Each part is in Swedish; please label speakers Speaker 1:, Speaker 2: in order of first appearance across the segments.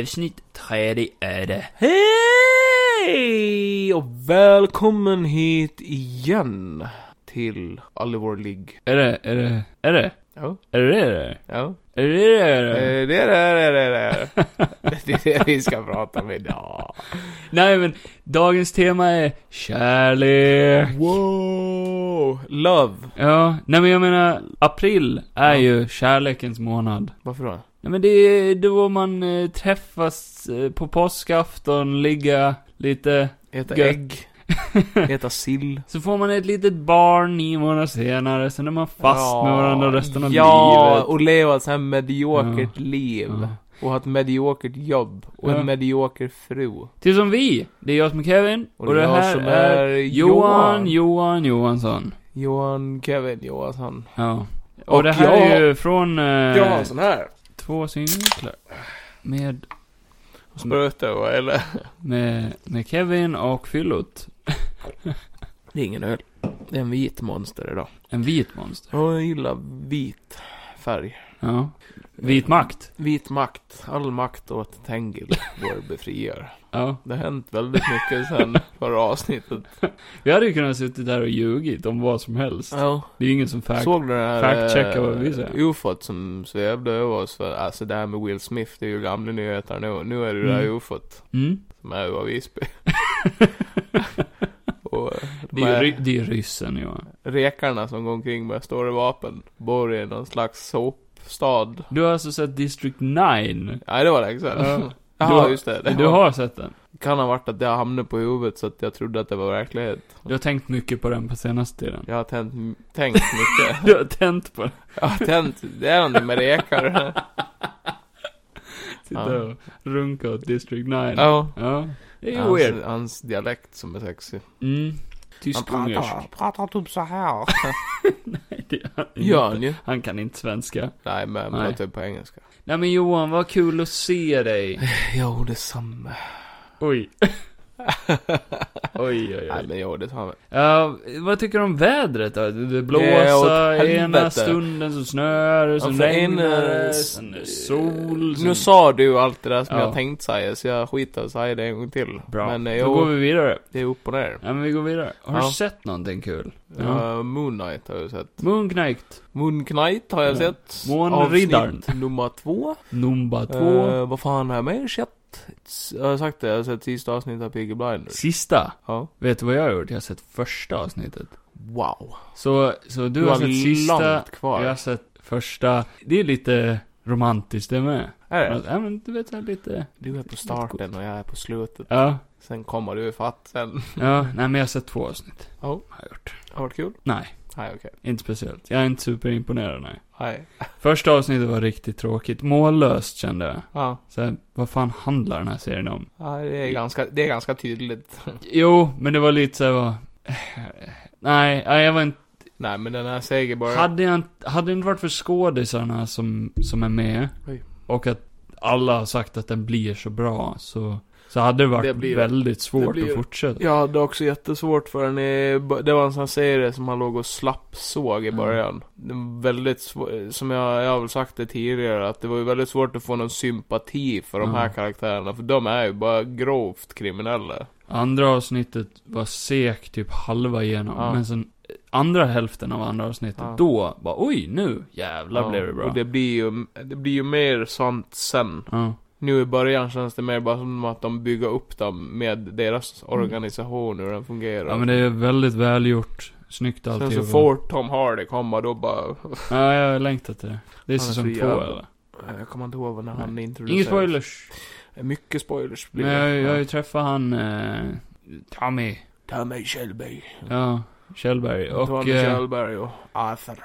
Speaker 1: Avsnitt 30 är det.
Speaker 2: Hej! Och välkommen hit igen till Oliver League.
Speaker 1: Är det, är det, är det?
Speaker 2: Ja,
Speaker 1: Är det det? det?
Speaker 2: ja.
Speaker 1: Är det det? det?
Speaker 2: Eh,
Speaker 1: det?
Speaker 2: Det är det, det är det, det är det. Det är det vi ska prata om idag.
Speaker 1: Nej men, dagens tema är kärlek.
Speaker 2: Wow! Love.
Speaker 1: Ja, nej men jag menar, april är ju kärlekens månad.
Speaker 2: Varför då?
Speaker 1: Nej men det är då man eh, träffas eh, på påskafton, ligga lite.
Speaker 2: Äta
Speaker 1: Gött.
Speaker 2: ägg. Äta sill.
Speaker 1: Så får man ett litet barn nio månader senare, sen är man fast
Speaker 2: Ja,
Speaker 1: med varandra resten av
Speaker 2: Ja,
Speaker 1: livet.
Speaker 2: och leva ett sånt här mediokert liv.
Speaker 1: Ja.
Speaker 2: Och ha ett mediokert jobb. Och
Speaker 1: Ja.
Speaker 2: en medioker fru.
Speaker 1: Till som vi, det är jag som är Kevin, och,
Speaker 2: Och det är
Speaker 1: det
Speaker 2: jag
Speaker 1: här
Speaker 2: som
Speaker 1: är
Speaker 2: är
Speaker 1: Johan,
Speaker 2: Johan.
Speaker 1: Johan Johansson.
Speaker 2: Johan Kevin Johansson.
Speaker 1: Ja. Och,
Speaker 2: Och
Speaker 1: det här
Speaker 2: jag- alltså.
Speaker 1: är ju från eh,
Speaker 2: Johansson här.
Speaker 1: två singlar. Med,
Speaker 2: Spröta, eller?
Speaker 1: med, med Kevin och Fyllot.
Speaker 2: Det är ingen öl. Det är en vit monster idag.
Speaker 1: En vit monster.
Speaker 2: Ja, jag gillar vit färg.
Speaker 1: Ja. Vit makt.
Speaker 2: Vit makt. All makt åt Tengil, vår befriare.
Speaker 1: Ja.
Speaker 2: Det har hänt väldigt mycket sen förra avsnittet.
Speaker 1: Vi hade ju kunnat suttit där och ljugit om vad som helst.
Speaker 2: Ja.
Speaker 1: Det är ju ingen som fact.
Speaker 2: Såg du det här
Speaker 1: fact-checka
Speaker 2: eh,
Speaker 1: vad vi säger.
Speaker 2: ufot som svävde över oss? För, alltså det här med Will Smith, det är ju gamla nyheter nu. Nu är det det här
Speaker 1: Mm.
Speaker 2: ufot
Speaker 1: Mm.
Speaker 2: som är över Visby. Och eh,
Speaker 1: Det
Speaker 2: de
Speaker 1: är
Speaker 2: här
Speaker 1: ju ry- det är ju ryssen Johan.
Speaker 2: rekarna som går omkring med stora vapen bor i någon slags sopstad.
Speaker 1: Du har alltså sett District 9?
Speaker 2: Nej, det var länge sedan.
Speaker 1: Ja.
Speaker 2: Jaha,
Speaker 1: Du-
Speaker 2: just det. det
Speaker 1: Du
Speaker 2: var-
Speaker 1: har sett den?
Speaker 2: kan ha varit att det hamnade på huvudet så att jag trodde att det var verklighet.
Speaker 1: Du har tänkt mycket på den på senaste tiden.
Speaker 2: Jag har tänt, tänkt mycket.
Speaker 1: Du har tänt på den.
Speaker 2: Jag har tänt, det är någonting med rekar.
Speaker 1: Sitta
Speaker 2: Ja.
Speaker 1: och runka åt District 9.
Speaker 2: Ja.
Speaker 1: Ja. Det är ju
Speaker 2: Hans,
Speaker 1: weird.
Speaker 2: hans dialekt som är sexig.
Speaker 1: Mm. Tysk ungersk.
Speaker 2: pratar typ så här.
Speaker 1: Nej, det är han
Speaker 2: Gör
Speaker 1: inte.
Speaker 2: han ju.
Speaker 1: Han kan inte svenska.
Speaker 2: Nej, men han
Speaker 1: Nej.
Speaker 2: pratar ju på engelska.
Speaker 1: Nej men Johan, vad kul att se dig.
Speaker 2: Jo, detsamma.
Speaker 1: Oj. oj, oj,
Speaker 2: Nej,
Speaker 1: oj.
Speaker 2: men jo, detsamma.
Speaker 1: Ja, vad tycker du om vädret då? Det det
Speaker 2: Det är
Speaker 1: blåser,
Speaker 2: åt
Speaker 1: ena
Speaker 2: helvete.
Speaker 1: stunden så snöar det, sen
Speaker 2: Ja, för en,
Speaker 1: regnar
Speaker 2: eh,
Speaker 1: det, sen är det sol, sen...
Speaker 2: Nu sa du ju allt det där som
Speaker 1: Ja.
Speaker 2: jag tänkte säga, så jag skiter i att säga det en gång till.
Speaker 1: Bra.
Speaker 2: Men eh,
Speaker 1: Då
Speaker 2: jo,
Speaker 1: går vi vidare.
Speaker 2: det är upp och ner.
Speaker 1: Ja men vi går vidare. Har
Speaker 2: Ja.
Speaker 1: du sett någonting kul? Ja.
Speaker 2: Ja. Moon Knight har jag sett.
Speaker 1: Moonknight.
Speaker 2: Moon Knight har jag
Speaker 1: Ja.
Speaker 2: sett.
Speaker 1: Månriddaren.
Speaker 2: Avsnitt nummer två.
Speaker 1: Numba två.
Speaker 2: Eh, vad fan har jag mer sett? S- Jag har sagt det, jag har sett sista avsnittet av Peaky Blinders.
Speaker 1: Sista.
Speaker 2: Ja.
Speaker 1: Vet du vad jag har gjort? Jag har sett första avsnittet.
Speaker 2: Wow.
Speaker 1: Så, så du har sett sista,
Speaker 2: långt kvar.
Speaker 1: jag har sett första. Det är lite romantiskt det med.
Speaker 2: Är det?
Speaker 1: Ja men du vet så här lite,
Speaker 2: Du är på starten och jag är på slutet.
Speaker 1: ja,
Speaker 2: Sen kommer du ifatt sen.
Speaker 1: ja, nej men jag har sett två avsnitt.
Speaker 2: Ja.
Speaker 1: Har jag gjort.
Speaker 2: Har det varit kul?
Speaker 1: Nej,
Speaker 2: Nej, okej.
Speaker 1: inte speciellt. Jag är inte superimponerad nej.
Speaker 2: Nej.
Speaker 1: Första avsnittet var riktigt tråkigt, mållöst kände jag.
Speaker 2: Ja.
Speaker 1: Så här, vad fan handlar den här serien om?
Speaker 2: ja det, är ganska, det är ganska tydligt.
Speaker 1: Jo, men det var lite så här, vad- nej, nej, jag var inte,
Speaker 2: Nej, men den här Segerborg.
Speaker 1: Hade, jag, inte- hade det inte varit för skådisarna som, som är med
Speaker 2: Oj.
Speaker 1: och att alla har sagt att den blir så bra så, så hade det varit
Speaker 2: Det blir-
Speaker 1: väldigt svårt
Speaker 2: blir-
Speaker 1: att fortsätta.
Speaker 2: Jag hade också jättesvårt för den i, Det var en sån här serie som han låg och slappsåg i
Speaker 1: Mm.
Speaker 2: början. Den var väldigt svår, Som jag, jag har väl sagt det tidigare, att det var ju väldigt svårt att få någon sympati för de här
Speaker 1: Mm.
Speaker 2: karaktärerna. För de är ju bara grovt kriminella.
Speaker 1: Andra avsnittet var sek typ halva igenom.
Speaker 2: Ja.
Speaker 1: Men sen eh, andra hälften av andra avsnittet,
Speaker 2: Ja.
Speaker 1: då bara oj nu jävlar
Speaker 2: Ja,
Speaker 1: blev det bra.
Speaker 2: Och det blir ju, det blir ju mer sånt sen.
Speaker 1: Ja.
Speaker 2: Nu i början känns det mer bara som att de bygger upp dem med deras organisation, hur den fungerar.
Speaker 1: ja men det är väldigt välgjort, snyggt
Speaker 2: Sen
Speaker 1: alltihop.
Speaker 2: så fort Tom Hardy kommer då bara...
Speaker 1: Ja, jag längtar till det. Det är
Speaker 2: Han är
Speaker 1: säsong
Speaker 2: så
Speaker 1: två
Speaker 2: jävla-
Speaker 1: eller?
Speaker 2: Eh, Jag kommer inte ihåg när han introducerades. Eh,
Speaker 1: Inga spoilers.
Speaker 2: Mycket spoilers blir
Speaker 1: Men
Speaker 2: det.
Speaker 1: jag, jag har ju träffat han, eh, Tommy.
Speaker 2: Ta mig Kjellberg.
Speaker 1: Ja, Kjellberg. Och...
Speaker 2: Tommy
Speaker 1: eh,
Speaker 2: Kjellberg och Arthur.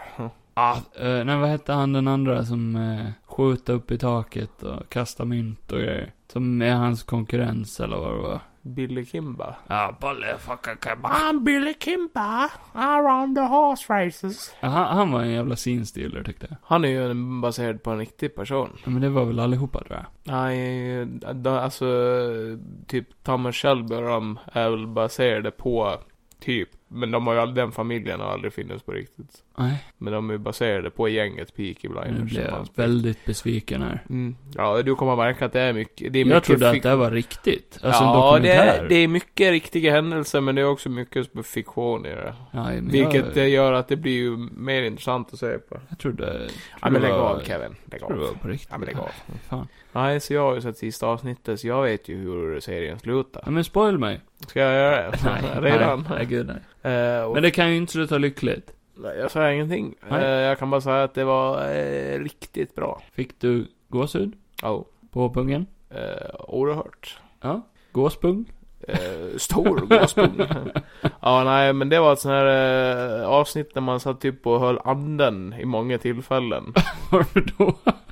Speaker 1: ah, eh, nej, vad hette han den andra som eh, skjuter upp i taket och kastar mynt och grejer? Som är hans konkurrens eller vad det var.
Speaker 2: Billy Kimba.
Speaker 1: Ja, Bolle fucking kebab.
Speaker 2: I'm Billy Kimba. I run the horse races.
Speaker 1: Ja, Han, han var en jävla sinstealer tyckte jag.
Speaker 2: Han är ju en- baserad på en riktig person.
Speaker 1: Ja, Men det var väl allihopa tror jag.
Speaker 2: Nej, da- alltså typ Thomas Shelby och de är väl baserade på typ Men de har ju all, den familjen har aldrig funnits på riktigt.
Speaker 1: Nej,
Speaker 2: Men de är ju baserade på gänget Peaky Blinders.
Speaker 1: nu
Speaker 2: som
Speaker 1: blev jag
Speaker 2: fanns på-
Speaker 1: väldigt besviken här.
Speaker 2: Mm. Ja, du kommer märka att det är mycket... Det är
Speaker 1: Jag
Speaker 2: mycket
Speaker 1: trodde att
Speaker 2: fik-
Speaker 1: det här var riktigt. Alltså en
Speaker 2: ja, det
Speaker 1: dokumentär.
Speaker 2: är, det är mycket riktiga händelser, men det är också mycket fiktion i det.
Speaker 1: Ja, men
Speaker 2: Vilket
Speaker 1: jag,
Speaker 2: eh, gör att det blir ju mer intressant att se på.
Speaker 1: jag trodde...
Speaker 2: Ja, men lägg
Speaker 1: det var-
Speaker 2: av Kevin. Lägg
Speaker 1: trodde det var
Speaker 2: av.
Speaker 1: på riktigt.
Speaker 2: Ja, men lägg av.
Speaker 1: Nej, Fan.
Speaker 2: Nej, så jag har ju sett sista avsnittet, så jag vet ju hur serien
Speaker 1: Ja,
Speaker 2: slutar.
Speaker 1: men spoil mig.
Speaker 2: Ska jag göra det? Redan?
Speaker 1: Nej, nej, gud, nej.
Speaker 2: Eh, och-
Speaker 1: Men det kan ju inte sluta lyckligt.
Speaker 2: Nej, jag säger ingenting.
Speaker 1: Nej.
Speaker 2: Eh, jag kan bara säga att det var eh, riktigt bra.
Speaker 1: Fick du gåshud
Speaker 2: Ja.
Speaker 1: på pungen?
Speaker 2: Eh, oerhört.
Speaker 1: Ja. Gåspung?
Speaker 2: Eh, stor gåspung. ja, nej, men det var ett sånt här eh, avsnitt där man satt typ och höll anden i många tillfällen.
Speaker 1: Var du då?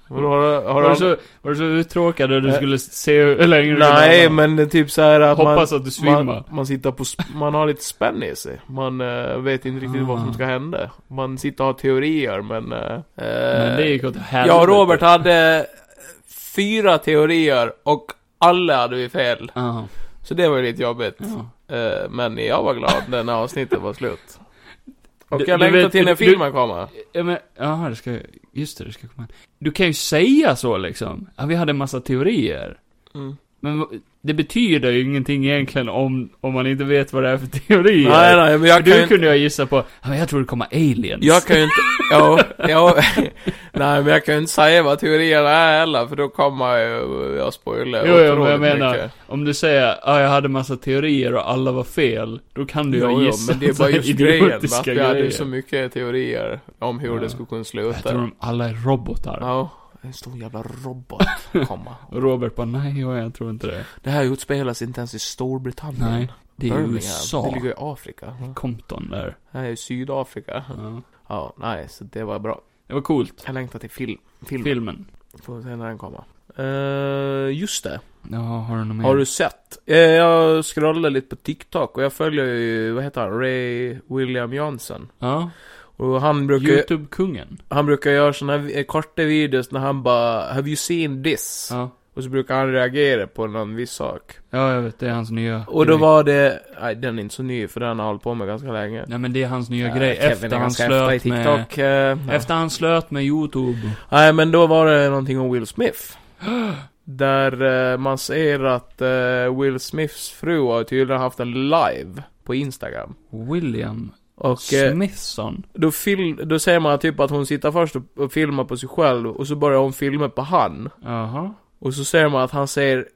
Speaker 2: Och då har, du- har
Speaker 1: Var du
Speaker 2: du-
Speaker 1: så, var du så uttråkad att du
Speaker 2: Eh,
Speaker 1: skulle se hur länge du
Speaker 2: Nej,
Speaker 1: kunde hålla?
Speaker 2: men det är typ så här att man...
Speaker 1: Hoppas att du svimmar.
Speaker 2: Man, man sitter på, sp- man har lite spänn i sig. Man eh, vet inte riktigt vad
Speaker 1: Ah.
Speaker 2: som ska hända. Man sitter och har teorier, men... eh,
Speaker 1: men det gick åt helvete.
Speaker 2: Jag och Robert hade fyra teorier och alla hade vi fel.
Speaker 1: Ja.
Speaker 2: Så det var ju lite jobbigt.
Speaker 1: ja.
Speaker 2: Eh, Men jag var glad när det här avsnittet var slut. Och
Speaker 1: Du-
Speaker 2: jag
Speaker 1: du
Speaker 2: längtar
Speaker 1: vet-
Speaker 2: till när
Speaker 1: du-
Speaker 2: filmen kommer.
Speaker 1: Ja, men, jaha, det ska, just det, det ska komma. Du kan ju säga så liksom. Ja, vi hade en massa teorier.
Speaker 2: Mm.
Speaker 1: Men v- det betyder ju ingenting egentligen om, om man inte vet vad det är för teorier.
Speaker 2: Nej, nej, men
Speaker 1: För
Speaker 2: jag kan
Speaker 1: du
Speaker 2: ju inte...
Speaker 1: kunde jag gissa på, ja, men jag tror det kommer aliens.
Speaker 2: Jag kan ju inte... Ja, ja, nej, men jag kan ju inte säga vad teorierna är heller, för då kommer ju jag spoila
Speaker 1: Jo, jo, men jag
Speaker 2: otroligt
Speaker 1: menar, Om du säger, ja, jag hade massa teorier och alla var fel, då kan du
Speaker 2: Jo,
Speaker 1: ju
Speaker 2: jo,
Speaker 1: gissa
Speaker 2: men det är bara
Speaker 1: så här
Speaker 2: just grejen, va?
Speaker 1: Mm, idiotiska
Speaker 2: Vi hade ju
Speaker 1: grejer.
Speaker 2: så mycket teorier om hur
Speaker 1: Ja.
Speaker 2: det skulle kunna
Speaker 1: Jag
Speaker 2: sluta.
Speaker 1: tror de alla är robotar.
Speaker 2: Ja, en stor jävla robot komma.
Speaker 1: Och Robert bara, nej, ja, jag tror inte det.
Speaker 2: Det här utspelas inte ens i Storbritannien.
Speaker 1: Nej, det är
Speaker 2: Birmingham.
Speaker 1: USA.
Speaker 2: Det ligger i Afrika.
Speaker 1: Compton där.
Speaker 2: Det här är Sydafrika.
Speaker 1: Ja.
Speaker 2: Ja, nej, så det var bra.
Speaker 1: Det var coolt.
Speaker 2: Jag längtar till film. Film.
Speaker 1: Filmen.
Speaker 2: Får se när den kommer. Eh, just det.
Speaker 1: Ja, har du något mer?
Speaker 2: Har du sett? Eh, jag scrollade lite på TikTok och jag följer ju, vad heter han? Ray William Johnson.
Speaker 1: Ja.
Speaker 2: Och han brukar ju-
Speaker 1: Youtube-kungen.
Speaker 2: Han brukar göra såna här vi- eh, korta videos när han bara 'Have you seen this?'
Speaker 1: Ja.
Speaker 2: Och så brukar han reagera på någon viss sak.
Speaker 1: ja, jag vet. Det är hans nya
Speaker 2: Och då
Speaker 1: grej.
Speaker 2: var det... Nej, den är inte så ny för den har hållit på med ganska länge.
Speaker 1: Nej, men det är hans nya
Speaker 2: Ja,
Speaker 1: grej.
Speaker 2: Eh, Kevin är
Speaker 1: Efter han
Speaker 2: ganska efter i
Speaker 1: slöt med...
Speaker 2: TikTok. eh, ja.
Speaker 1: Efter han slöt med Youtube.
Speaker 2: Nej, men då var det någonting om Will Smith. Där eh, man ser att eh, Will Smiths fru har tydligen haft en live på Instagram.
Speaker 1: William
Speaker 2: Och eh,
Speaker 1: Smithson.
Speaker 2: då, fil- då ser man typ att hon sitter först och, och filmar på sig själv och så börjar hon filma på han.
Speaker 1: Jaha.
Speaker 2: Och så ser man att han ser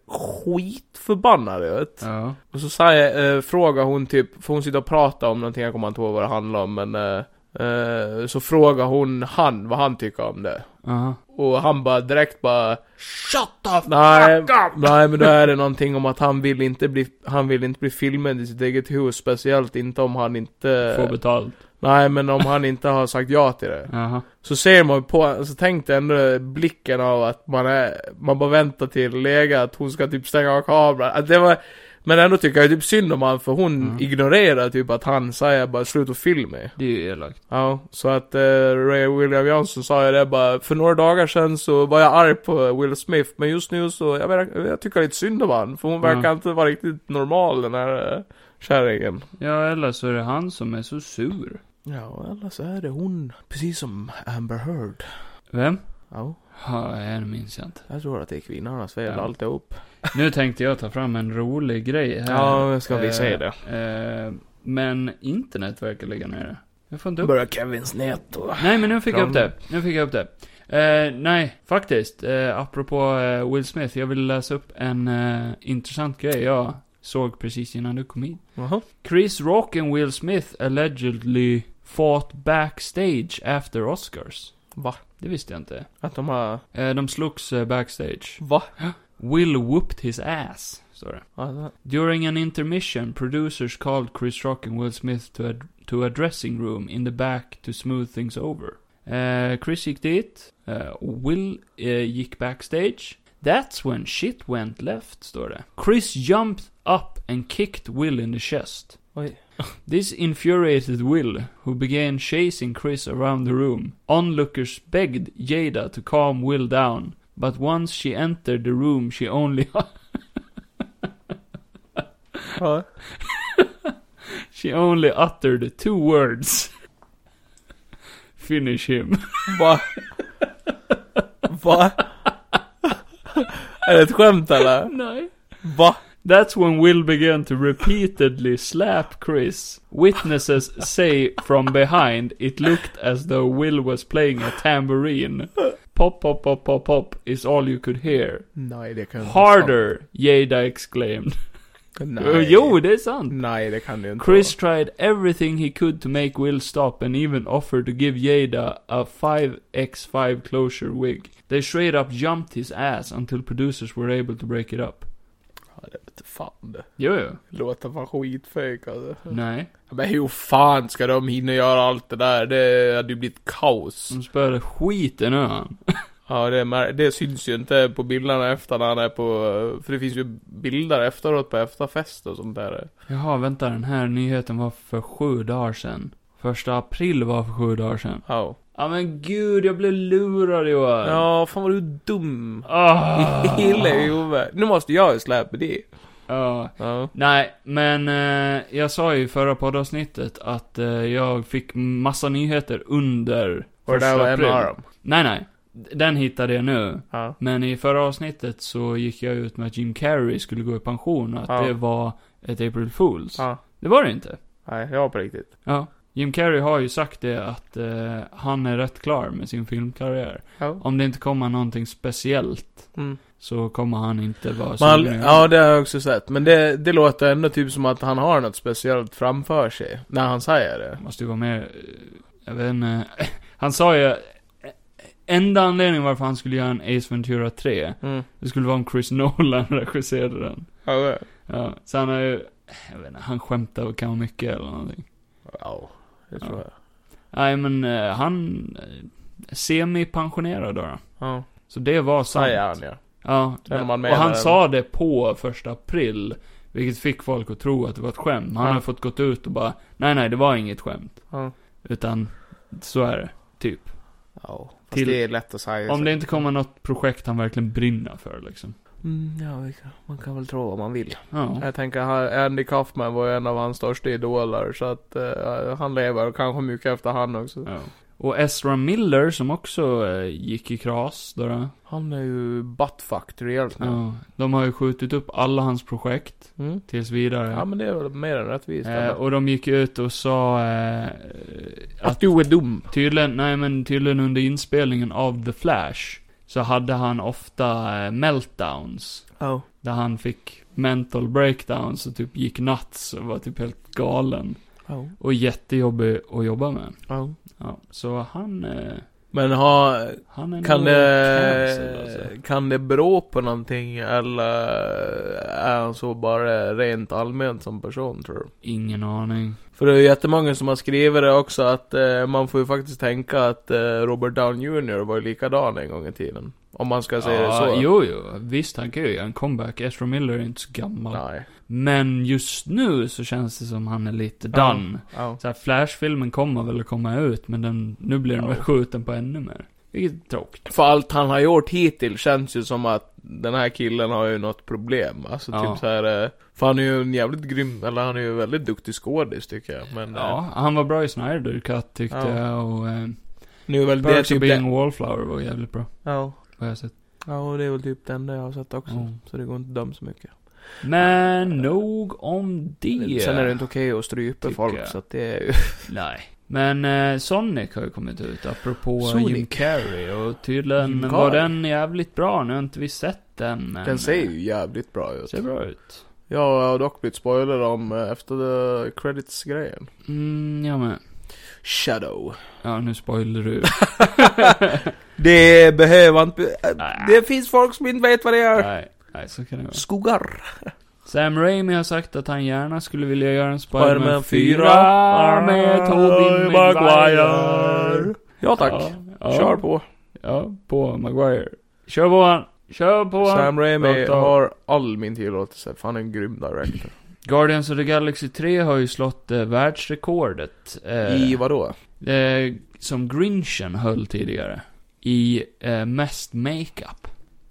Speaker 2: skitförbannad ut.
Speaker 1: Ja.
Speaker 2: Och så säger, eh, frågar hon typ, för hon sitter och pratar om någonting, jag kommer inte ihåg vad det handlar om men... Eh, eh, så frågar hon han vad han tycker om det.
Speaker 1: Jaha.
Speaker 2: Och han bara direkt bara...
Speaker 1: Shut the
Speaker 2: Nej,
Speaker 1: up!
Speaker 2: nej men då är det någonting om att han vill inte bli, han vill inte bli filmad i sitt eget hus, speciellt inte om han
Speaker 1: Få
Speaker 2: inte...
Speaker 1: betalt.
Speaker 2: Nej men om han inte har sagt ja till det.
Speaker 1: Jaha.
Speaker 2: Så ser man på, så tänkte jag ändå blicken av att man är, man bara väntar till läge att hon ska typ stänga av kameran. Att det var, men ändå tycker jag typ synd om han för hon
Speaker 1: Mm.
Speaker 2: ignorerar typ att han säger bara slut och film mig.
Speaker 1: Det är ju elakt.
Speaker 2: Ja, så att eh, Ray William Johnson sa ju det bara, för några dagar sedan så var jag arg på Will Smith, men just nu så, jag, verkar- jag tycker lite synd om han, för hon verkar
Speaker 1: Mm.
Speaker 2: inte vara riktigt normal den här eh, kärringen.
Speaker 1: Ja, eller så är det han som är så sur.
Speaker 2: Ja, eller så är det hon, precis som Amber Heard.
Speaker 1: Vem?
Speaker 2: Ja.
Speaker 1: Ja, det minns jag inte.
Speaker 2: Jag tror att det är kvinnornas fel
Speaker 1: Ja.
Speaker 2: alltihop.
Speaker 1: Nu tänkte jag ta fram en rolig grej här.
Speaker 2: Ja, ska vi
Speaker 1: Eh,
Speaker 2: se det.
Speaker 1: eh, men internet verkar ligga nere. Jag får inte upp
Speaker 2: börjar Kevins nät och...
Speaker 1: Nej, men nu fick jag upp
Speaker 2: Fram.
Speaker 1: det. Nu fick jag upp det. Eh, nej, faktiskt. Eh, apropå eh, Will Smith, jag vill läsa upp en eh, intressant grej jag såg precis innan du kom hit.
Speaker 2: Jaha.
Speaker 1: Chris Rock and Will Smith allegedly fought backstage after Oscars.
Speaker 2: Va?
Speaker 1: Det visste jag inte.
Speaker 2: Att de har...
Speaker 1: Eh, de slogs eh, backstage.
Speaker 2: Va?
Speaker 1: Will whooped his ass, står det.
Speaker 2: Alltså,
Speaker 1: During an intermission, producers called Chris Rock and Will Smith to a, to a dressing room in the back to smooth things over. Eh, Chris gick dit, eh, och Will eh, gick backstage. That's when shit went left, står det. Chris jumped up and kicked Will in the chest.
Speaker 2: Oj.
Speaker 1: This infuriated Will, who began chasing Chris around the room. Onlookers begged Jada to calm Will down, but once she entered the room she only
Speaker 2: Ja.
Speaker 1: She only uttered two words. Finish him.
Speaker 2: Va? Va? Är det ett skämt eller?
Speaker 1: Nej.
Speaker 2: Va?
Speaker 1: That's when Will began to repeatedly slap Chris. Witnesses say from behind it looked as though Will was playing a tambourine. Pop, pop, pop, pop, pop is all you could hear.
Speaker 2: Nej det kan
Speaker 1: Harder! Jada exclaimed.
Speaker 2: inte
Speaker 1: Uh,
Speaker 2: vara sant.
Speaker 1: jo, det är sant.
Speaker 2: Nej det kan det ju inte
Speaker 1: Chris tried everything he could to make Will stop and even offered to give Jada a 5x5 closure wig. They straight up jumped his ass until producers were able to break it up.
Speaker 2: vara. Ja, det vete fan det.
Speaker 1: Jo, jo.
Speaker 2: Låter fan skitfejk alltså.
Speaker 1: Nej.
Speaker 2: Men hur fan ska de hinna göra allt det där? Det hade ju blivit kaos.
Speaker 1: De spöade skiten ur han.
Speaker 2: Ja, det, är mär- det syns ju inte på bilderna efter när han är på... För det finns ju bilder efteråt på efterfest och sånt där.
Speaker 1: Jaha, vänta, den här nyheten var för sju dagar sedan. Första april var för sju dagar sedan.
Speaker 2: Ja.
Speaker 1: Ja men gud, jag blev lurad Johan.
Speaker 2: Ja, fan vad du är dum.
Speaker 1: Ah.
Speaker 2: Hille i huvudet. Nu måste jag ju släppa det.
Speaker 1: Ja.
Speaker 2: Ja.
Speaker 1: Nej, men eh, jag sa ju i förra poddavsnittet att eh, jag fick massa nyheter under
Speaker 2: Och det där var en av dem.
Speaker 1: Nej, nej. D- Den hittade jag nu.
Speaker 2: Ja.
Speaker 1: Men i förra avsnittet så gick jag ut med att Jim Carrey skulle gå i pension och att
Speaker 2: Ja.
Speaker 1: det var ett April Fools.
Speaker 2: ja.
Speaker 1: Det var det inte.
Speaker 2: Nej, det var på riktigt.
Speaker 1: Ja. Jim Carrey har ju sagt det att eh, han är rätt klar med sin filmkarriär.
Speaker 2: Ja.
Speaker 1: Om det inte kommer någonting speciellt
Speaker 2: Mm.
Speaker 1: så kommer han inte vara
Speaker 2: Man,
Speaker 1: sugen.
Speaker 2: ja, det har jag också sett. Men det, det låter ändå typ som att han har något speciellt framför sig. När han säger det.
Speaker 1: Måste ju vara mer, eh, jag vet inte. Han sa ju, eh, enda anledningen varför han skulle göra en Ace Ventura 3,
Speaker 2: Mm.
Speaker 1: det skulle vara om Chris Nolan regisserade den.
Speaker 2: Ja, det.
Speaker 1: Ja, så han har ju, eh, jag vet inte, han skämtar väl kanske mycket eller någonting.
Speaker 2: Ja, det
Speaker 1: Ja.
Speaker 2: tror jag.
Speaker 1: Nej men eh, han, eh, semi-pensionerad då.
Speaker 2: Ja,
Speaker 1: Så det var sant.
Speaker 2: säger han Ah, ja.
Speaker 1: Ja,
Speaker 2: Sen är man
Speaker 1: och
Speaker 2: med
Speaker 1: han
Speaker 2: där.
Speaker 1: sa det på första april. Vilket fick folk att tro att det var ett skämt. Han
Speaker 2: Ja.
Speaker 1: har fått gått ut och bara, nej nej, det var inget skämt.
Speaker 2: Ja.
Speaker 1: Utan, så är det. Typ.
Speaker 2: ja. Fast
Speaker 1: Till-
Speaker 2: det är lätt att säga.
Speaker 1: Om det inte kommer något projekt han verkligen brinner för liksom.
Speaker 2: Mm, ja, vi kan- man kan väl tro vad man vill.
Speaker 1: Ja.
Speaker 2: Mm. Jag tänker, han- Andy Kaufman var ju en av hans största idoler, så att eh, han lever kanske mycket efter han också.
Speaker 1: ja. Och Ezra Miller som också eh, gick i kras då. då.
Speaker 2: Han är ju buttfucked rejält nu.
Speaker 1: Ja. De har ju skjutit upp alla hans projekt.
Speaker 2: Mm.
Speaker 1: Tills vidare.
Speaker 2: Ja, men det är väl mer än rättvist.
Speaker 1: eh,
Speaker 2: ändå.
Speaker 1: och de gick ut och sa eh, att
Speaker 2: att du är dum.
Speaker 1: Tydligen, nej men tydligen under inspelningen av The Flash så hade han ofta eh, meltdowns.
Speaker 2: Ja.
Speaker 1: Där han fick mental breakdowns och typ gick nuts och var typ helt galen.
Speaker 2: Ja.
Speaker 1: Och jättejobbig att jobba med.
Speaker 2: Ja.
Speaker 1: Ja, så han, eh,
Speaker 2: Men har,
Speaker 1: han är
Speaker 2: kan
Speaker 1: nog cancelled, alltså.
Speaker 2: det, kan det bero på någonting eller är han så bara rent allmänt som person tror du?
Speaker 1: Ingen aning.
Speaker 2: För det är ju jättemånga som har skrivit det också att eh, man får ju faktiskt tänka att eh, Robert Downey Jr var ju likadan en gång i tiden. Om man ska säga det så.
Speaker 1: Jo, jo. Visst, han kan ju göra en comeback. Ezra Miller är inte så gammal.
Speaker 2: Nej.
Speaker 1: Men just nu så känns det som han är lite
Speaker 2: Ja.
Speaker 1: done.
Speaker 2: Ja.
Speaker 1: Så här, Flash-filmen kommer väl att komma ut, men den, nu blir den
Speaker 2: Ja.
Speaker 1: väl skjuten på ännu mer. Vilket är tråkigt.
Speaker 2: För allt han har gjort hittills känns ju som att den här killen har ju något problem. Alltså
Speaker 1: Ja.
Speaker 2: typ så här. eh, För han är ju en jävligt grym, eller han är ju en väldigt duktig skådis tycker jag. Men eh,
Speaker 1: Ja, han var bra i Snyder Cut tyckte
Speaker 2: Ja.
Speaker 1: jag och... Eh,
Speaker 2: nu är väl det
Speaker 1: Perks of
Speaker 2: typ
Speaker 1: being
Speaker 2: det.
Speaker 1: a wallflower var jävligt bra.
Speaker 2: Ja.
Speaker 1: Vad jag har sett.
Speaker 2: ja, och det är väl typ det enda jag har sett också.
Speaker 1: Ja.
Speaker 2: Så det går inte att döma så mycket.
Speaker 1: Men nog om det.
Speaker 2: Sen är det inte okej att strypa
Speaker 1: Tycker
Speaker 2: folk
Speaker 1: jag.
Speaker 2: så att det är ju...
Speaker 1: Nej. Men eh, Sonic har ju kommit ut, apropå
Speaker 2: Sonic.
Speaker 1: Jim Carrey. Och tydligen
Speaker 2: Jim
Speaker 1: var
Speaker 2: Carrey.
Speaker 1: den jävligt bra. Nu har inte vi sett den. Men,
Speaker 2: Den ser ju jävligt bra
Speaker 1: eh,
Speaker 2: ut.
Speaker 1: Ser bra ut.
Speaker 2: Jag har dock blivit spoilad om eh, efter the credits-grejen.
Speaker 1: Mm, ja men.
Speaker 2: Shadow.
Speaker 1: Ja, nu spoiler du.
Speaker 2: Det behöver inte... eh,
Speaker 1: Nej.
Speaker 2: Det finns folk som inte vet vad det är.
Speaker 1: nej, nej, så kan det vara.
Speaker 2: Skogar.
Speaker 1: Sam Raimi har sagt att han gärna skulle vilja göra en Spider-Man
Speaker 2: Spider-Man
Speaker 1: 4
Speaker 2: fyra.
Speaker 1: med Tobey Maguire.
Speaker 2: Maguire. Ja tack.
Speaker 1: Ja,
Speaker 2: Kör på.
Speaker 1: Ja, på Maguire. Kör på han. Kör på han.
Speaker 2: Sam Raimi
Speaker 1: Rakt av.
Speaker 2: har all min tillåtelse. Fan en grym director.
Speaker 1: Guardians of the Galaxy 3 har ju slått eh, världsrekordet. Eh,
Speaker 2: I vadå?
Speaker 1: eh, som Grinchen höll tidigare. I eh, mest makeup.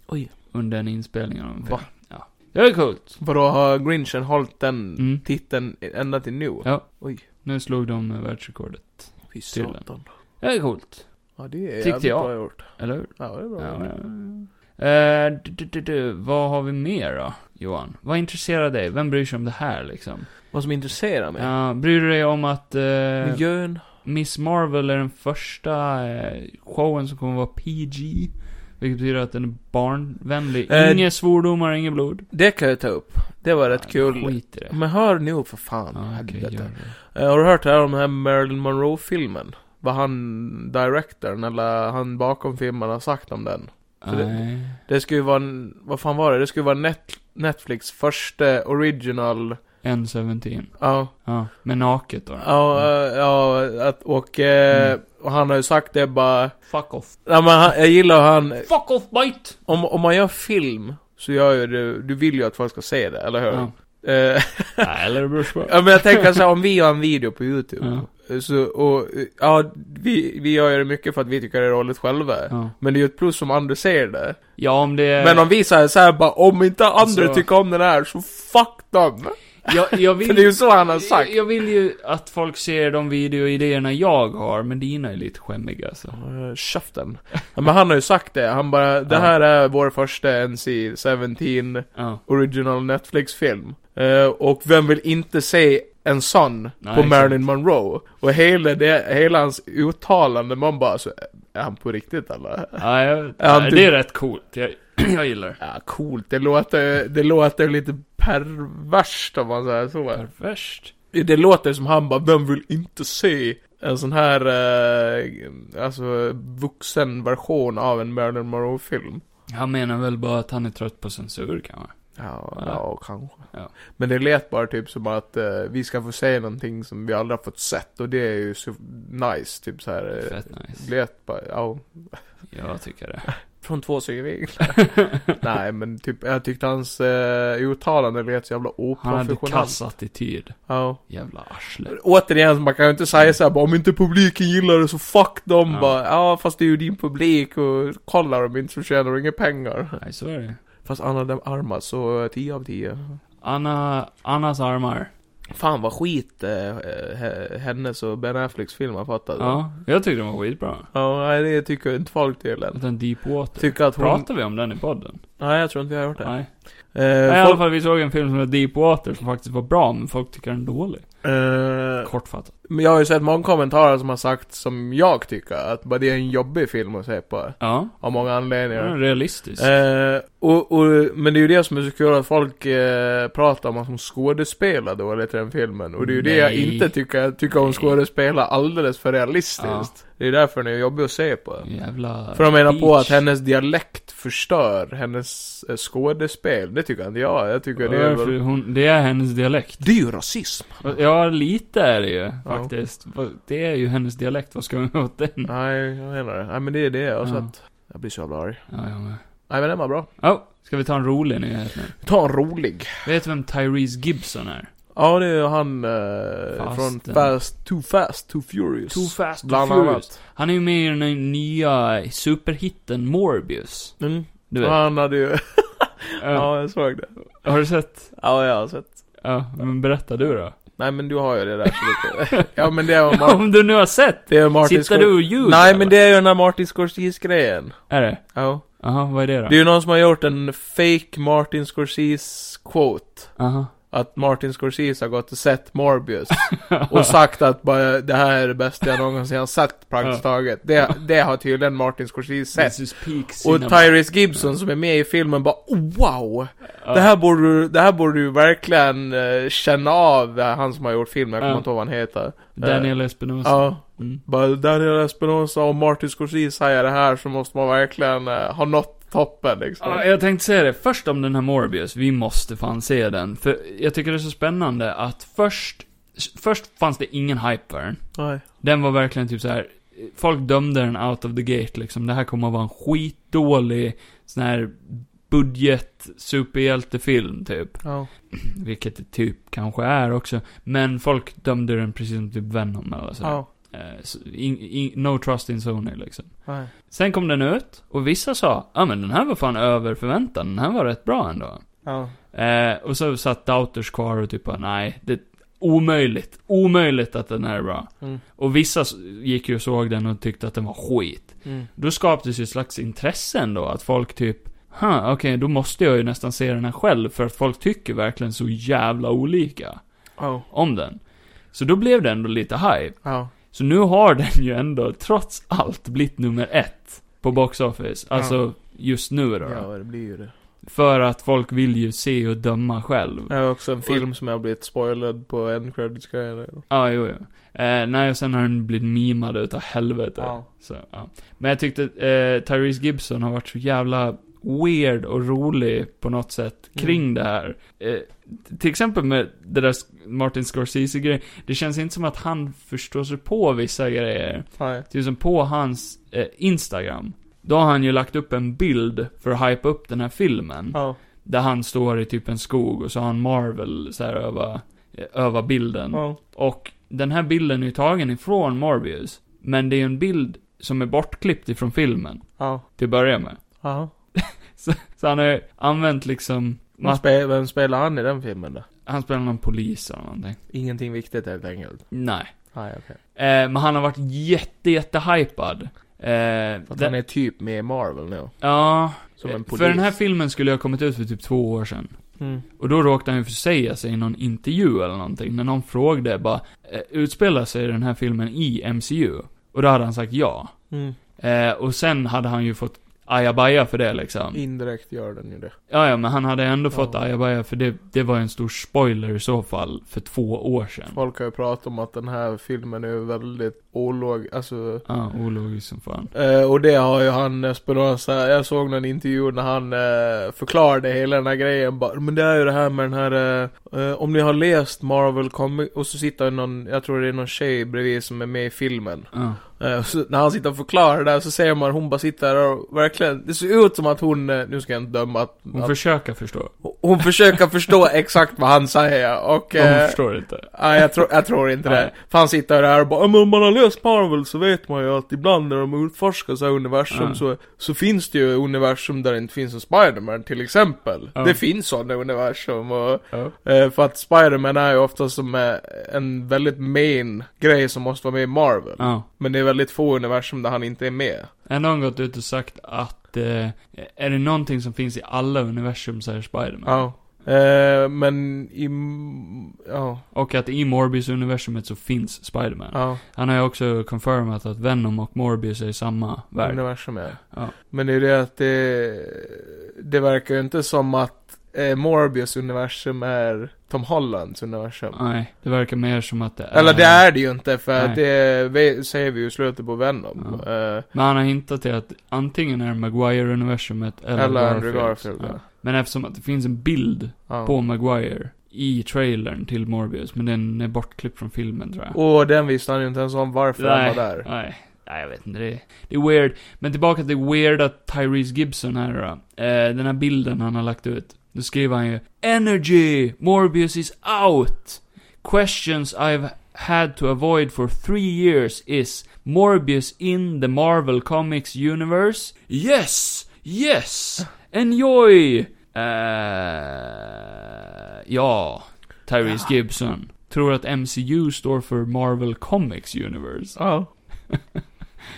Speaker 2: Oj.
Speaker 1: Under en inspelning av en film.
Speaker 2: Va?
Speaker 1: Ja. Det är coolt.
Speaker 2: Vadå, har Grinchen hållit den
Speaker 1: Mm.
Speaker 2: titeln ända till nu?
Speaker 1: Ja.
Speaker 2: Oj,
Speaker 1: Nu slog de eh, världsrekordet.
Speaker 2: fy
Speaker 1: Tydligen.
Speaker 2: satan.
Speaker 1: Det är coolt.
Speaker 2: Ja, det är
Speaker 1: Tyckte
Speaker 2: jävligt
Speaker 1: jag.
Speaker 2: bra gjort.
Speaker 1: Eller hur?
Speaker 2: Ja, det är bra.
Speaker 1: Ja,
Speaker 2: gjort.
Speaker 1: ja, ja. Eh, du, du, du, du, vad har vi mer då, Johan? Vad intresserar dig? Vem bryr sig om det här liksom?
Speaker 2: Vad som intresserar mig?
Speaker 1: Ja, bryr du dig om att eh,
Speaker 2: Miljön.
Speaker 1: Miss Marvel är den första eh, showen som kommer vara PG? Vilket betyder att den är barnvänlig.
Speaker 2: Eh,
Speaker 1: inga svordomar, inget blod.
Speaker 2: Det kan jag ta upp. Det var rätt kul.
Speaker 1: Skit i det.
Speaker 2: Men hör nu för fan.
Speaker 1: Ja, okej,
Speaker 2: helvete.
Speaker 1: gör det.
Speaker 2: Eh, har du hört det här om den här Marilyn Monroe-filmen? Vad han, directorn, eller han bakom filmen har sagt om den? För det-
Speaker 1: Nej.
Speaker 2: Det skulle ju vara en, vad fan var det? Det skulle vara Net, Netflix första original,
Speaker 1: N17.
Speaker 2: ja,
Speaker 1: Ja, men naket då.
Speaker 2: ja,
Speaker 1: Mm.
Speaker 2: eh, ja, att, och, eh, och han har ju sagt det bara,
Speaker 1: Fuck off.
Speaker 2: nej men han, jag gillar han,
Speaker 1: Fuck off, bite!
Speaker 2: om, om man gör film, så gör ju du, du vill ju att folk ska se det, eller hur?
Speaker 1: Ja.
Speaker 2: Eh,
Speaker 1: Nej, eller det beror på.
Speaker 2: Ja men jag tänker så här, om vi gör en video på YouTube, så, och, ja, vi, vi gör ju det mycket för att vi tycker det är roligt själva.
Speaker 1: Ja.
Speaker 2: Men det är ju ett plus som andra ser det.
Speaker 1: Ja, om det är...
Speaker 2: Men om vi säger så här bara, om inte andra
Speaker 1: Så-
Speaker 2: tycker om den här, så fuck dem!
Speaker 1: jag, jag
Speaker 2: För det är
Speaker 1: vill,
Speaker 2: ju så han har sagt.
Speaker 1: jag, jag vill ju att folk ser de videoidéerna jag har, men dina är lite skämmiga så.
Speaker 2: Eh, Käften. Ja, men han har ju sagt det, han bara, det
Speaker 1: Ja.
Speaker 2: här är vår första NC-17
Speaker 1: Ja.
Speaker 2: original Netflix-film. Eh, och vem vill inte se en sån
Speaker 1: Nej,
Speaker 2: på
Speaker 1: exakt.
Speaker 2: Marilyn Monroe? Och hela, det, hela hans uttalande, man bara så, är han på riktigt eller?
Speaker 1: Ja, jag,
Speaker 2: Ja,
Speaker 1: nej,
Speaker 2: du-
Speaker 1: det är rätt coolt. Jag, jag gillar det.
Speaker 2: Ja, coolt. Det låter, det låter lite perverst om man säger så.
Speaker 1: Perverst.
Speaker 2: Det låter som han bara, vem vill inte se en sån här, eh, alltså vuxen version av en Marilyn Monroe-film?
Speaker 1: Han menar väl bara att han är trött på censur kanske.
Speaker 2: Ja,
Speaker 1: Ja.
Speaker 2: ja, kanske.
Speaker 1: Ja.
Speaker 2: Men det lät bara typ som att eh, vi ska få se någonting som vi aldrig har fått sett och det är ju så nice, typ så här. Eh,
Speaker 1: Fett nice.
Speaker 2: lät bara, ja.
Speaker 1: Jag tycker det.
Speaker 2: Från två synvinklar. Nej, men typ, jag tyckte hans eh, uttalande lät så jävla
Speaker 1: Han hade
Speaker 2: oprofessionellt.
Speaker 1: kass attityd.
Speaker 2: Ja.
Speaker 1: Jävla arsle.
Speaker 2: Återigen, man kan ju inte säga såhär bara, om inte publiken gillar det så fuck dem
Speaker 1: Ja.
Speaker 2: bara. Ja, fast det är ju din publik och kollar de inte så tjänar de inga pengar.
Speaker 1: Nej, så är det.
Speaker 2: Fast Anna de Armas, så eh, 10 av 10.
Speaker 1: Anna, Annas armar.
Speaker 2: Fan vad skit eh, eh, hennes och Ben Afflecks film har fattat.
Speaker 1: Ja, jag tyckte den var skitbra.
Speaker 2: Ja, nej, det tycker inte folk tydligen.
Speaker 1: Den Deepwater.
Speaker 2: Tycker att hon...
Speaker 1: Pratar vi om den i podden?
Speaker 2: Nej, jag tror inte vi har gjort det.
Speaker 1: Nej.
Speaker 2: Eh,
Speaker 1: Nej, i alla
Speaker 2: folk...
Speaker 1: fall, vi såg en film som heter Deepwater som faktiskt var bra, men folk tycker den är dålig.
Speaker 2: eh,
Speaker 1: Kortfattat.
Speaker 2: men jag har ju sett många kommentarer som har sagt som jag tycker, att bara det är en jobbig film att se på.
Speaker 1: Ja,
Speaker 2: Av många
Speaker 1: den är
Speaker 2: anledningar.
Speaker 1: realistisk.
Speaker 2: Eh, och, och, men det är ju det som är så kul att folk eh, pratar om att hon skådespelar dåligt i den filmen. Och det är ju det jag
Speaker 1: Nej.
Speaker 2: inte tycker. Jag tycker hon
Speaker 1: Nej.
Speaker 2: skådespelar alldeles för realistiskt. Det är därför den är jobbig att se på.
Speaker 1: Mm. Jävla...
Speaker 2: För de menar på
Speaker 1: speech.
Speaker 2: att hennes dialekt förstör hennes eh, skådespel. Det tycker inte jag. Jag tycker det är väl...
Speaker 1: Varför hon, det är hennes dialekt.
Speaker 2: Det är ju rasism.
Speaker 1: Ja, lite är det ju faktiskt. Vad- Det är ju hennes dialekt, vad ska man göra åt den?
Speaker 2: Nej, jag menar det. Nej, men det är det. Och så
Speaker 1: Ja.
Speaker 2: att... Jag blir så jävla arg.
Speaker 1: Ja, jag med.
Speaker 2: Nej, men den var bra.
Speaker 1: Oh, ska vi ta en rolig nyhet nu?
Speaker 2: Ta en rolig.
Speaker 1: Vet du vem Tyrese Gibson är?
Speaker 2: Ja, det är ju han eh,
Speaker 1: Fasten.
Speaker 2: från Fast, Too Fast, Too Furious.
Speaker 1: Too fast, too
Speaker 2: Bland
Speaker 1: furious.
Speaker 2: annat.
Speaker 1: Han är ju med i den här nya superhitten Morbius.
Speaker 2: Mm.
Speaker 1: Du vet.
Speaker 2: Han hade ju...
Speaker 1: Ja,
Speaker 2: ja, jag såg det.
Speaker 1: har du sett?
Speaker 2: Ja, jag har sett.
Speaker 1: Ja, men berätta du då.
Speaker 2: Nej, men du har ju det där. så det- ja, men det är ju Mar-
Speaker 1: Om du nu har sett?
Speaker 2: det är ju Martin
Speaker 1: Sitter
Speaker 2: Scor-
Speaker 1: du och ljuger?
Speaker 2: Nej,
Speaker 1: eller?
Speaker 2: men det är ju den där Martin Scorsese-grejen.
Speaker 1: Är det?
Speaker 2: Ja.
Speaker 1: Jaha, vad är det då?
Speaker 2: Det är ju någon som har gjort en fake Martin Scorsese-quote.
Speaker 1: Jaha.
Speaker 2: Att Martin Scorsese har gått och sett Morbius. och sagt att bara, det här är det bästa jag någonsin har sett praktiskt taget. Det, det har tydligen Martin Scorsese sett.
Speaker 1: This is peak
Speaker 2: Och
Speaker 1: cinema.
Speaker 2: Tyrese Gibson som är med i filmen bara oh, wow! Det här borde du, det här borde du verkligen eh, känna av, eh, han som har gjort filmen, jag
Speaker 1: Ja.
Speaker 2: kommer inte ihåg vad han heter.
Speaker 1: Daniel Espinosa.
Speaker 2: Ja.
Speaker 1: Mm.
Speaker 2: Bara Daniel Espinosa och Martin Scorsese säger det här så måste man verkligen eh, ha nått toppen liksom.
Speaker 1: Ja, jag tänkte säga det. Först om den här Morbius. Vi måste fan se den. För jag tycker det är så spännande att först... Först fanns det ingen hype för den.
Speaker 2: Nej.
Speaker 1: Den var verkligen typ så här. Folk dömde den out of the gate liksom. Det här kommer att vara en skitdålig sån här budget superhjältefilm typ.
Speaker 2: Ja.
Speaker 1: Vilket det typ kanske är också. Men folk dömde den precis som typ Venom eller sådär.
Speaker 2: Ja.
Speaker 1: Eh, så in, in, no trust in Sony liksom.
Speaker 2: Nej.
Speaker 1: Sen kom den ut och vissa sa ja ah, men den här var fan över förväntan, den här var rätt bra ändå.
Speaker 2: Ja.
Speaker 1: Eh, och så satt Doubters kvar och typ bara, nej, det är omöjligt. Omöjligt att den här är bra.
Speaker 2: Mm.
Speaker 1: Och vissa s- gick ju och såg den och tyckte att den var skit.
Speaker 2: Mm.
Speaker 1: Då skapades ju ett slags intresse ändå, att folk typ, huh, okej, då måste jag ju nästan se den här själv, för att folk tycker verkligen så jävla olika
Speaker 2: Oh.
Speaker 1: om den. Så då blev det ändå lite hype.
Speaker 2: Ja.
Speaker 1: Så nu har den ju ändå, trots allt, blivit nummer ett på Box Office. Alltså, just nu då.
Speaker 2: ja, det blir ju det.
Speaker 1: För att folk vill ju se och döma själv.
Speaker 2: Det är också en film som jag blivit spoilad på en credits grejen.
Speaker 1: Ja, jo, jo. Eh, nej, och sen har den blivit mimad utav helvete.
Speaker 2: Ja.
Speaker 1: Så, ja. Men jag tyckte eh, Tyrese Gibson har varit så jävla weird och rolig på något sätt kring
Speaker 2: Mm.
Speaker 1: det här. Eh, till exempel med det där Sk- Martin Scorsese-grejen. Det känns inte som att han förstår sig på vissa grejer.
Speaker 2: Nej.
Speaker 1: Till exempel på hans eh, Instagram. Då har han ju lagt upp en bild för att hypa upp den här filmen.
Speaker 2: Ja.
Speaker 1: Där han står i typ en skog och så har han Marvel så här över, över bilden.
Speaker 2: Ja.
Speaker 1: Och den här bilden är ju tagen ifrån Morbius. Men det är ju en bild som är bortklippt ifrån filmen,
Speaker 2: Ja.
Speaker 1: till att börja med.
Speaker 2: Ja.
Speaker 1: Så han har ju använt liksom...
Speaker 2: Vem spe- Vem spelar han i den filmen då?
Speaker 1: Han spelar någon polis eller någonting.
Speaker 2: Ingenting viktigt helt enkelt.
Speaker 1: Nej.
Speaker 2: Nej, Ah, okej.
Speaker 1: Eh, men han har varit jätte, jätte hypad. Eh,
Speaker 2: För att
Speaker 1: den-
Speaker 2: han är typ med i Marvel nu.
Speaker 1: Ja.
Speaker 2: Som en polis.
Speaker 1: Eh, För den här filmen skulle ha kommit ut för typ två år sedan.
Speaker 2: Mm.
Speaker 1: Och då råkade han ju försäga sig i någon intervju eller någonting, när någon frågade bara, eh, utspelar sig den här filmen i MCU? Och då hade han sagt ja.
Speaker 2: Mm.
Speaker 1: Eh, och sen hade han ju fått ajabaja för det liksom.
Speaker 2: Mm. Indirekt gör den ju det.
Speaker 1: Ja, ja, men han hade ändå fått
Speaker 2: Ja.
Speaker 1: ajabaja för det, det var ju en stor spoiler i så fall, för två år sedan.
Speaker 2: Folk har ju pratat om att den här filmen är väldigt olog... Alltså...
Speaker 1: Ja, ologiskt som fan.
Speaker 2: Eh, och det har ju han eh, Spinoza, jag såg någon intervju när han eh, förklarade hela den här grejen bara, men det är ju det här med den här, eh, eh, om ni har läst Marvel Comic, och så sitter någon, jag tror det är någon tjej bredvid som är med i filmen.
Speaker 1: Ja.
Speaker 2: Eh, så när han sitter och förklarar det där så ser man hon bara sitter där och verkligen, det ser ut som att hon, eh, nu ska jag inte döma, att,
Speaker 1: Hon
Speaker 2: att
Speaker 1: försöker förstå.
Speaker 2: hon försöker förstå exakt vad han säger och...
Speaker 1: Men
Speaker 2: eh,
Speaker 1: hon förstår inte.
Speaker 2: Nej, jag, tror jag tror inte det.
Speaker 1: Nej.
Speaker 2: För han sitter där och bara, "Ja, men om man har läst Marvel så vet man ju att ibland när de utforskar så här universum
Speaker 1: Ja.
Speaker 2: så, så finns det ju universum där det inte finns en Spiderman till exempel.
Speaker 1: Ja.
Speaker 2: Det finns sådana universum och,
Speaker 1: Ja.
Speaker 2: eh, för att Spiderman är ju ofta som eh, en väldigt main grej som måste vara med i Marvel.
Speaker 1: ja.
Speaker 2: Men det är väldigt få universum där han inte är med.
Speaker 1: Ändå har hon gått ut och sagt att, eh, är det någonting som finns i alla universum så är det Spiderman.
Speaker 2: Ja. Eh, men i, ja,
Speaker 1: Och att i Morbius-universumet så finns Spiderman.
Speaker 2: ja,
Speaker 1: Han har ju också confirmat att Venom och Morbius är i samma värld.
Speaker 2: universum är.
Speaker 1: Ja.
Speaker 2: Men det är ju det att det, det verkar ju inte som att eh, Morbius universum är Tom Hollands universum.
Speaker 1: Nej, det verkar mer som att det är...
Speaker 2: Eller det är det ju inte för
Speaker 1: Nej.
Speaker 2: att det ve- säger vi ju i slutet på Venom.
Speaker 1: Ja.
Speaker 2: Eh,
Speaker 1: Men han har hintat till att antingen är det Maguire-universumet eller,
Speaker 2: eller Andrew
Speaker 1: Garfield.
Speaker 2: Garfield.
Speaker 1: Ja. Men eftersom att det finns en bild
Speaker 2: Ja.
Speaker 1: på Maguire i trailern till Morbius, men den är bortklippt från filmen tror jag.
Speaker 2: Och den visste han ju inte ens om varför han var där.
Speaker 1: Nej, nej, jag vet inte. Det är, det är weird. Men tillbaka till weirda Tyrese Gibson här då. Eh, den här bilden han har lagt ut. Då skriver han ju Energy! Morbius is out! Questions I've had to avoid for three years is Morbius in the Marvel Comics universe? Yes! Yes! Enjoy! Eh, ja, Tyrese Gibson. Tror att MCU står för Marvel Comics Universe.
Speaker 2: Ja.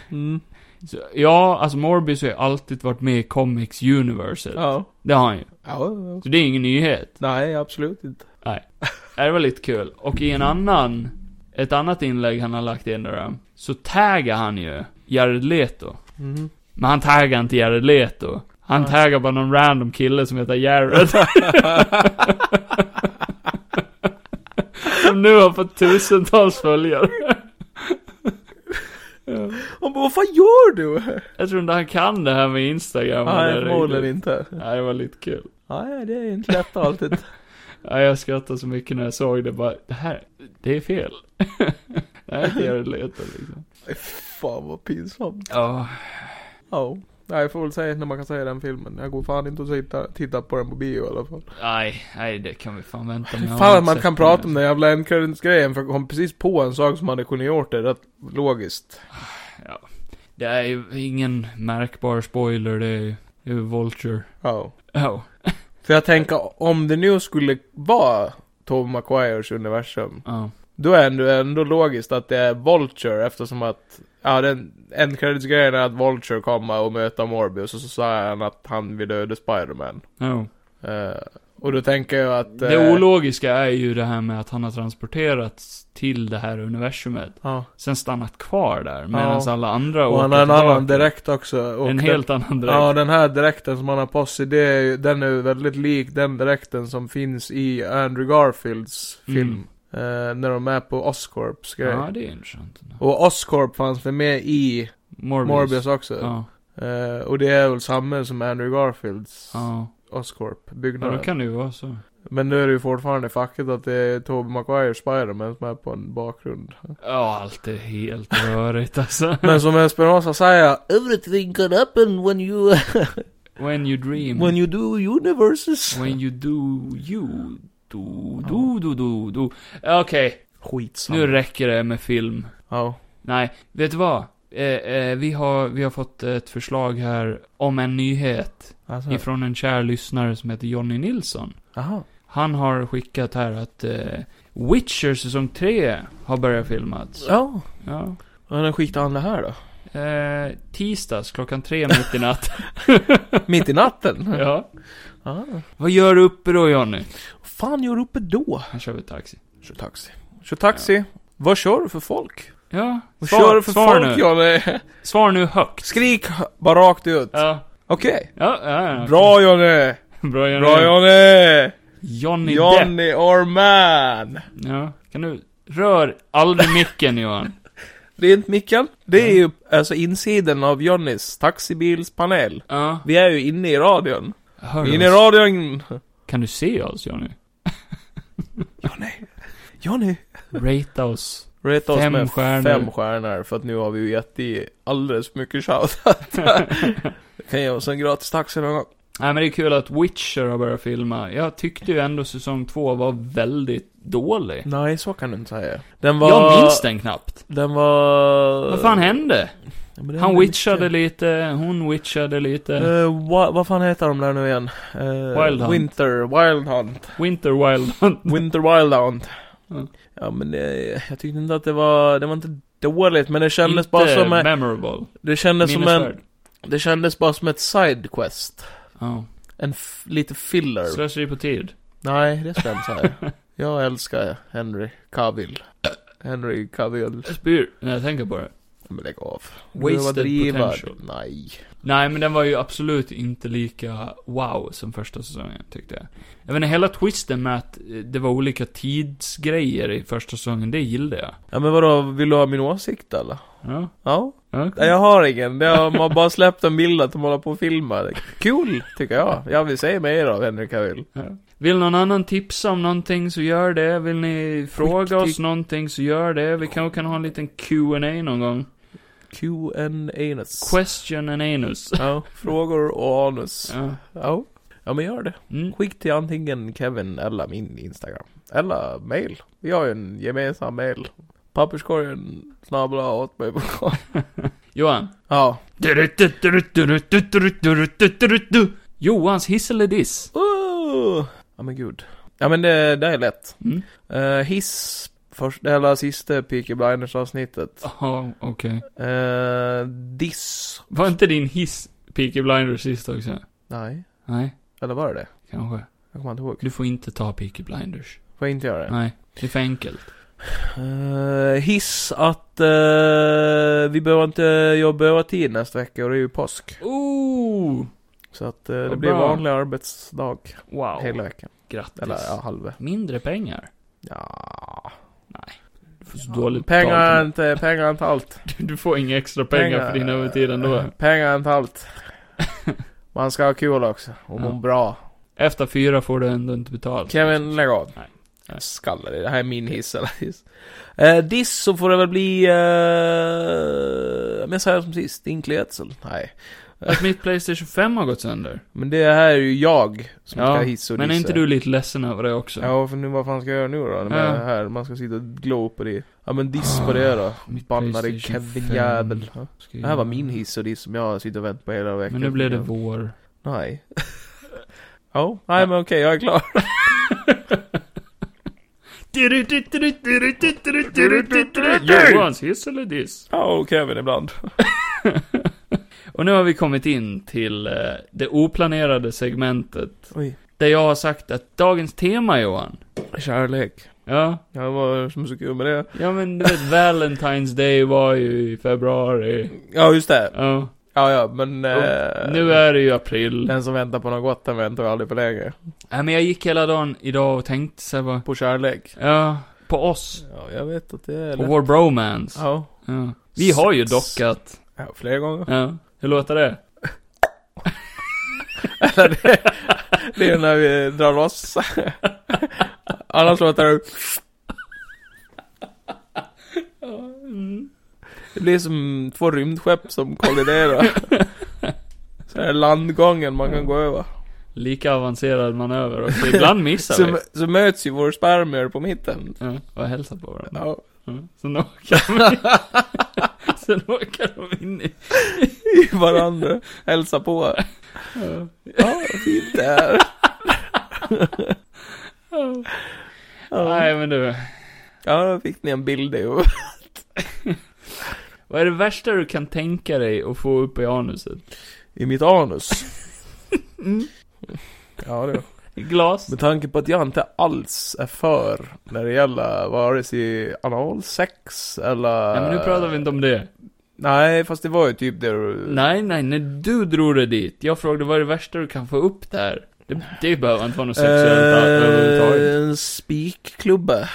Speaker 2: Mm.
Speaker 1: Så, ja, alltså Morbius har ju alltid varit med i Comics Universe.
Speaker 2: Ja.
Speaker 1: Det har han ju.
Speaker 2: ja. ja.
Speaker 1: Så det är ingen nyhet.
Speaker 2: Nej, absolut inte.
Speaker 1: Ja, Det var lite kul. Och i en annan, ett annat inlägg han har lagt in där, så taggar han ju Jared Leto.
Speaker 2: Mm.
Speaker 1: Men han taggar inte Jared Leto. Han
Speaker 2: Nej.
Speaker 1: taggar bara någon random kille som heter Jared. som nu har fått tusentals följare. Ja.
Speaker 2: Och bara, vad fan gör du?
Speaker 1: Jag tror inte han kan det här med Instagram.
Speaker 2: Nej,
Speaker 1: eller
Speaker 2: förmodligen
Speaker 1: riktigt.
Speaker 2: inte.
Speaker 1: Nej, det var lite kul.
Speaker 2: Nej, det är inte lätt alltid.
Speaker 1: Ja, jag skrattade så mycket när jag såg det bara, det här, det är fel. det här är inte Jared Leto liksom.
Speaker 2: Fan vad pinsamt.
Speaker 1: Ja,
Speaker 2: Ja. Nej, jag får väl säga när man kan säga den filmen. Jag går fan inte och titta, titta på den på bio i alla fall.
Speaker 1: nej, nej det kan vi fan vänta med. Jag har
Speaker 2: fan att
Speaker 1: inte
Speaker 2: man
Speaker 1: sett
Speaker 2: kan
Speaker 1: den
Speaker 2: prata
Speaker 1: här.
Speaker 2: om den jävla endcredits-grejen för jag kom precis på en sak som hade kunnat gjort det rätt logiskt.
Speaker 1: Det är ju ingen märkbar spoiler, det är ju det är ju Vulture.
Speaker 2: Ja.
Speaker 1: Oh.
Speaker 2: För jag tänker, om det nu skulle vara Tobey Maguires universum.
Speaker 1: Ja.
Speaker 2: Då är det ändå logiskt att det är Vulture eftersom att, ja den endcredits-grejen är att Vulture kommer och möter Morbius och så säger han att han vill döda Spiderman.
Speaker 1: Ja.
Speaker 2: Eh, och då tänker jag att...
Speaker 1: Det
Speaker 2: eh,
Speaker 1: ologiska är ju det här med att han har transporterats till det här universumet.
Speaker 2: Ja.
Speaker 1: Sen stannat kvar där medan
Speaker 2: Ja.
Speaker 1: alla andra
Speaker 2: Och han
Speaker 1: åker
Speaker 2: har en
Speaker 1: tillbaka.
Speaker 2: annan direkt också. Och
Speaker 1: En
Speaker 2: den-
Speaker 1: helt annan direkt.
Speaker 2: Ja, den här direkten som han har på sig, det är, ju- den är ju väldigt lik den direkten som finns i Andrew Garfields film. Eh, när de är på Oscorps grej.
Speaker 1: Mm. ja, det är intressant.
Speaker 2: Och Oscorp fanns väl med i
Speaker 1: Morbius.
Speaker 2: Morbius också.
Speaker 1: Ja.
Speaker 2: Eh, och det är väl samma som Andrew Garfields
Speaker 1: Ja. ja,
Speaker 2: Oscorp-byggnad.
Speaker 1: då kan det ju vara så.
Speaker 2: Men nu är det ju fortfarande facket att det är Tobey Maguire Spiderman som är på en bakgrund.
Speaker 1: Ja, allt är helt rörigt alltså.
Speaker 2: Men som Esperanza säger, Everything can happen when you,
Speaker 1: When you dream.
Speaker 2: when you do universes.
Speaker 1: When you do you. Do, do, do, do, do. Okej,
Speaker 2: Skitsamma.
Speaker 1: nu räcker det med film.
Speaker 2: Ja.
Speaker 1: Nej, vet du vad? Eh, eh, vi, har, vi har fått ett förslag här om en nyhet
Speaker 2: Alltså.
Speaker 1: ifrån en kär lyssnare som heter Jonny Nilsson.
Speaker 2: Aha.
Speaker 1: Han har skickat här att eh, Witcher säsong 3 har börjat filmas.
Speaker 2: Ja.
Speaker 1: Ja.
Speaker 2: Men när skickade han det här då?
Speaker 1: Eh, tisdags klockan tre mitt i natt.
Speaker 2: Mitt i natten?
Speaker 1: ja.
Speaker 2: Ah.
Speaker 1: Vad gör du uppe då Jonny?
Speaker 2: Vad fan gör du uppe då?
Speaker 1: Han kör vi taxi.
Speaker 2: Kör taxi. Kör taxi. Vad kör du för folk?
Speaker 1: Ja.
Speaker 2: Vad kör du för
Speaker 1: svar
Speaker 2: folk,
Speaker 1: nu.
Speaker 2: Johnny?
Speaker 1: Svar nu högt.
Speaker 2: Skrik bara rakt ut.
Speaker 1: Ja.
Speaker 2: Okej.
Speaker 1: Ja, ja, ja.
Speaker 2: Bra Johnny!
Speaker 1: Bra Jonny.
Speaker 2: Bra Johnny!
Speaker 1: Mm. Johnny Depp.
Speaker 2: Johnny or man!
Speaker 1: Ja. Kan du... Rör aldrig micken Johan.
Speaker 2: Rent micken. Det
Speaker 1: Mm.
Speaker 2: är ju alltså insidan av Johnnys taxibilspanel.
Speaker 1: Ja.
Speaker 2: Vi är ju inne i radion.
Speaker 1: Hör
Speaker 2: Vi är
Speaker 1: du
Speaker 2: inne i
Speaker 1: oss?
Speaker 2: radion.
Speaker 1: Kan du se oss Johnny?
Speaker 2: Johnny!
Speaker 1: Rata oss.
Speaker 2: Rate oss
Speaker 1: Fem
Speaker 2: med
Speaker 1: stjärnor.
Speaker 2: fem stjärnor för att nu har vi ju gett i alldeles för mycket shoutout. kan ge oss en gratis taxi någon gång.
Speaker 1: Nej men det är kul att Witcher har börjat filma. Jag tyckte ju ändå säsong två var väldigt dålig.
Speaker 2: Nej, så kan du inte säga. Den var...
Speaker 1: Jag minns den knappt.
Speaker 2: Den var...
Speaker 1: Vad fan hände?
Speaker 2: Ja, men den
Speaker 1: Han
Speaker 2: var
Speaker 1: witchade
Speaker 2: mycket.
Speaker 1: lite, hon witchade lite.
Speaker 2: Eh, wa- vad fan heter de där nu igen? Eh,
Speaker 1: Wild Hunt.
Speaker 2: Winter Wild Hunt.
Speaker 1: Winter Wild Hunt.
Speaker 2: Winter Wild Hunt.
Speaker 1: Mm.
Speaker 2: Ja men det, jag tyckte inte att det var, det var inte dåligt men det kändes
Speaker 1: Inte
Speaker 2: bara som en,
Speaker 1: memorable.
Speaker 2: det kändes som en,
Speaker 1: Minnesvärd.
Speaker 2: det kändes bara som ett sidequest.
Speaker 1: Ja.
Speaker 2: En f- lite filler.
Speaker 1: Slöseri på tid.
Speaker 2: Nej, det stämmer så här. jag älskar Henry Cavill. Henry Cavill.
Speaker 1: Jag spyr när jag tänker på det.
Speaker 2: Men lägg av.
Speaker 1: Wasted
Speaker 2: Du överdriver.
Speaker 1: potential.
Speaker 2: Nej.
Speaker 1: Nej men den var ju absolut inte lika wow som första säsongen tyckte jag. Jag vet inte, hela twisten med att eh, det var olika tidsgrejer i första säsongen, det gillade jag.
Speaker 2: Ja men vadå, vill du ha min åsikt eller?
Speaker 1: Ja.
Speaker 2: Ja.
Speaker 1: ja.
Speaker 2: Nej, Jag har ingen. Det har, man har bara släppt en bild att de håller på och filmar. Kul, tycker jag. Jag vill se mer av Henry Cavill.
Speaker 1: Ja. Vill någon annan tipsa om någonting så gör det. Vill ni fråga
Speaker 2: Skicka-
Speaker 1: oss någonting så gör det. Vi kanske kan ha en liten Q&A någon gång.
Speaker 2: Q&A ness
Speaker 1: Question and anus.
Speaker 2: Ja, frågor och anus.
Speaker 1: Ja.
Speaker 2: Ja. ja, men gör det.
Speaker 1: Mm.
Speaker 2: Skicka till antingen Kevin eller min Instagram. Eller mail. Vi har ju en gemensam mail. Papperskorgen snabla åt mig på
Speaker 1: Johan.
Speaker 2: Ja.
Speaker 1: Johans hiss eller diss?
Speaker 2: Oh! Ja men gud. Ja men det, det är lätt.
Speaker 1: Mm.
Speaker 2: Eh, hiss, första eller sista Peaky Blinders avsnittet.
Speaker 1: Ja, okej.
Speaker 2: Eh, diss.
Speaker 1: Var inte din hiss Peaky Blinders sist också?
Speaker 2: Nej.
Speaker 1: Nej,
Speaker 2: Eller var det det?
Speaker 1: kanske.
Speaker 2: Jag kommer inte ihåg.
Speaker 1: Du får inte ta Peaky Blinders.
Speaker 2: Får jag inte göra det?
Speaker 1: Nej, det är för enkelt.
Speaker 2: Eh, hiss att eh, vi behöver inte, jag behöver tid nästa vecka och det är ju påsk.
Speaker 1: Ooh!
Speaker 2: Så att eh, det
Speaker 1: Vad
Speaker 2: blir
Speaker 1: bra.
Speaker 2: vanlig arbetsdag hela
Speaker 1: Wow.
Speaker 2: veckan.
Speaker 1: Grattis.
Speaker 2: Eller ja, halva.
Speaker 1: Mindre pengar.
Speaker 2: Ja.
Speaker 1: Du får så dåligt
Speaker 2: Pengar är
Speaker 1: betalt.
Speaker 2: inte, pengar är inte allt.
Speaker 1: Du får inga extra pengar, för din övertid ändå.
Speaker 2: Pengar är inte allt. Man ska ha kul också och må
Speaker 1: Ja.
Speaker 2: bra.
Speaker 1: Efter fyra får du ändå inte betalt.
Speaker 2: Kevin, lägg av.
Speaker 1: Nej.
Speaker 2: Jag skallar dig. Det här är min hiss eller hiss. Eh, diss så får det väl bli... Eh, men jag säger som sist, inklädsel. Nej.
Speaker 1: Att mitt Playstation 5 har gått sönder.
Speaker 2: Men det här är ju jag som
Speaker 1: Ja,
Speaker 2: ska hissa och
Speaker 1: Men är
Speaker 2: dissa.
Speaker 1: inte du lite ledsen över det också?
Speaker 2: Ja, för nu vad fan ska jag göra nu då? När
Speaker 1: Ja.
Speaker 2: man är här, man ska sitta och glo på det. Ja men diss på det då.
Speaker 1: Mitt
Speaker 2: Bannade
Speaker 1: PlayStation
Speaker 2: Kevin-jävel. Ja.
Speaker 1: Ska
Speaker 2: Det här var min hiss och diss som jag har suttit och vänt på hela veckan.
Speaker 1: Men nu blev det vår.
Speaker 2: Nej. Ja, nej men okej, jag är klar.
Speaker 1: Johans hiss eller diss?
Speaker 2: Ja, och Kevin ibland.
Speaker 1: Och nu har vi kommit in till eh, det oplanerade segmentet.
Speaker 2: Oj.
Speaker 1: Där jag har sagt att dagens tema, Johan.
Speaker 2: Kärlek.
Speaker 1: Ja,
Speaker 2: Ja, vad var det som var så kul med det?
Speaker 1: ja men du vet, Valentine's Day var ju i februari.
Speaker 2: Ja, just det.
Speaker 1: Ja.
Speaker 2: Ja, ja, men... eh,
Speaker 1: Och nu är det ju april.
Speaker 2: Den som väntar på något gott, den väntar ju aldrig på länge.
Speaker 1: Nej, men jag gick hela dagen idag och tänkte så här bara,
Speaker 2: På kärlek.
Speaker 1: ja, på oss.
Speaker 2: Ja, jag vet att det är
Speaker 1: På
Speaker 2: lätt.
Speaker 1: vår bromance.
Speaker 2: Ja.
Speaker 1: Ja. Vi har ju
Speaker 2: Sex.
Speaker 1: dockat.
Speaker 2: ja, flera gånger.
Speaker 1: Ja. Hur låter det?
Speaker 2: Det är när vi drar loss. Annars låter det... Det blir som två rymdskepp som kolliderar. Så är det landgången man kan gå över.
Speaker 1: Lika avancerad manöver också. Ibland missar vi.
Speaker 2: Så, så möts ju vår spermier på mitten.
Speaker 1: Ja, och hälsar på varandra.
Speaker 2: Ja.
Speaker 1: Mm. Sen åker de in. Sen åker de in i...
Speaker 2: I varandra. Hälsa på.
Speaker 1: Ja.
Speaker 2: Ja, fint det här.
Speaker 1: Nej, men du.
Speaker 2: Ja, då fick ni en bild i
Speaker 1: Vad är det värsta du kan tänka dig att få upp i anuset?
Speaker 2: I mitt anus. Ja, det
Speaker 1: Glas?
Speaker 2: Med tanke på att jag inte alls är för när det gäller vare sig analsex eller...
Speaker 1: Nej, men nu pratar vi inte om det.
Speaker 2: Nej, fast det var ju typ det du...
Speaker 1: Nej, nej, när du drog dig dit. Jag frågade vad är det värsta du kan få upp där? Det, det behöver inte vara något sexuellt
Speaker 2: Eh,
Speaker 1: överhuvudtaget.
Speaker 2: En spikklubba.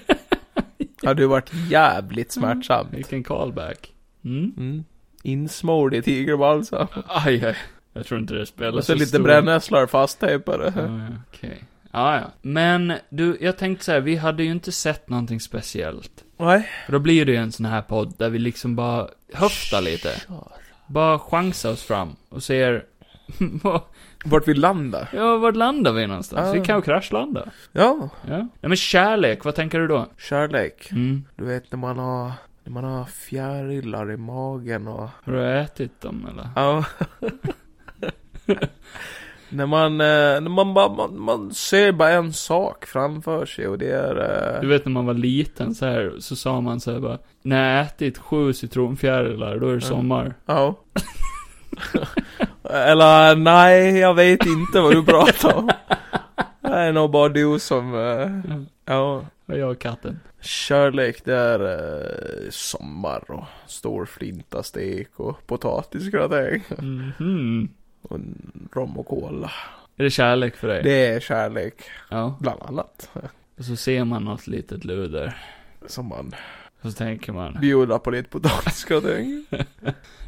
Speaker 2: Hade ju varit jävligt
Speaker 1: Mm.
Speaker 2: smärtsamt.
Speaker 1: Vilken callback. Mm.
Speaker 2: Mm. Insmord i tigerbalsam.
Speaker 1: Aj, aj. Jag tror inte det spelar
Speaker 2: Och
Speaker 1: så
Speaker 2: så lite
Speaker 1: stor- Mm.
Speaker 2: brännässlor fasttejpade.
Speaker 1: Ja, ja, Okej. Ja, ja. Men du, jag tänkte så här, vi hade ju inte sett någonting speciellt.
Speaker 2: Nej.
Speaker 1: För då blir det ju en sån här podd där vi liksom bara höftar lite.
Speaker 2: Kör.
Speaker 1: Bara chansar oss fram och ser, vad-
Speaker 2: Vart vi landar.
Speaker 1: ja, vart landar vi någonstans?
Speaker 2: Ah.
Speaker 1: Vi kan ju kraschlanda.
Speaker 2: Ja.
Speaker 1: Ja. Nej men kärlek, vad tänker du då?
Speaker 2: Kärlek.
Speaker 1: Mm.
Speaker 2: Du vet när man har... När man har fjärilar i magen och...
Speaker 1: Har du ätit dem eller?
Speaker 2: Ja. när man, eh, när man bara, man, man ser bara en sak framför sig och det är... eh,
Speaker 1: Du vet när man var liten så här, så sa man så här bara, när jag ätit sju citronfjärilar, då är det
Speaker 2: Ja.
Speaker 1: sommar.
Speaker 2: Ja. Eller nej, jag vet inte vad du pratar om. Det är nog bara du som, eh,
Speaker 1: Ja.
Speaker 2: ja.
Speaker 1: Och jag och katten.
Speaker 2: Kärlek det är eh, sommar och stor flintastek och potatisgratäng
Speaker 1: Mhm.
Speaker 2: och rom och cola.
Speaker 1: Är det kärlek för dig?
Speaker 2: Det är kärlek,
Speaker 1: Ja.
Speaker 2: bland annat.
Speaker 1: Och så ser man något litet luder.
Speaker 2: Som man
Speaker 1: Och så tänker man,
Speaker 2: bjuder på lite potatisgratäng.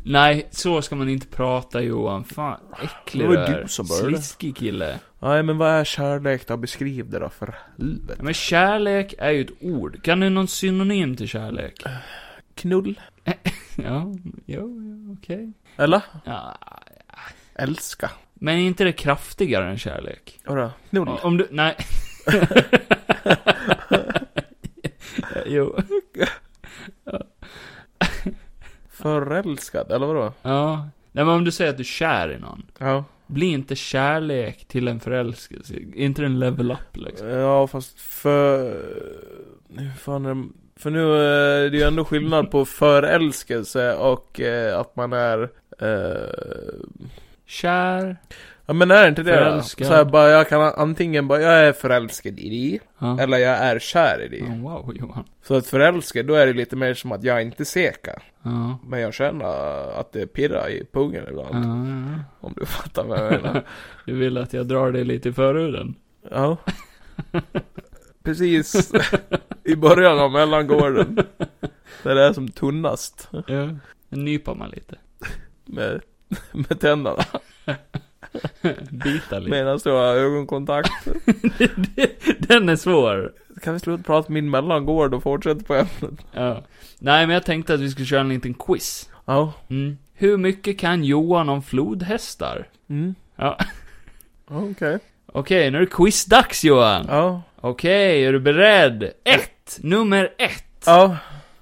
Speaker 1: nej, så ska man inte prata Johan. Fan, äcklig
Speaker 2: Det var
Speaker 1: du
Speaker 2: ju
Speaker 1: är.
Speaker 2: du som började.
Speaker 1: Sliskig kille.
Speaker 2: Nej men vad är kärlek då? Beskriv det då för
Speaker 1: Ja,
Speaker 2: helvete.
Speaker 1: men kärlek är ju ett ord. Kan du någon synonym till kärlek?
Speaker 2: Äh. Knull.
Speaker 1: Ja, jo, ja, okej.
Speaker 2: Eller?
Speaker 1: Ja,
Speaker 2: Älska.
Speaker 1: men är inte det kraftigare än kärlek?
Speaker 2: Vadå? Knull.
Speaker 1: Ja, Om du, nej. jo.
Speaker 2: Förälskad, eller vadå?
Speaker 1: Ja. Nej men om du säger att du är kär i någon.
Speaker 2: Ja.
Speaker 1: Blir inte kärlek till en förälskelse? Är inte en level up liksom?
Speaker 2: Ja fast för... Hur fan är det... För nu eh, det är ju ändå skillnad på förälskelse och eh, att man är... Eh...
Speaker 1: Kär.
Speaker 2: Ja men är det inte det då?
Speaker 1: Förälskad.
Speaker 2: Så här, bara, jag kan antingen bara, jag är förälskad i dig,
Speaker 1: Ja.
Speaker 2: eller jag är kär i dig.
Speaker 1: Ja, wow Johan.
Speaker 2: Så att förälskad, då är det lite mer som att jag är inte säker.
Speaker 1: Ja.
Speaker 2: Men jag känner att det pirrar i pungen ibland.
Speaker 1: Ja, ja, ja.
Speaker 2: Om du fattar vad jag menar.
Speaker 1: Du vill att jag drar dig lite i förhuden?
Speaker 2: Ja. Precis i början av mellangården. Där det är som tunnast
Speaker 1: Ja. Nypa man lite.
Speaker 2: med, med tänderna.
Speaker 1: Bita lite.
Speaker 2: Medan du har ögonkontakt.
Speaker 1: Den är svår.
Speaker 2: Kan vi sluta prata min mellangård och fortsätta på ämnet?
Speaker 1: Ja. Nej men jag tänkte att vi skulle köra en liten quiz.
Speaker 2: Ja.
Speaker 1: Mm. Hur mycket kan Johan om flodhästar?
Speaker 2: Mm.
Speaker 1: Ja.
Speaker 2: Ja, Okej.
Speaker 1: Okej, nu är det quizdags Johan.
Speaker 2: Ja.
Speaker 1: Okej, är du beredd? Ett! Nummer ett.
Speaker 2: Ja.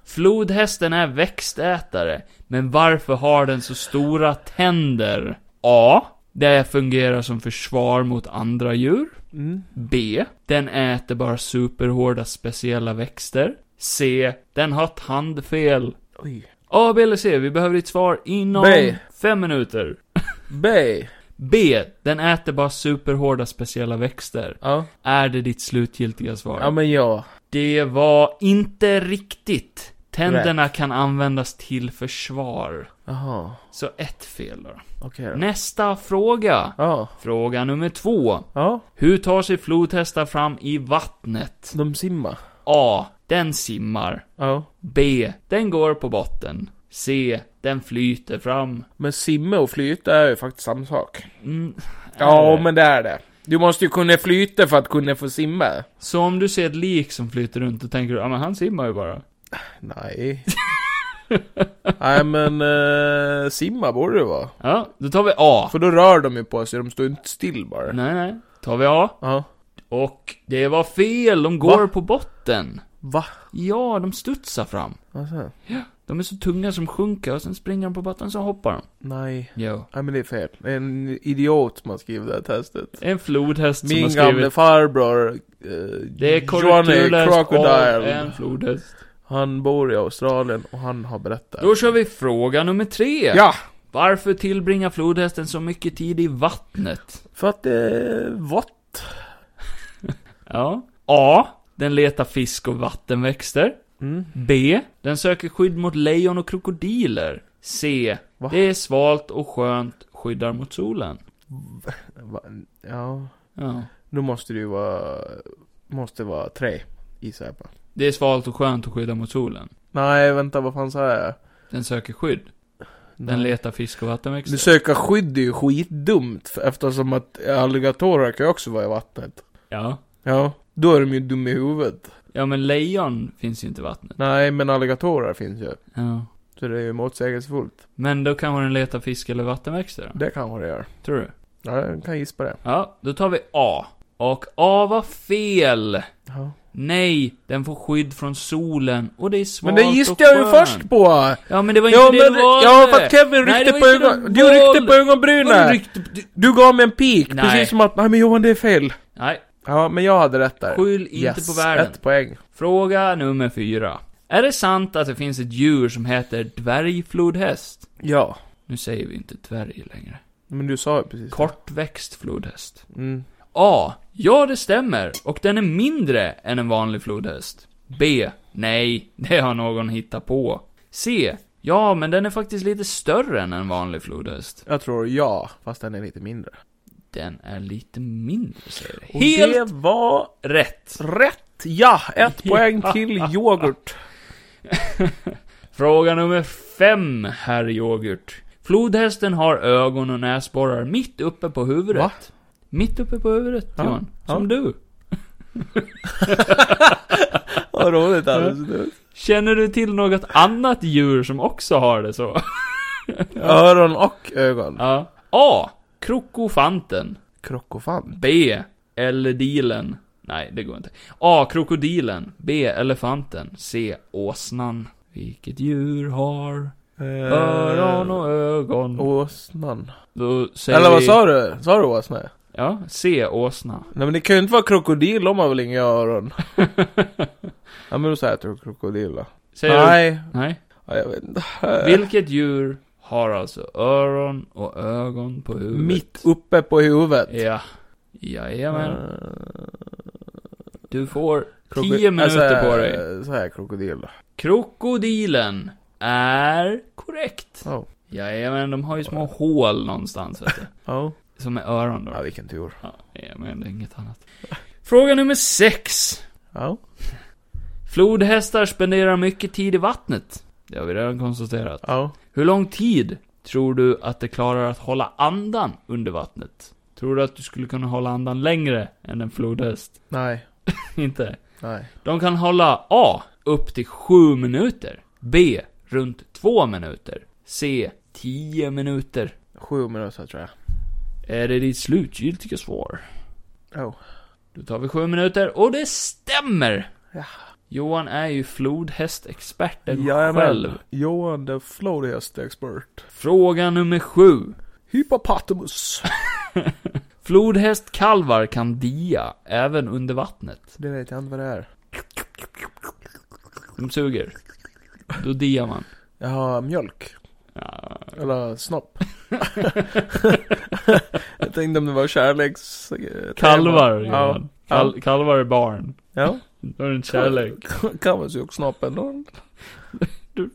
Speaker 1: Flodhästen är växtätare, men varför har den så stora tänder? A. Det fungerar som försvar mot andra djur.
Speaker 2: Mm.
Speaker 1: B. Den äter bara superhårda speciella växter. C. Den har tandfel.
Speaker 2: Oj.
Speaker 1: A, B eller C? Vi behöver ditt svar inom
Speaker 2: B.
Speaker 1: fem minuter.
Speaker 2: B.
Speaker 1: B. Den äter bara superhårda speciella växter.
Speaker 2: Ja.
Speaker 1: Är det ditt slutgiltiga svar?
Speaker 2: ja, men ja.
Speaker 1: Det var inte riktigt. Tänderna kan användas till försvar.
Speaker 2: Jaha,
Speaker 1: Så ett fel då.
Speaker 2: okej då.
Speaker 1: Nästa fråga.
Speaker 2: Ja.
Speaker 1: Fråga nummer två.
Speaker 2: Ja,
Speaker 1: Hur tar sig flodhästar fram i vattnet?
Speaker 2: de simmar.
Speaker 1: A. Den simmar.
Speaker 2: Ja.
Speaker 1: B. Den går på botten. C. Den flyter fram.
Speaker 2: Men simma och flyta är ju faktiskt samma sak.
Speaker 1: Mm,
Speaker 2: Ja,
Speaker 1: är det?
Speaker 2: men det är det. Du måste ju kunna flyta för att kunna få simma.
Speaker 1: Så om du ser ett lik som flyter runt, då tänker du ja men han simmar ju bara.
Speaker 2: Nej. Nej, men eh, simma borde det vara.
Speaker 1: Ja, då tar vi A.
Speaker 2: För då rör de ju på sig, de står inte still bara.
Speaker 1: Nej, nej. Tar vi A.
Speaker 2: Ja.
Speaker 1: Och det var fel, de går på botten.
Speaker 2: Va?
Speaker 1: Ja, de studsar fram.
Speaker 2: Alltså.
Speaker 1: De är så tunga som sjunker och sen springer de på botten så hoppar de.
Speaker 2: Nej.
Speaker 1: Jo.
Speaker 2: Nej, men det är fel. Det är en idiot som har skrivit det här testet.
Speaker 1: En flodhäst som har
Speaker 2: Min
Speaker 1: skrivit...
Speaker 2: gamle farbror, eh,
Speaker 1: Det är
Speaker 2: Johnny
Speaker 1: korrekturläst av
Speaker 2: Crocodile,
Speaker 1: en flodhäst.
Speaker 2: han bor i Australien och han har berättat.
Speaker 1: Då kör vi fråga nummer tre.
Speaker 2: Ja!
Speaker 1: Varför tillbringar flodhästen så mycket tid i vattnet?
Speaker 2: För att eh, det är vått.
Speaker 1: Ja. A. Den letar fisk och vattenväxter.
Speaker 2: Mm.
Speaker 1: B. Den söker skydd mot lejon och krokodiler. C.
Speaker 2: Va?
Speaker 1: Det är svalt och skönt, skyddar mot solen.
Speaker 2: Va? Ja,
Speaker 1: Ja.
Speaker 2: nu måste det ju vara, måste vara tre, gissar jag på.
Speaker 1: Det är svalt och skönt och skyddar mot solen.
Speaker 2: Nej, vänta, vad fan sa jag?
Speaker 1: Den söker skydd. Den
Speaker 2: Nej.
Speaker 1: letar fisk och vattenväxter.
Speaker 2: Du söka skydd är ju skitdumt, för- eftersom att alligatorer kan ju också vara i vattnet.
Speaker 1: Ja.
Speaker 2: Ja, då är de ju dumma i huvudet.
Speaker 1: Ja, men lejon finns ju inte i vattnet.
Speaker 2: Nej, men alligatorer finns ju.
Speaker 1: Ja.
Speaker 2: Så det är ju motsägelsefullt.
Speaker 1: Men då kanske den letar fisk eller vattenväxter då?
Speaker 2: Det kanske det gör.
Speaker 1: Tror du?
Speaker 2: Ja, jag kan gissa på det.
Speaker 1: Ja, då tar vi A. Och A var fel!
Speaker 2: Ja.
Speaker 1: Nej, den får skydd från solen och det är
Speaker 2: Men
Speaker 1: svalt
Speaker 2: det gissade
Speaker 1: och
Speaker 2: jag ju
Speaker 1: skönt.
Speaker 2: först på!
Speaker 1: Ja, men det var inte
Speaker 2: Ja,
Speaker 1: det
Speaker 2: men,
Speaker 1: du valde!
Speaker 2: ja, för att Kevin
Speaker 1: Nej,
Speaker 2: ryckte
Speaker 1: det
Speaker 2: på
Speaker 1: var inte det du
Speaker 2: ögon... Du ryckte på
Speaker 1: valde. Vadå
Speaker 2: ögonbrynen!
Speaker 1: rykt- du-
Speaker 2: Du gav mig en pik,
Speaker 1: Nej.
Speaker 2: precis som att, nej men Johan det är fel.
Speaker 1: Nej,
Speaker 2: Ja, men jag hade rätt där.
Speaker 1: skyll inte
Speaker 2: yes,
Speaker 1: på världen.
Speaker 2: ett poäng.
Speaker 1: Fråga nummer fyra. Är det sant att det finns ett djur som heter dvärgflodhäst?
Speaker 2: Ja.
Speaker 1: Nu säger vi inte dvärg längre.
Speaker 2: Men du sa ju precis det.
Speaker 1: Kortväxt flodhäst.
Speaker 2: Mm.
Speaker 1: A. Ja, det stämmer. Och den är mindre än en vanlig flodhäst. B. Nej, det har någon hittat på. C. Ja, men den är faktiskt lite större än en vanlig flodhäst.
Speaker 2: Jag tror ja, fast den är lite mindre.
Speaker 1: Den är lite mindre, säger det.
Speaker 2: Och
Speaker 1: Helt
Speaker 2: det var
Speaker 1: rätt!
Speaker 2: rätt! Ja! Ett poäng till yoghurt.
Speaker 1: Fråga nummer fem, herr Yoghurt. Flodhästen har ögon och näsborrar mitt uppe på huvudet.
Speaker 2: Va?
Speaker 1: Mitt uppe på huvudet,
Speaker 2: Ja,
Speaker 1: Johan.
Speaker 2: ja.
Speaker 1: Som du.
Speaker 2: Vad roligt alltså.
Speaker 1: Känner du till något annat djur som också har det så?
Speaker 2: Öron och ögon.
Speaker 1: Ja. A. Krokofanten.
Speaker 2: Krokofant.
Speaker 1: B. Eldilen. Nej, det går inte. A. Krokodilen. B. Elefanten. C. Åsnan. Vilket djur har Eh, öron och ögon?
Speaker 2: Åsnan.
Speaker 1: Då säger
Speaker 2: Eh. Eller vad
Speaker 1: vi-
Speaker 2: sa du? Sa du åsna?
Speaker 1: Ja, C. Åsna.
Speaker 2: Nej men det kan ju inte vara krokodil, de har väl inga öron? ja men då säger jag att det är krokodil då.
Speaker 1: Säger du?
Speaker 2: Nej,
Speaker 1: Nej.
Speaker 2: ja, jag vet inte.
Speaker 1: Vilket djur har alltså öron och ögon på huvudet?
Speaker 2: Mitt uppe på huvudet.
Speaker 1: Ja. Jajamän.
Speaker 2: Eh,
Speaker 1: Du får
Speaker 2: kroko-
Speaker 1: 10 minuter
Speaker 2: alltså,
Speaker 1: på dig.
Speaker 2: eh, Så här krokodil då.
Speaker 1: Krokodilen är korrekt.
Speaker 2: Ja.
Speaker 1: Jajamän, de har ju små hål någonstans vet du.
Speaker 2: Ja.
Speaker 1: Som är öron
Speaker 2: Ja
Speaker 1: då.
Speaker 2: vilken tur.
Speaker 1: Ja, men det är inget annat. Fråga nummer sex.
Speaker 2: Ja.
Speaker 1: Flodhästar spenderar mycket tid i vattnet. Det har vi redan konstaterat.
Speaker 2: Ja.
Speaker 1: Hur lång tid tror du att det klarar att hålla andan under vattnet? Tror du att du skulle kunna hålla andan längre än en flodhäst?
Speaker 2: Nej.
Speaker 1: Inte?
Speaker 2: Nej.
Speaker 1: De kan hålla A. Upp till 7 minuter. B. Runt 2 minuter. C. 10 minuter.
Speaker 2: Sju minuter tror jag.
Speaker 1: Är det ditt slutgiltiga svar?
Speaker 2: Oh.
Speaker 1: Då tar vi 7 minuter och det stämmer!
Speaker 2: Ja.
Speaker 1: Johan är ju flodhästexperten
Speaker 2: Jajamän.
Speaker 1: själv.
Speaker 2: Johan the floatiest expert.
Speaker 1: Fråga nummer 7.
Speaker 2: Hypopotamus.
Speaker 1: Flodhästkalvar kan dia, även under vattnet.
Speaker 2: Det vet jag inte vad det är.
Speaker 1: De suger. Då diar man.
Speaker 2: Jag har mjölk.
Speaker 1: Ja,
Speaker 2: Eller snopp. jag tänkte om det var kärleks...
Speaker 1: kalvar gör
Speaker 2: Ja.
Speaker 1: man. Kal- kalvar är barn.
Speaker 2: Ja.
Speaker 1: Då är det inte kärlek.
Speaker 2: Kan man suga snopp ändå?
Speaker 1: Du-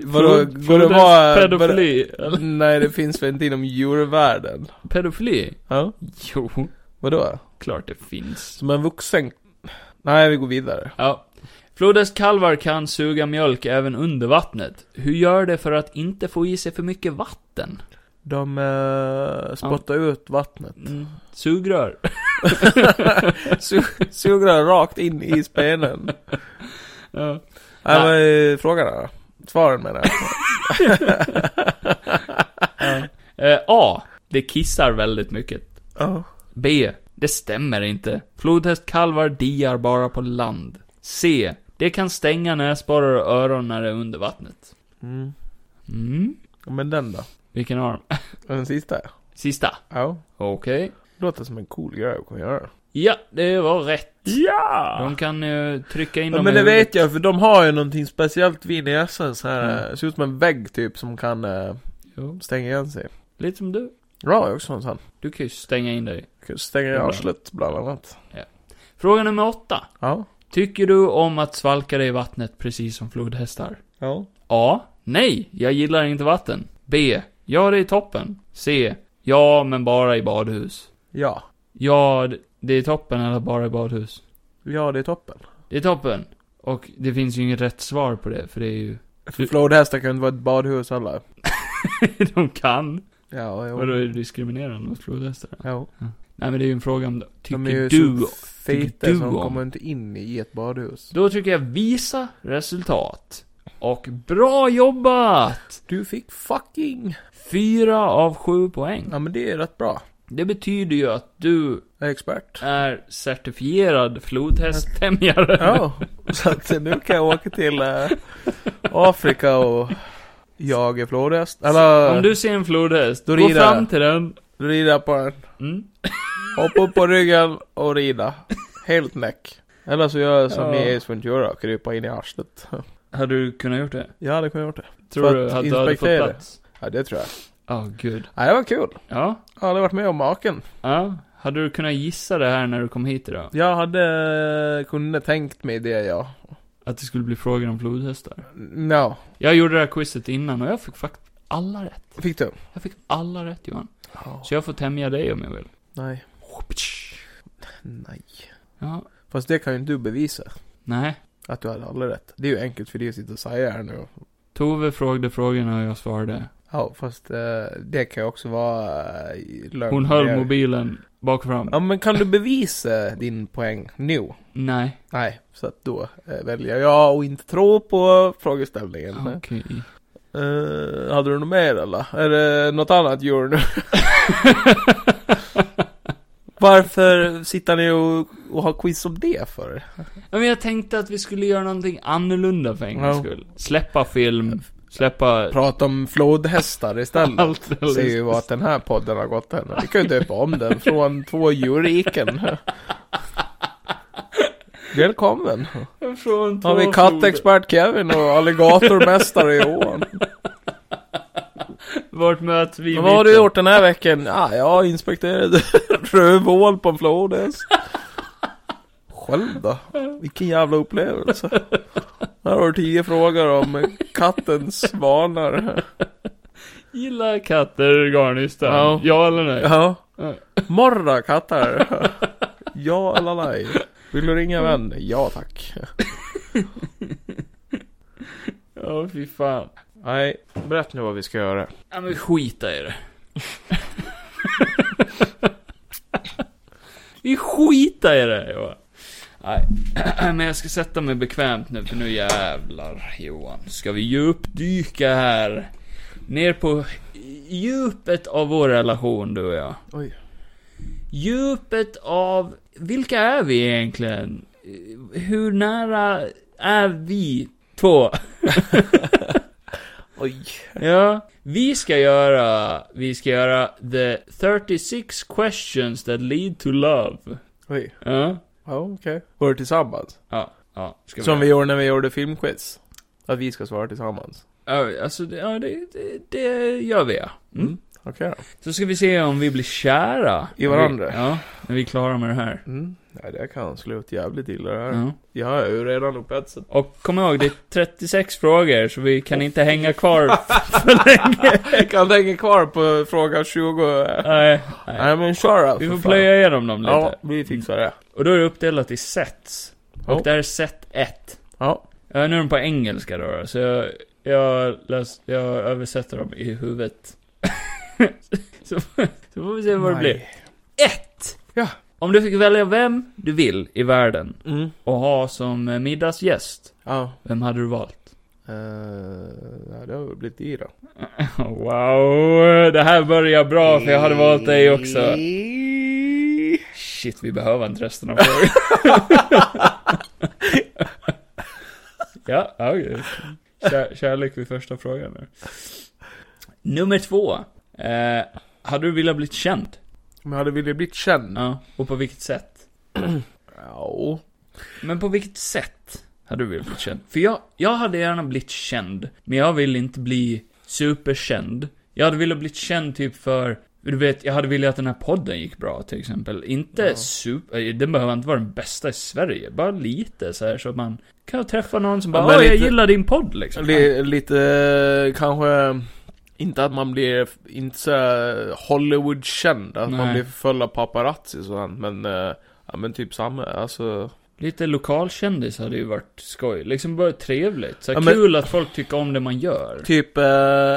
Speaker 2: Vadå,
Speaker 1: Flod-
Speaker 2: går det vara...
Speaker 1: Pedofili. eller?
Speaker 2: Nej, det finns väl inte inom djurvärlden?
Speaker 1: Pedofili?
Speaker 2: Ja.
Speaker 1: Jo,
Speaker 2: Vadå?
Speaker 1: klart det finns.
Speaker 2: Som en vuxen... Nej, vi går vidare.
Speaker 1: Ja. Flodhästkalvar kan suga mjölk även under vattnet. Hur gör det för att inte få i sig för mycket vatten?
Speaker 2: De eh, spottar ut vattnet.
Speaker 1: Mm, sugrör.
Speaker 2: Su- Suger den rakt in i spenen.
Speaker 1: Ja.
Speaker 2: Nej, vad är frågan då? Svaren menar jag.
Speaker 1: Eh, A. Det kissar väldigt mycket.
Speaker 2: Ja.
Speaker 1: B. Det stämmer inte. Flodhästkalvar diar bara på land. C. Det kan stänga näsborrar och öron när det är under vattnet.
Speaker 2: Mm.
Speaker 1: Mm.
Speaker 2: Men den då?
Speaker 1: Vilken arm?
Speaker 2: Den sista?
Speaker 1: Sista.
Speaker 2: Ja.
Speaker 1: Okej.
Speaker 2: Låter som en cool grej att kunna göra.
Speaker 1: Ja, det var rätt.
Speaker 2: Ja!
Speaker 1: De kan eh, trycka in
Speaker 2: Ah. Ja,
Speaker 1: dem
Speaker 2: men
Speaker 1: i
Speaker 2: det
Speaker 1: huvudet.
Speaker 2: vet jag, för de har ju någonting speciellt vid näsan så här.
Speaker 1: Mm.
Speaker 2: eh, Ser ut som en vägg typ som kan eh,
Speaker 1: Jo,
Speaker 2: stänga igen sig.
Speaker 1: lite som du.
Speaker 2: Ja, jag har också en sån.
Speaker 1: Du kan ju stänga in dig.
Speaker 2: Kan Stänga i
Speaker 1: Ja.
Speaker 2: arslet bland annat.
Speaker 1: Fråga nummer åtta.
Speaker 2: Ja.
Speaker 1: Tycker du om att svalka dig i vattnet precis som flodhästar?
Speaker 2: Ja.
Speaker 1: A. Nej, jag gillar inte vatten. B. Ja, det är toppen. C. Ja, men bara i badhus.
Speaker 2: Ja.
Speaker 1: Ja, d- det är toppen eller bara i badhus.
Speaker 2: Ja, det är toppen.
Speaker 1: Det är toppen. Och det finns ju inget rätt svar på det, för det är ju...
Speaker 2: För flodhästar kan ju inte vara ett badhus heller.
Speaker 1: De kan.
Speaker 2: Ja,
Speaker 1: Vadå,
Speaker 2: jo.
Speaker 1: är det diskriminerande mot flodhästar?
Speaker 2: Jo.
Speaker 1: Nej, men det är ju en fråga om...
Speaker 2: de är ju
Speaker 1: Tycker du...
Speaker 2: så feta
Speaker 1: tycker
Speaker 2: så
Speaker 1: du
Speaker 2: de
Speaker 1: om?
Speaker 2: kommer inte in i ett badhus.
Speaker 1: Då tycker jag visa resultat. Och bra jobbat!
Speaker 2: Du fick fucking...
Speaker 1: Fyra av sju poäng.
Speaker 2: Ja men det är rätt bra.
Speaker 1: Det betyder ju att du
Speaker 2: Jag är expert.
Speaker 1: är certifierad flodhästfrämjare.
Speaker 2: Ja, så att eh, nu kan jag åka till eh, Afrika och jaga flodhäst. Eller,
Speaker 1: Om
Speaker 2: du...
Speaker 1: du ser en flodhäst,
Speaker 2: Då
Speaker 1: gå
Speaker 2: rider jag.
Speaker 1: fram till den.
Speaker 2: rida på den.
Speaker 1: Mm.
Speaker 2: Hoppa upp på ryggen och rida. Helt näck. Eller så gör jag som
Speaker 1: Ja.
Speaker 2: i Ace Ventura, krypa in i arslet.
Speaker 1: Hade du kunnat gjort det?
Speaker 2: Ja, det kan jag gjort det.
Speaker 1: Tror
Speaker 2: att
Speaker 1: du att du hade fått
Speaker 2: inspektera.
Speaker 1: plats?
Speaker 2: Ja, det tror jag.
Speaker 1: Ja, gud.
Speaker 2: Ja, det var kul.
Speaker 1: Ja,
Speaker 2: Jag hade varit med om maken.
Speaker 1: ja. Hade du kunnat gissa det här när du kom hit idag?
Speaker 2: Jag hade eh, kunnat tänkt mig det, ja.
Speaker 1: Att det skulle bli frågor om flodhästar?
Speaker 2: No.
Speaker 1: Jag gjorde det här quizet innan och jag fick faktiskt alla rätt.
Speaker 2: Fick du?
Speaker 1: Jag fick alla rätt Johan. Så jag får tämja dig om jag vill.
Speaker 2: Nej. Nej.
Speaker 1: Ja,
Speaker 2: Fast det kan ju inte du bevisa.
Speaker 1: nej.
Speaker 2: Att du hade aldrig rätt. Det är ju enkelt för dig att sitta och säga här nu.
Speaker 1: Tove frågade frågorna och jag svarade.
Speaker 2: Ja, fast eh, det kan ju också vara eh, lögn.
Speaker 1: Hon höll
Speaker 2: Det är-
Speaker 1: mobilen bak och fram.
Speaker 2: Ja, men kan du bevisa din poäng nu?
Speaker 1: Nej.
Speaker 2: Nej, så att då eh, väljer jag att inte tro på frågeställningen.
Speaker 1: Okej.
Speaker 2: Eh, hade du något mer eller? Är det något annat djur nu? Varför sitter ni och, och har quiz om det för?
Speaker 1: Ja, men jag tänkte att vi skulle göra någonting annorlunda för en gångs
Speaker 2: Ja.
Speaker 1: skull. Släppa film, släppa...
Speaker 2: Prata om flodhästar istället.
Speaker 1: Allt
Speaker 2: ser ju
Speaker 1: eller-
Speaker 2: vart den här podden har gått än. Vi kan ju döpa om den från två djurriken. Välkommen.
Speaker 1: Från
Speaker 2: Har vi
Speaker 1: två
Speaker 2: kattexpert Kevin och alligatormästare Johan.
Speaker 1: floder. Vart möts vi i
Speaker 2: Vad har du
Speaker 1: mitten?
Speaker 2: gjort den här veckan? Ja, jag har inspekterat rövhål på en flodhäst. Själv då? Vilken jävla upplevelse. Här har du tio frågor om kattens vanor.
Speaker 1: Gillar katter garnnystan?
Speaker 2: Ja.
Speaker 1: Ja. ja eller nej?
Speaker 2: Ja.
Speaker 1: Ja.
Speaker 2: Morra katter. Ja eller nej? Vill du ringa en vän? Ja tack.
Speaker 1: Ja, fy fan.
Speaker 2: Nej, berätta nu vad vi ska göra.
Speaker 1: Ja, men skita i det. Vi skita i det, Johan. Nej, men jag ska sätta mig bekvämt nu, för nu jävlar, Johan. Ska vi djupdyka här. Ner på djupet av vår relation, du och jag.
Speaker 2: Oj.
Speaker 1: Djupet av... Vilka är vi egentligen? Hur nära är vi två?
Speaker 2: Oj.
Speaker 1: Ja. Vi ska göra, vi ska göra the 36 questions that lead to love.
Speaker 2: Oj.
Speaker 1: Ja.
Speaker 2: Ja, okej. Var det tillsammans?
Speaker 1: Ja. ja. Ska
Speaker 2: Som
Speaker 1: vi
Speaker 2: vi gjorde när vi gjorde filmquiz. Att vi ska svara tillsammans.
Speaker 1: Ja, alltså, det- ja, det, det, det gör vi ja. Mm.
Speaker 2: Okej då.
Speaker 1: Så ska vi se om vi blir kära.
Speaker 2: I varandra.
Speaker 1: Ja, när vi är klara med det här.
Speaker 2: Mm. Ja, det kan sluta jävligt illa det här.
Speaker 1: Ja.
Speaker 2: Jag är ju redan upphetsad.
Speaker 1: Och kom ihåg, det är 36 frågor, så vi kan inte hänga kvar för länge.
Speaker 2: Jag kan hänga kvar på fråga 20.
Speaker 1: Nej, nej.
Speaker 2: Nej men kör då,
Speaker 1: Vi
Speaker 2: för
Speaker 1: får
Speaker 2: fan.
Speaker 1: plöja igenom dem lite.
Speaker 2: Ja, vi fixar det.
Speaker 1: Och då är det uppdelat i sets. Och
Speaker 2: Ja.
Speaker 1: det här är set 1.
Speaker 2: Ja.
Speaker 1: Ja, nu är de på engelska då, då, så jag, jag, läs, jag översätter dem i huvudet. så, så får vi se vad det blir. Om du fick välja vem du vill i världen
Speaker 2: Mm.
Speaker 1: och ha som eh, middagsgäst,
Speaker 2: Ja.
Speaker 1: vem hade du valt?
Speaker 2: Eh, ja, det har väl blivit i då.
Speaker 1: Wow, det här börjar bra för jag hade valt dig också. Shit, vi behöver inte resten av frågan. ja, ja okay. Kär, kärlek vid första frågan. Där. Nummer två. Eh, hade du velat bli känd?
Speaker 2: Men jag hade velat bli känd.
Speaker 1: Ja. Och på vilket sätt?
Speaker 2: Ja.
Speaker 1: Men på vilket sätt hade du velat bli känd? För jag, jag hade gärna blivit känd, men jag vill inte bli superkänd. Jag hade velat bli känd typ för, du vet, jag hade velat att den här podden gick bra till exempel. Inte
Speaker 2: Ja.
Speaker 1: super, eh, den behöver inte vara den bästa i Sverige, bara lite så här så att man kan träffa någon som
Speaker 2: Ja,
Speaker 1: bara
Speaker 2: men
Speaker 1: Åh, jag
Speaker 2: lite-
Speaker 1: gillar din podd liksom.
Speaker 2: Li- lite eh, kanske... Inte att man blir, f- inte så här Hollywood-känd, att
Speaker 1: Nej.
Speaker 2: man blir förföljd av paparazzi och sånt, men... eh, Ja men typ samma, alltså...
Speaker 1: Lite lokalkändis hade ju varit skoj. Liksom bara trevligt. Så här,
Speaker 2: Ja, men-
Speaker 1: kul att folk tycker om det man gör.
Speaker 2: Typ, eh,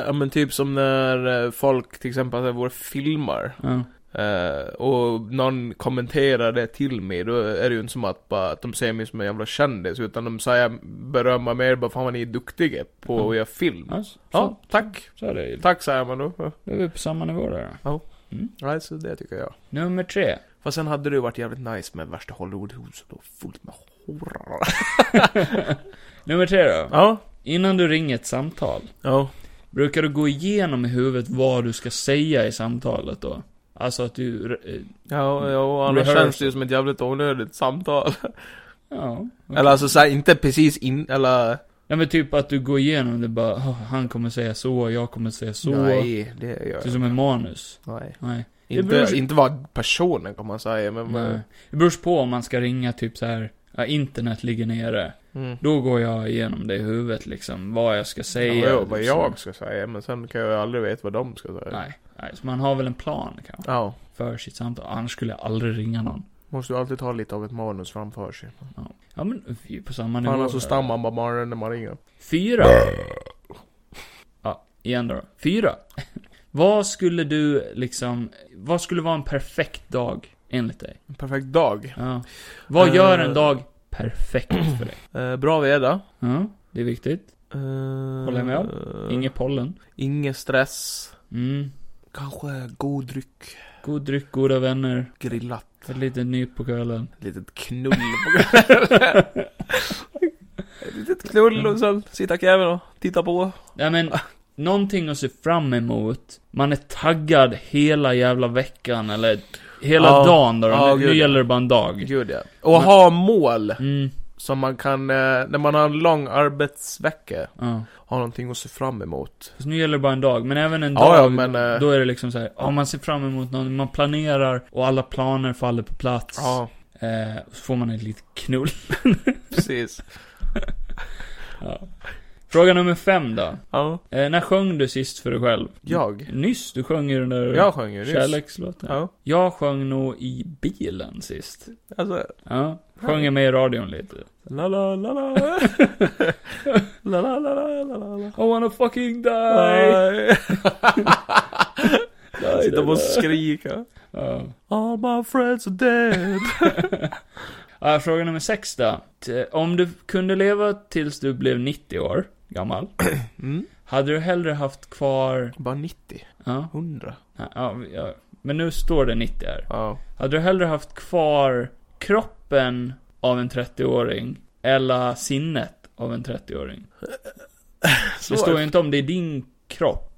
Speaker 2: ja men typ som när eh, folk till exempel alltså, våra filmar
Speaker 1: Ja.
Speaker 2: eh, och någon kommenterar det till mig, då är det ju inte som att, bara, att de ser mig som en jävla kändis, utan de säger berömmer mig bara 'Fan vad ni är duktiga på att göra film'
Speaker 1: Ja, så,
Speaker 2: Ja, tack!
Speaker 1: alltså, så är det.
Speaker 2: Tack säger man då. Ja.
Speaker 1: Då är vi på samma nivå där.
Speaker 2: Nej, så det tycker jag.
Speaker 1: Nummer tre.
Speaker 2: Fast sen hade det ju varit jävligt nice med värsta Hollywoodhuset då, fullt med horor.
Speaker 1: Nummer tre då.
Speaker 2: Ja.
Speaker 1: Innan du ringer ett samtal,
Speaker 2: Ja.
Speaker 1: brukar du gå igenom i huvudet vad du ska säga i samtalet då? Alltså att du... eh,
Speaker 2: Ja, ja och annars
Speaker 1: Rehearsal.
Speaker 2: känns det ju som ett jävligt onödigt samtal.
Speaker 1: Ja. okej.
Speaker 2: Eller alltså såhär, inte precis in, eller...
Speaker 1: Nej men typ att du går igenom det bara, "Åh, han kommer säga så, jag kommer säga så.
Speaker 2: Nej, det gör
Speaker 1: Det är
Speaker 2: jag
Speaker 1: som en manus.
Speaker 2: Nej.
Speaker 1: Nej. Det
Speaker 2: Inte,
Speaker 1: beror-
Speaker 2: inte vad personen kan man säga, men...
Speaker 1: Nej. Det beror på om man ska ringa typ så här. Ja, internet ligger nere.
Speaker 2: Mm.
Speaker 1: Då går jag igenom det i huvudet liksom, vad jag ska
Speaker 2: Ja,
Speaker 1: säga.
Speaker 2: ja, vad
Speaker 1: liksom.
Speaker 2: jag ska säga, men sen kan jag ju aldrig veta vad de ska säga.
Speaker 1: Nej. Nej, så man har väl en plan kanske.
Speaker 2: Ja.
Speaker 1: För sitt samtal. Annars skulle jag aldrig ringa någon.
Speaker 2: Måste ju alltid ta lite av ett manus framför sig.
Speaker 1: Ja men, vi är på samma nivå.
Speaker 2: Annars så
Speaker 1: här.
Speaker 2: stammar man bara bara när man ringer.
Speaker 1: Fyra. Ja, igen då. Fyra. Vad skulle du liksom, vad skulle vara en perfekt dag enligt dig?
Speaker 2: En perfekt dag.
Speaker 1: Ja. Vad gör en
Speaker 2: Eh.
Speaker 1: dag perfekt för dig?
Speaker 2: Eh, bra väder.
Speaker 1: Ja, det är viktigt.
Speaker 2: Eh,
Speaker 1: Håller jag med om. Ingen pollen.
Speaker 2: Ingen stress.
Speaker 1: Mm.
Speaker 2: Kanske god dryck.
Speaker 1: God dryck, goda vänner.
Speaker 2: Grillat.
Speaker 1: Ett litet nyp på kvällen.
Speaker 2: Ett litet knull på kvällen. Ett litet knull och sen sitta kräven och titta på.
Speaker 1: Nej men,
Speaker 2: Ah.
Speaker 1: någonting att se fram emot. Man är taggad hela jävla veckan eller hela
Speaker 2: Ja.
Speaker 1: dagen då.
Speaker 2: Ja,
Speaker 1: nu
Speaker 2: gud, ja.
Speaker 1: gäller det bara en dag.
Speaker 2: Gud ja. Och ha mål.
Speaker 1: Mm.
Speaker 2: Som man kan, eh, när man har en lång arbetsvecka,
Speaker 1: Ja.
Speaker 2: ha någonting att se fram emot.
Speaker 1: Fast nu gäller det bara en dag, men även en
Speaker 2: Ja,
Speaker 1: dag,
Speaker 2: ja, men, eh,
Speaker 1: då är det liksom så här, ja man ser fram emot någon, man planerar och alla planer faller på plats.
Speaker 2: Ja,
Speaker 1: Eh, så får man en liten knull.
Speaker 2: precis.
Speaker 1: Ja. Fråga nummer fem då.
Speaker 2: Ja.
Speaker 1: Eh, när sjöng du sist för dig själv?
Speaker 2: Jag.
Speaker 1: Nyss, du sjöng ju den där
Speaker 2: Jag sjöng ju nyss.
Speaker 1: kärlekslåten.
Speaker 2: Ja.
Speaker 1: Jag sjöng nog i bilen sist.
Speaker 2: Alltså,
Speaker 1: Ja, sjöng med i radion lite.
Speaker 2: la la la la. La la la la la la la.
Speaker 1: I wanna fucking die!
Speaker 2: Nej.
Speaker 1: Die,
Speaker 2: Sitta
Speaker 1: die,
Speaker 2: och
Speaker 1: die.
Speaker 2: skrika.
Speaker 1: Ja.
Speaker 2: All my friends are dead.
Speaker 1: Ja, fråga nummer sex då. T- Om du kunde leva tills du blev 90 år gammal,
Speaker 2: Mm.
Speaker 1: hade du hellre haft kvar...
Speaker 2: Bara 90.
Speaker 1: Ja,
Speaker 2: 100.
Speaker 1: ja, vi- ja, men nu står det 90 här.
Speaker 2: Ja.
Speaker 1: Hade du hellre haft kvar kroppen av en 30-åring, eller sinnet av en 30-åring? Det står ju inte om det är din kropp.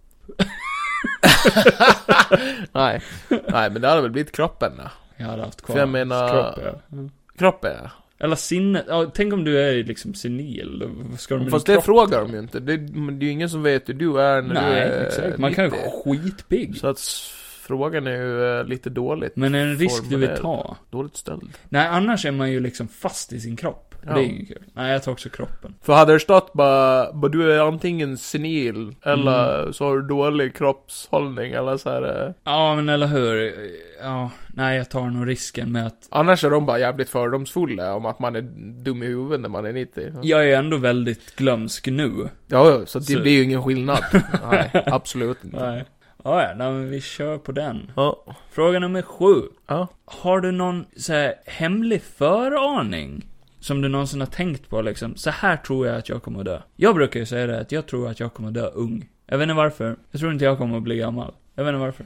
Speaker 2: Nej. Nej, men det hade väl blivit kroppen då.
Speaker 1: Jag hade haft kvar
Speaker 2: För jag menar-
Speaker 1: kropp, ja. Mm.
Speaker 2: Kroppen ja.
Speaker 1: Eller sinne. Ja, tänk om du är liksom senil. då Ska de
Speaker 2: Fast det frågar de ju inte. Det, men det är ju ingen som vet hur du är när du
Speaker 1: Nej,
Speaker 2: är
Speaker 1: exakt. Man kan ju
Speaker 2: 90.
Speaker 1: skitpigg.
Speaker 2: Så att s- frågan är ju eh, lite dåligt,
Speaker 1: Men en risk du vill
Speaker 2: Formulerad.
Speaker 1: ta.
Speaker 2: dåligt ställd.
Speaker 1: Nej, annars är man ju liksom fast i sin kropp.
Speaker 2: Ja.
Speaker 1: Det är inget kul. Nej, jag tar också kroppen.
Speaker 2: För hade det stått bara, bara du är antingen senil, eller
Speaker 1: Mm.
Speaker 2: så har du dålig kroppshållning, eller så här. eh.
Speaker 1: Ja, men eller hur. Ja, nej, jag tar nog risken med att...
Speaker 2: Annars är de bara jävligt fördomsfulla om att man är dum i huvudet när man är 90. Ja,
Speaker 1: Jag är ändå väldigt glömsk nu.
Speaker 2: ja så det
Speaker 1: Så-
Speaker 2: blir ju ingen skillnad. Nej, absolut inte.
Speaker 1: Nej. Ja, ja, nej, men vi kör på den.
Speaker 2: Ja.
Speaker 1: Fråga nummer sju.
Speaker 2: Ja.
Speaker 1: Har du någon så här, hemlig föraning? Som du någonsin har tänkt på liksom, så här tror jag att jag kommer att dö. Jag brukar ju säga det, att jag tror att jag kommer att dö ung. Jag vet inte varför. Jag tror inte jag kommer att bli gammal. Jag vet inte varför.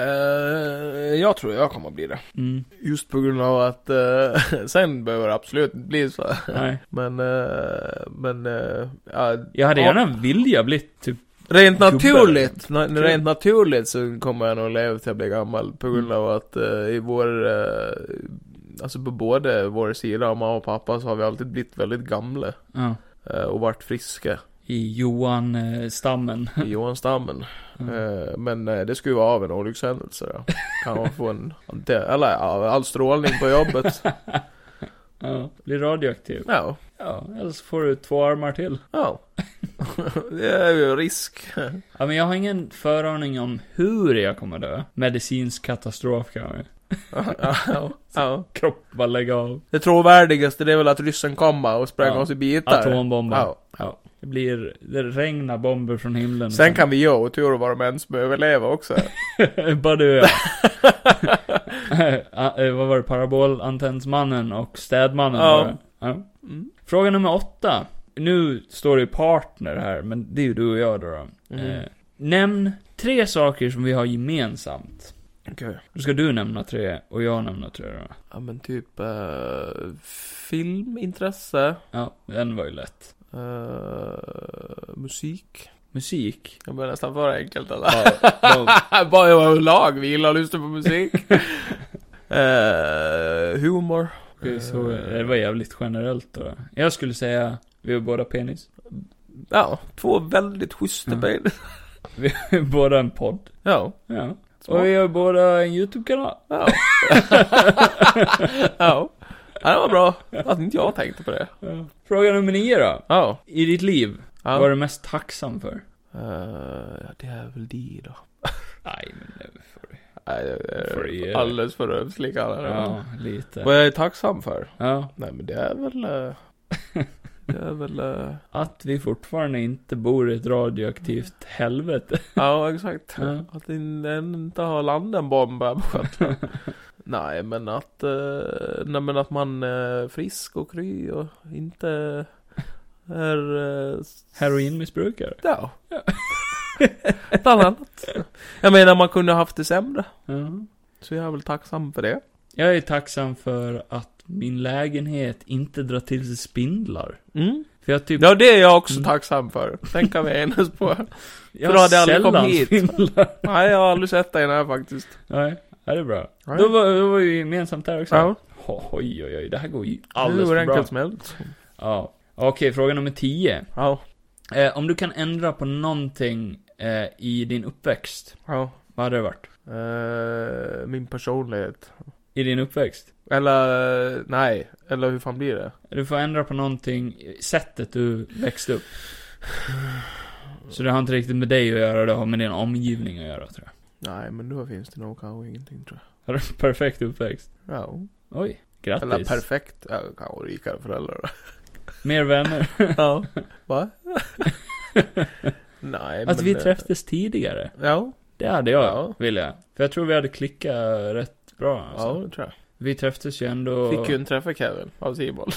Speaker 2: Eh, jag tror jag kommer bli det.
Speaker 1: Mm,
Speaker 2: Just på grund av att eh, sen behöver det absolut inte bli så.
Speaker 1: nej.
Speaker 2: Men, eh, men, eh, ja,
Speaker 1: Jag hade
Speaker 2: Ja.
Speaker 1: gärna vilja blivit typ,
Speaker 2: rent
Speaker 1: Gubbe.
Speaker 2: naturligt, na,
Speaker 1: Kul.
Speaker 2: rent naturligt så kommer jag nog leva till jag blir gammal på
Speaker 1: Mm.
Speaker 2: grund av att eh, i vår, eh, alltså på både vår sida av mamma och pappa så har vi alltid blivit väldigt gamla
Speaker 1: ja,
Speaker 2: eh, och varit friska
Speaker 1: i eh, Johan-stammen.
Speaker 2: i Johanstammen.
Speaker 1: Mm.
Speaker 2: Eh, men eh, det skulle ju vara av en olyckshändelse då. Kan man få en, eller ja, all strålning på jobbet.
Speaker 1: Ja, bli radioaktiv.
Speaker 2: Ja.
Speaker 1: Ja, eller så får du två armar till.
Speaker 2: Ja. det är ju risk.
Speaker 1: Ja, men jag har ingen föraning om hur jag kommer dö. Medicinsk katastrof kanske.
Speaker 2: ja, ja.
Speaker 1: Kropp bara lägga av.
Speaker 2: Det trovärdigaste det är väl att ryssen kommer och sprang
Speaker 1: Ja.
Speaker 2: oss i bitar.
Speaker 1: Atombombar.
Speaker 2: Ja.
Speaker 1: Det blir, det regnar bomber från himlen.
Speaker 2: Sen kan vi ju ha otur och vara de ens behöver överleva också.
Speaker 1: Bara du och jag. Ah, eh, Vad var det? Parabolantennsmannen och städmannen
Speaker 2: Ja.
Speaker 1: var det? ja.
Speaker 2: Mm.
Speaker 1: Fråga nummer åtta. Nu står det ju partner här, men det är ju du och jag då. då.
Speaker 2: Mhm. Mm.
Speaker 1: Eh, nämn tre saker som vi har gemensamt.
Speaker 2: Okej.
Speaker 1: Då ska du nämna tre och jag nämna tre då.
Speaker 2: Ja men typ eh, filmintresse,
Speaker 1: Ja, den var ju lätt.
Speaker 2: eh, musik.
Speaker 1: Musik.
Speaker 2: Jag börjar nästan för enkelt eller?
Speaker 1: Bara, bara,
Speaker 2: Bara jag har lag, vi gillar att lyssna på musik. Eh, humor.
Speaker 1: okej, så,
Speaker 2: Eh,
Speaker 1: det var jävligt generellt då. Jag skulle säga, vi har båda penis.
Speaker 2: Ja, två väldigt schyssta
Speaker 1: Mm.
Speaker 2: ben.
Speaker 1: Vi har båda en podd.
Speaker 2: Ja.
Speaker 1: Ja.
Speaker 2: smart.
Speaker 1: Och vi har båda en YouTube-kanal.
Speaker 2: Ja. ja. Ja, det var bra. Att inte jag tänkte på det.
Speaker 1: Fråga nummer nio då.
Speaker 2: Ja.
Speaker 1: I ditt liv,
Speaker 2: ja.
Speaker 1: vad är du mest tacksam för?
Speaker 2: Eh, ja, det är väl det då.
Speaker 1: Nej, men det får du.
Speaker 2: Nej, det är
Speaker 1: Får du ge
Speaker 2: alldeles för ömslig
Speaker 1: Ja, lite.
Speaker 2: Vad jag är tacksam för?
Speaker 1: Ja.
Speaker 2: Nej men det är väl... eh, det är väl... eh,
Speaker 1: Att vi fortfarande inte bor i ett radioaktivt helvete.
Speaker 2: ja, exakt.
Speaker 1: Ja.
Speaker 2: Att in- en inte har landat en bomb här på Gotland. Nej men att, eh, nej men att man är frisk och kry och inte är... eh,
Speaker 1: Heroinmissbrukare.
Speaker 2: Ja. Bland annat. Jag menar, man kunde ha haft det sämre.
Speaker 1: Ja.
Speaker 2: Så jag är väl tacksam för det.
Speaker 1: Jag är tacksam för att min lägenhet inte drar till sig spindlar.
Speaker 2: Mm.
Speaker 1: För jag typ...
Speaker 2: Ja, det är jag också
Speaker 1: Mm.
Speaker 2: tacksam för. Den kan vi enas på.
Speaker 1: jag
Speaker 2: för då hade jag aldrig kommit hit.
Speaker 1: spindlar.
Speaker 2: Nej, jag har aldrig sett dig här faktiskt.
Speaker 1: Nej, ja, det är bra.
Speaker 2: Ja.
Speaker 1: Då var, då var vi gemensamt där också.
Speaker 2: Ja,
Speaker 1: Oj, oj, oj. Det här går ju
Speaker 2: alldeles
Speaker 1: alldeles
Speaker 2: hur
Speaker 1: för bra.
Speaker 2: enkelt som helst.
Speaker 1: Ja. Okej, fråga nummer 10.
Speaker 2: Ja,
Speaker 1: Eh, om du kan ändra på någonting eh, i din uppväxt,
Speaker 2: ja.
Speaker 1: vad hade det varit?
Speaker 2: Eh, min personlighet.
Speaker 1: I din uppväxt?
Speaker 2: Eller, eh, nej. Eller hur fan blir det?
Speaker 1: Du får ändra på någonting, i sättet du växte upp. Så det har inte riktigt med dig att göra, det har med din omgivning att göra tror jag.
Speaker 2: Nej, men då finns det nog kanske ingenting tror
Speaker 1: Har du en perfekt uppväxt?
Speaker 2: jag. Ja.
Speaker 1: Oj,
Speaker 2: Eller
Speaker 1: grattis.
Speaker 2: perfekt. Ja, kanske rikare föräldrar.
Speaker 1: Mer vänner.
Speaker 2: ja. Va? nej,
Speaker 1: Att
Speaker 2: men,
Speaker 1: vi
Speaker 2: eh,
Speaker 1: träffades tidigare.
Speaker 2: Ja.
Speaker 1: Det hade jag
Speaker 2: Ja.
Speaker 1: velat. För jag tror vi hade klickat rätt bra
Speaker 2: Ja,
Speaker 1: alltså.
Speaker 2: det tror jag.
Speaker 1: Vi träffades ju ändå...
Speaker 2: Fick ju inte träffa Kevin av Simon.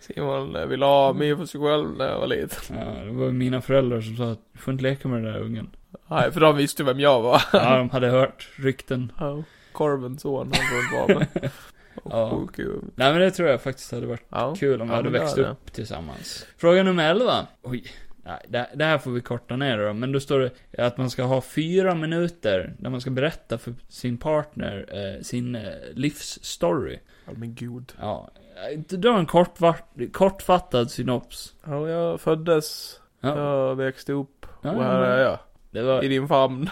Speaker 2: Simon eh, ville ha mig för sig själv när jag var liten.
Speaker 1: Ja, det var mina föräldrar som sa att du får inte leka med den där ungen.
Speaker 2: Nej, för de visste ju vem jag var.
Speaker 1: Ja, de hade hört rykten.
Speaker 2: Korvens son, han får inte vara med. Och
Speaker 1: Ja.
Speaker 2: sjuk ju.
Speaker 1: Nej men det tror jag faktiskt hade varit
Speaker 2: Ja.
Speaker 1: kul om vi
Speaker 2: Ja,
Speaker 1: hade
Speaker 2: men det
Speaker 1: växt
Speaker 2: hade
Speaker 1: upp tillsammans. Fråga nummer 11. Oj. Nej, det, det här får vi korta ner då, men då står det att man ska ha fyra minuter där man ska berätta för sin partner eh, sin eh, livsstory.
Speaker 2: Ja, men gud.
Speaker 1: Ja, eh, dra en kortvart- kortfattad synops.
Speaker 2: Ja, jag föddes,
Speaker 1: Ja,
Speaker 2: jag växte upp
Speaker 1: Ja,
Speaker 2: och
Speaker 1: ja,
Speaker 2: här
Speaker 1: ja.
Speaker 2: är jag.
Speaker 1: Det
Speaker 2: I
Speaker 1: var,
Speaker 2: din famn.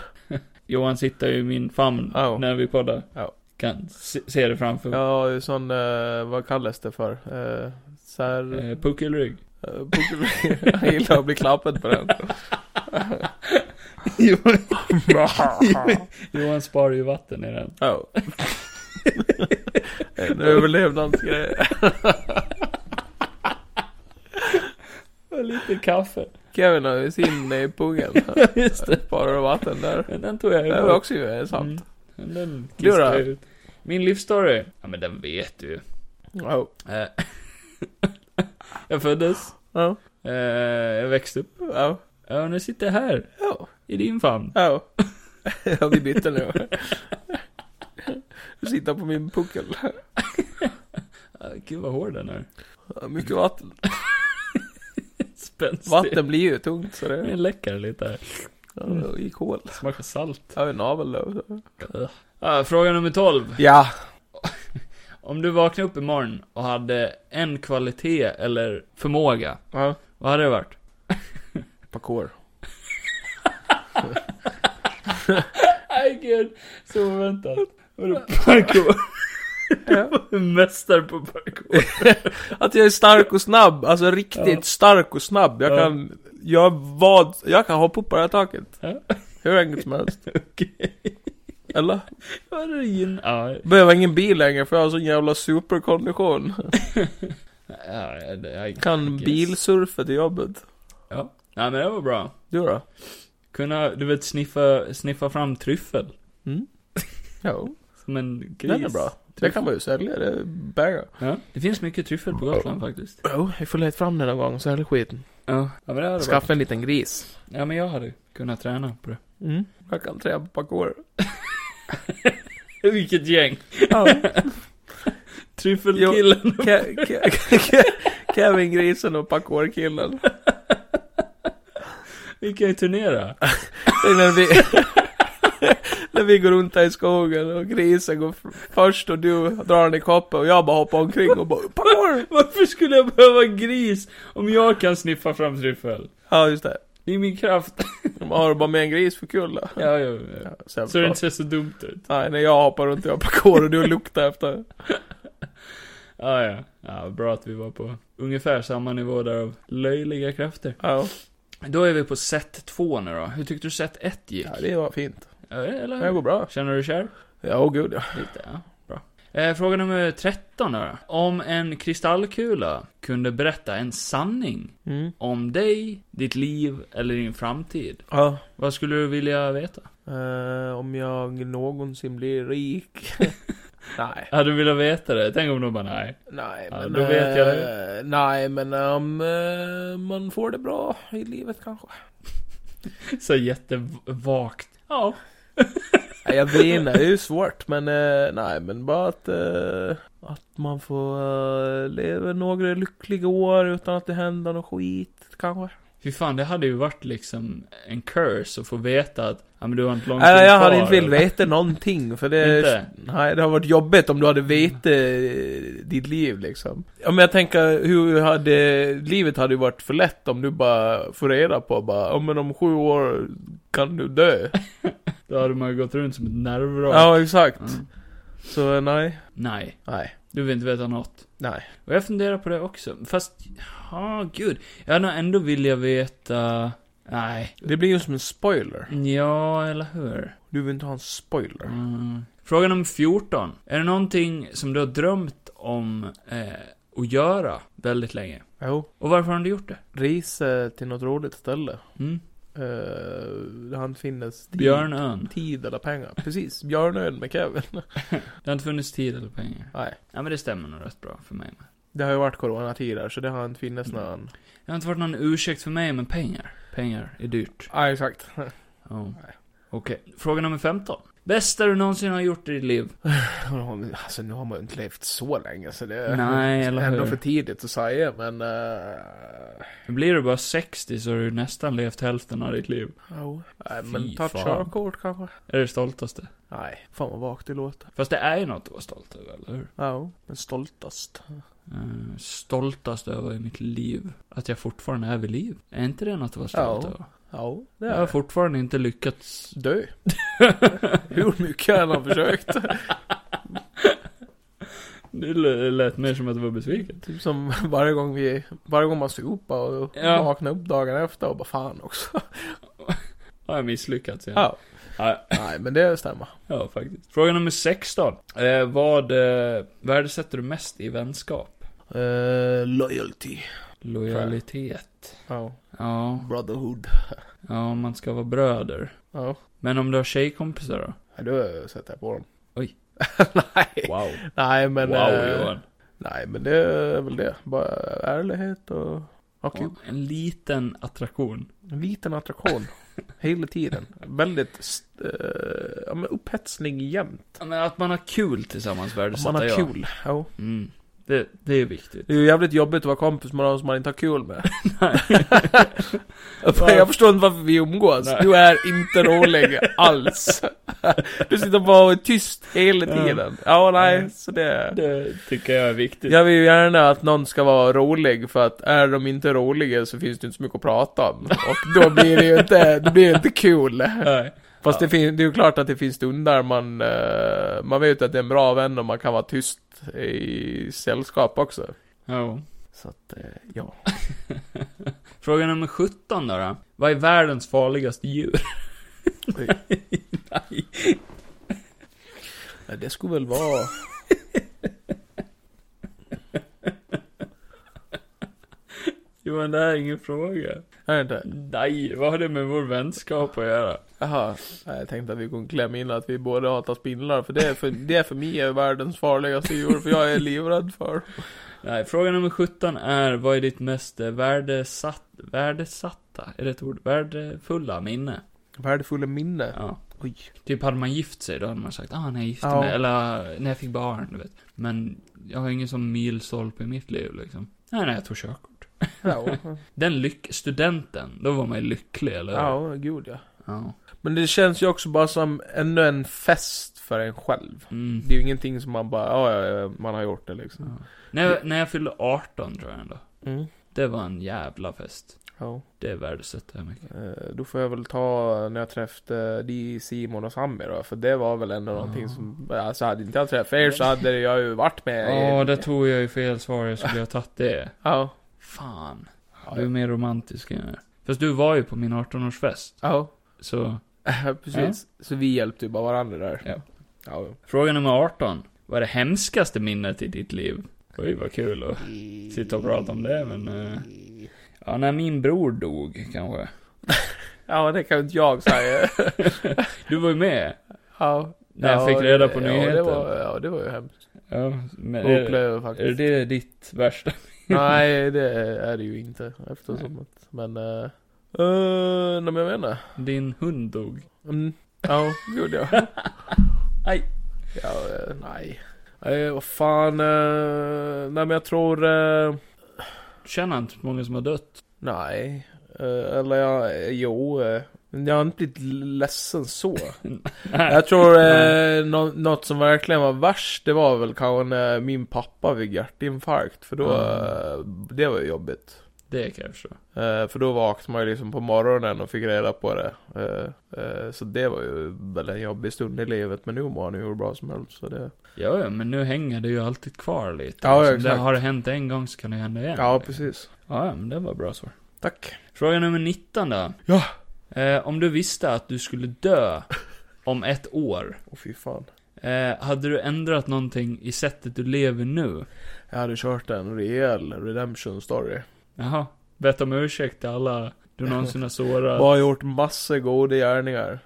Speaker 1: Johan sitter ju i min famn
Speaker 2: Ja.
Speaker 1: när vi poddar.
Speaker 2: Ja.
Speaker 1: Kan se, se det framför.
Speaker 2: Jag har ju sån, eh, vad kallas det för? Eh, så här,
Speaker 1: Eh, puckelrygg.
Speaker 2: eh, Pokémon. jag gillar att bli klappad på den.
Speaker 1: Johan sparar ju vatten i den.
Speaker 2: Ja. en överlevnadsgrej.
Speaker 1: Och lite kaffe.
Speaker 2: Kevin har ju sin i pungen.
Speaker 1: Just det.
Speaker 2: Sparar du vatten där?
Speaker 1: Men den tog jag
Speaker 2: Det
Speaker 1: ju
Speaker 2: är
Speaker 1: bort.
Speaker 2: också ju eh, sant.
Speaker 1: Mm. Men Den
Speaker 2: Klura.
Speaker 1: klistrar jag ut. Min livsstory? Ja men den vet du ju.
Speaker 2: Ja.
Speaker 1: Eh, Jag föddes.
Speaker 2: Ja.
Speaker 1: eh, Jag växte upp.
Speaker 2: Ja.
Speaker 1: Ja, och nu sitter jag här.
Speaker 2: Ja.
Speaker 1: I din famn.
Speaker 2: Ja. Ja, vi bytte nu. Sitta på min puckel.
Speaker 1: Ah, Gud vad hård den är.
Speaker 2: Ja, Mycket vatten.
Speaker 1: Spänstig.
Speaker 2: Vatten blir ju tungt så det...
Speaker 1: Den läcker lite här.
Speaker 2: Ja, det gick hål.
Speaker 1: Smakar salt.
Speaker 2: Jag har en navel då.
Speaker 1: Ah, Fråga nummer 12.
Speaker 2: Ja.
Speaker 1: Om du vaknade upp imorgon och hade en kvalitet eller förmåga,
Speaker 2: Ja.
Speaker 1: vad hade det varit?
Speaker 2: Parkour.
Speaker 1: Nej gud, så oväntat. Vadå parkour?
Speaker 2: Ja.
Speaker 1: En Mästare på parkour.
Speaker 2: Att jag är stark och snabb. Alltså riktigt
Speaker 1: Ja.
Speaker 2: stark och snabb. Jag
Speaker 1: Ja.
Speaker 2: kan... Jag vad... Jag kan hoppa upp på det här taket.
Speaker 1: Ja.
Speaker 2: Hur enkelt som helst.
Speaker 1: Okej.
Speaker 2: Eller?
Speaker 1: Vad är det gin- Ja,
Speaker 2: Behöver ingen bil längre för jag har sån jävla superkondition.
Speaker 1: ja, det- jag
Speaker 2: Kan
Speaker 1: Yes.
Speaker 2: bilsurfa till jobbet.
Speaker 1: Ja. Nej men det var bra.
Speaker 2: Du då?
Speaker 1: Kunna, du vet, sniffa, sniffa fram tryffel.
Speaker 2: Mm. Ja,
Speaker 1: Som en gris.
Speaker 2: den är bra. Det kan man ju sälja, det är banger.
Speaker 1: Ja. Det finns mycket tryffel på Gotland faktiskt.
Speaker 2: Jo, vi får leta fram den någon gång och sälja skiten.
Speaker 1: Ja. Ja men det hade varit.
Speaker 2: Skaffa en liten gris.
Speaker 1: Ja men jag hade kunnat träna på det.
Speaker 2: Mm. Jag kan trä på parkour.
Speaker 1: Vilket gäng.
Speaker 2: Ja.
Speaker 1: Tryffelkillen.
Speaker 2: Ke- Ke- Ke- Kevin Grisen och parkourkillen.
Speaker 1: Vi kan ju turnera.
Speaker 2: Det är när vi... när vi går runt här i skogen och grisen går f- först och du drar den i koppen och jag bara hoppar omkring och bara parkour.
Speaker 1: Varför skulle jag behöva gris om jag kan sniffa fram tryffel?
Speaker 2: Ja, just det.
Speaker 1: Det är min kraft.
Speaker 2: De har bara med en gris för kul då.
Speaker 1: Ja, ja, ja.
Speaker 2: Så,
Speaker 1: Så det inte ser så dumt ut.
Speaker 2: Nej, när jag hoppar runt och jag parkour och du luktar efter.
Speaker 1: Ja, ja. ja bra att vi var på ungefär samma nivå där av löjliga krafter.
Speaker 2: Ja.
Speaker 1: Då är vi på set 2 nu då. Hur tyckte du set 1 gick?
Speaker 2: ja, det var fint.
Speaker 1: Ja, Eller
Speaker 2: Det går bra.
Speaker 1: Känner du dig kär?
Speaker 2: Ja, åh gud ja.
Speaker 1: Lite, ja. Bra. Eh, fråga nummer 13 då. Om en kristallkula kunde berätta en sanning
Speaker 2: Mm.
Speaker 1: om dig, ditt liv eller din framtid.
Speaker 2: Ja.
Speaker 1: Vad skulle du vilja veta?
Speaker 2: Eh, om jag någonsin blir rik. nej.
Speaker 1: Hade du velat veta det? Tänk om de bara nej.
Speaker 2: Nej,
Speaker 1: Ja,
Speaker 2: men...
Speaker 1: då vet jag det.
Speaker 2: eh, Nej, men om eh, man får det bra i livet kanske.
Speaker 1: Så jättevagt. Ja.
Speaker 2: Nej, jag vet inte. Det är ju svårt, men eh, nej, men bara att... eh, att man får eh, leva några lyckliga år utan att det händer något skit, kanske.
Speaker 1: Fy fan, det hade ju varit liksom en curse att få veta att, ja men du har inte lång tid
Speaker 2: Nej, jag hade
Speaker 1: kvar,
Speaker 2: inte velat
Speaker 1: eller-
Speaker 2: veta någonting för det...
Speaker 1: Inte?
Speaker 2: Nej, det har varit jobbigt om du hade vetat eh, ditt liv liksom. Ja, men jag tänker hur hade... Livet hade ju varit för lätt om du bara får reda på bara, ja men om sju år kan du dö.
Speaker 1: Då hade man ju gått runt som ett nervvrak.
Speaker 2: Ja, exakt.
Speaker 1: Mm.
Speaker 2: Så eh, nej.
Speaker 1: Nej,
Speaker 2: Nej.
Speaker 1: du vill inte veta något.
Speaker 2: Nej.
Speaker 1: Och jag funderar på det också, fast, ja gud. Jag hade nog ändå vilja veta, nej.
Speaker 2: Det blir ju som en spoiler.
Speaker 1: Ja, eller hur?
Speaker 2: Du vill inte ha en spoiler.
Speaker 1: Mm. Fråga nummer 14. Är det någonting som du har drömt om eh, att göra väldigt länge?
Speaker 2: Jo.
Speaker 1: Och varför har du gjort det?
Speaker 2: Res eh, till något roligt ställe.
Speaker 1: Mm.
Speaker 2: Eh, där han finnes tid-
Speaker 1: Björnön.
Speaker 2: Tid eller pengar. Precis. Björnön med Kevin.
Speaker 1: Det har inte funnits tid eller pengar.
Speaker 2: Nej.
Speaker 1: Ja, men det stämmer nog rätt bra för mig med.
Speaker 2: Det har ju varit coronatider så det har inte funnits
Speaker 1: Mm.
Speaker 2: någon...
Speaker 1: Det har inte varit någon ursäkt för mig, men pengar. Pengar är dyrt.
Speaker 2: Ja, exakt.
Speaker 1: Ja. Okej, fråga nummer 15. Bästa du någonsin har gjort i ditt liv.
Speaker 2: Alltså nu har man ju inte levt så länge så det
Speaker 1: Eh,
Speaker 2: är
Speaker 1: Nej, eller
Speaker 2: ändå
Speaker 1: hur?
Speaker 2: för tidigt att säga men... eh,
Speaker 1: Blir du bara 60 så har du nästan levt hälften av ditt liv.
Speaker 2: Jo. Nej,
Speaker 1: Fy
Speaker 2: men ta ett
Speaker 1: fan.
Speaker 2: körkort kanske?
Speaker 1: Är det stoltaste?
Speaker 2: Nej, fan vad vagt det låter.
Speaker 1: Fast det är ju något att vara stolt över, eller hur?
Speaker 2: Ja, men stoltast.
Speaker 1: Eh, Stoltast över i mitt liv. Att jag fortfarande är vid liv. Är inte det något att vara stolt
Speaker 2: Ja,
Speaker 1: över?
Speaker 2: Ja, det
Speaker 1: Jag
Speaker 2: är
Speaker 1: har
Speaker 2: det.
Speaker 1: fortfarande inte lyckats.
Speaker 2: Dö. Hur mycket han har försökt.
Speaker 1: Det l- lät mer som att du var besviken.
Speaker 2: Typ som varje gång vi, varje gång man supar och
Speaker 1: Ja.
Speaker 2: vaknar upp dagen efter och bara fan också.
Speaker 1: Har jag misslyckats igen?
Speaker 2: Ja.
Speaker 1: Ja,
Speaker 2: Nej, men det stämmer.
Speaker 1: ja faktiskt. Fråga nummer 16. Eh, vad eh, värdesätter du mest i vänskap? Eh,
Speaker 2: Uh, loyalty.
Speaker 1: Lojalitet.
Speaker 2: Ja.
Speaker 1: Ja,
Speaker 2: Brotherhood.
Speaker 1: ja, man ska vara bröder.
Speaker 2: Ja.
Speaker 1: Men om du har tjejkompisar då?
Speaker 2: Nej, då sätter jag på dem.
Speaker 1: Oj.
Speaker 2: nej.
Speaker 1: Wow.
Speaker 2: Nej, men...
Speaker 1: wow,
Speaker 2: eh,
Speaker 1: Johan.
Speaker 2: nej, men det är väl det. Bara ärlighet och... Ha kul.
Speaker 1: Ja, En liten attraktion.
Speaker 2: En liten attraktion. Hela tiden. Väldigt st- eh, ja, men upphetsning jämt.
Speaker 1: Ja, Men att man har kul tillsammans
Speaker 2: Om
Speaker 1: värdesätter
Speaker 2: man har
Speaker 1: jag.
Speaker 2: kul. Ja.
Speaker 1: Mm. Det, det är viktigt.
Speaker 2: Det är ju jävligt jobbigt att vara kompis med någon som man inte har kul med.
Speaker 1: Nej.
Speaker 2: jag förstår inte varför vi umgås.
Speaker 1: Nej.
Speaker 2: Du är inte rolig alls. Du sitter bara och är tyst hela
Speaker 1: Ja.
Speaker 2: tiden. Ja,
Speaker 1: Ja.
Speaker 2: nej, så det...
Speaker 1: Det tycker jag är viktigt.
Speaker 2: Jag vill ju gärna att någon ska vara rolig, för att är de inte roliga så finns det inte så mycket att prata om. Och då blir det ju inte, det blir inte kul.
Speaker 1: Nej.
Speaker 2: Fast
Speaker 1: Ja.
Speaker 2: det, fin- det är ju klart att det finns stunder man, eh, man vet att det är en bra vän och man kan vara tyst i sällskap också.
Speaker 1: Ja.
Speaker 2: Så att, eh, ja.
Speaker 1: Fråga nummer 17 då, då. Vad är världens farligaste djur?
Speaker 2: Oj. Nej, Det skulle väl vara...
Speaker 1: Johan, det här är ingen fråga.
Speaker 2: Är det inte?
Speaker 1: Nej, vad har det med vår vänskap att göra?
Speaker 2: Jaha. Nej, Jag tänkte att vi kunde klämma in att vi båda hatar spindlar, för det är för, det är för mig är världens farligaste djur, för jag är livrädd för.
Speaker 1: Nej, fråga nummer 17 är, vad är ditt mest eh, värdesatt, värdesatta? Är det ett ord? Värdefulla minne?
Speaker 2: Värdefulla minne.
Speaker 1: Ja.
Speaker 2: Oj.
Speaker 1: Typ hade man gift sig, då hade man sagt ah, när jag gifte
Speaker 2: Ja.
Speaker 1: mig, eller när jag fick barn, du vet. Men jag har ingen sån milstolpe i mitt liv liksom. Nej, nej, jag tog körkort.
Speaker 2: Ja,
Speaker 1: Den lyck... Studenten, då var man ju lycklig, eller hur?
Speaker 2: ja gud ja.
Speaker 1: Ja.
Speaker 2: Men det känns ju också bara som ännu en fest för en själv.
Speaker 1: Mm.
Speaker 2: Det är ju ingenting som man bara, ja, ja, ja, man har gjort det liksom.
Speaker 1: Ja. När, jag, när jag fyllde 18 tror jag ändå.
Speaker 2: Mm.
Speaker 1: Det var en jävla fest.
Speaker 2: Ja.
Speaker 1: Det värdesätter jag mycket.
Speaker 2: Eh, Då får jag väl ta när jag träffade de Simon och Sammy då, för det var väl ändå
Speaker 1: Ja.
Speaker 2: någonting som, alltså hade inte jag träffat er så hade jag ju varit med i-
Speaker 1: Ja, där tog jag ju fel svar. Jag skulle ha tagit det.
Speaker 2: Ja.
Speaker 1: Fan.
Speaker 2: Ja,
Speaker 1: Du är mer romantisk än jag är. Fast du var ju på min 18-årsfest.
Speaker 2: ja.
Speaker 1: Så,
Speaker 2: precis. Så vi hjälpte ju bara varandra där.
Speaker 1: Ja.
Speaker 2: ja.
Speaker 1: fråga nummer 18. Vad är det hemskaste minnet i ditt liv? Oj, vad kul att sitta och prata om det, men... eh, ja, när min bror dog, kanske.
Speaker 2: Ja, det kan ju inte jag säga.
Speaker 1: Du var ju med.
Speaker 2: ja.
Speaker 1: När jag
Speaker 2: ja,
Speaker 1: fick reda på
Speaker 2: det-
Speaker 1: nyheten.
Speaker 2: Ja, det var, ja, det var ju hemskt.
Speaker 1: Ja, men...
Speaker 2: Att
Speaker 1: Är,
Speaker 2: uppleva faktiskt.
Speaker 1: är det ditt värsta?
Speaker 2: Nej, det är det ju inte. Eftersom att, men... Uh, uh, nej, men jag vet inte.
Speaker 1: Din hund dog.
Speaker 2: Mm. Ja, gud ja.
Speaker 1: Aj.
Speaker 2: ja eh, nej. Eh, vad fan. eh, nej, men jag tror... eh,
Speaker 1: Känner inte många som har dött.
Speaker 2: nej. Eh, eller jag... Jo. eh, men jag har inte blivit ledsen så. Jag tror eh, nå- något som verkligen var värst, det var väl kanske när min pappa fick hjärtinfarkt. För då,
Speaker 1: Mm.
Speaker 2: eh, det var ju jobbigt.
Speaker 1: Det kan jag förstå.
Speaker 2: Eh, för då vaknade man ju liksom på morgonen och fick reda på det. Eh, eh, så det var ju väl en jobbig stund i livet. Men nu mår han ju hur bra som helst. Så det...
Speaker 1: Ja, ja, men nu hänger det ju alltid kvar lite.
Speaker 2: Ja,
Speaker 1: Liksom,
Speaker 2: exakt.
Speaker 1: Det har det hänt en gång så kan det hända igen.
Speaker 2: Ja, precis.
Speaker 1: Ja, ja, men det var bra svar.
Speaker 2: Tack.
Speaker 1: Fråga nummer 19 då.
Speaker 2: Ja.
Speaker 1: Eh, om du visste att du skulle dö om ett år,
Speaker 2: Åh fy fan.
Speaker 1: eh, hade du ändrat någonting i sättet du lever nu?
Speaker 2: Jag hade kört en rejäl redemption story.
Speaker 1: Jaha, bett om ursäkt till alla du någonsin har sårat.
Speaker 2: Bara gjort massor goda gärningar.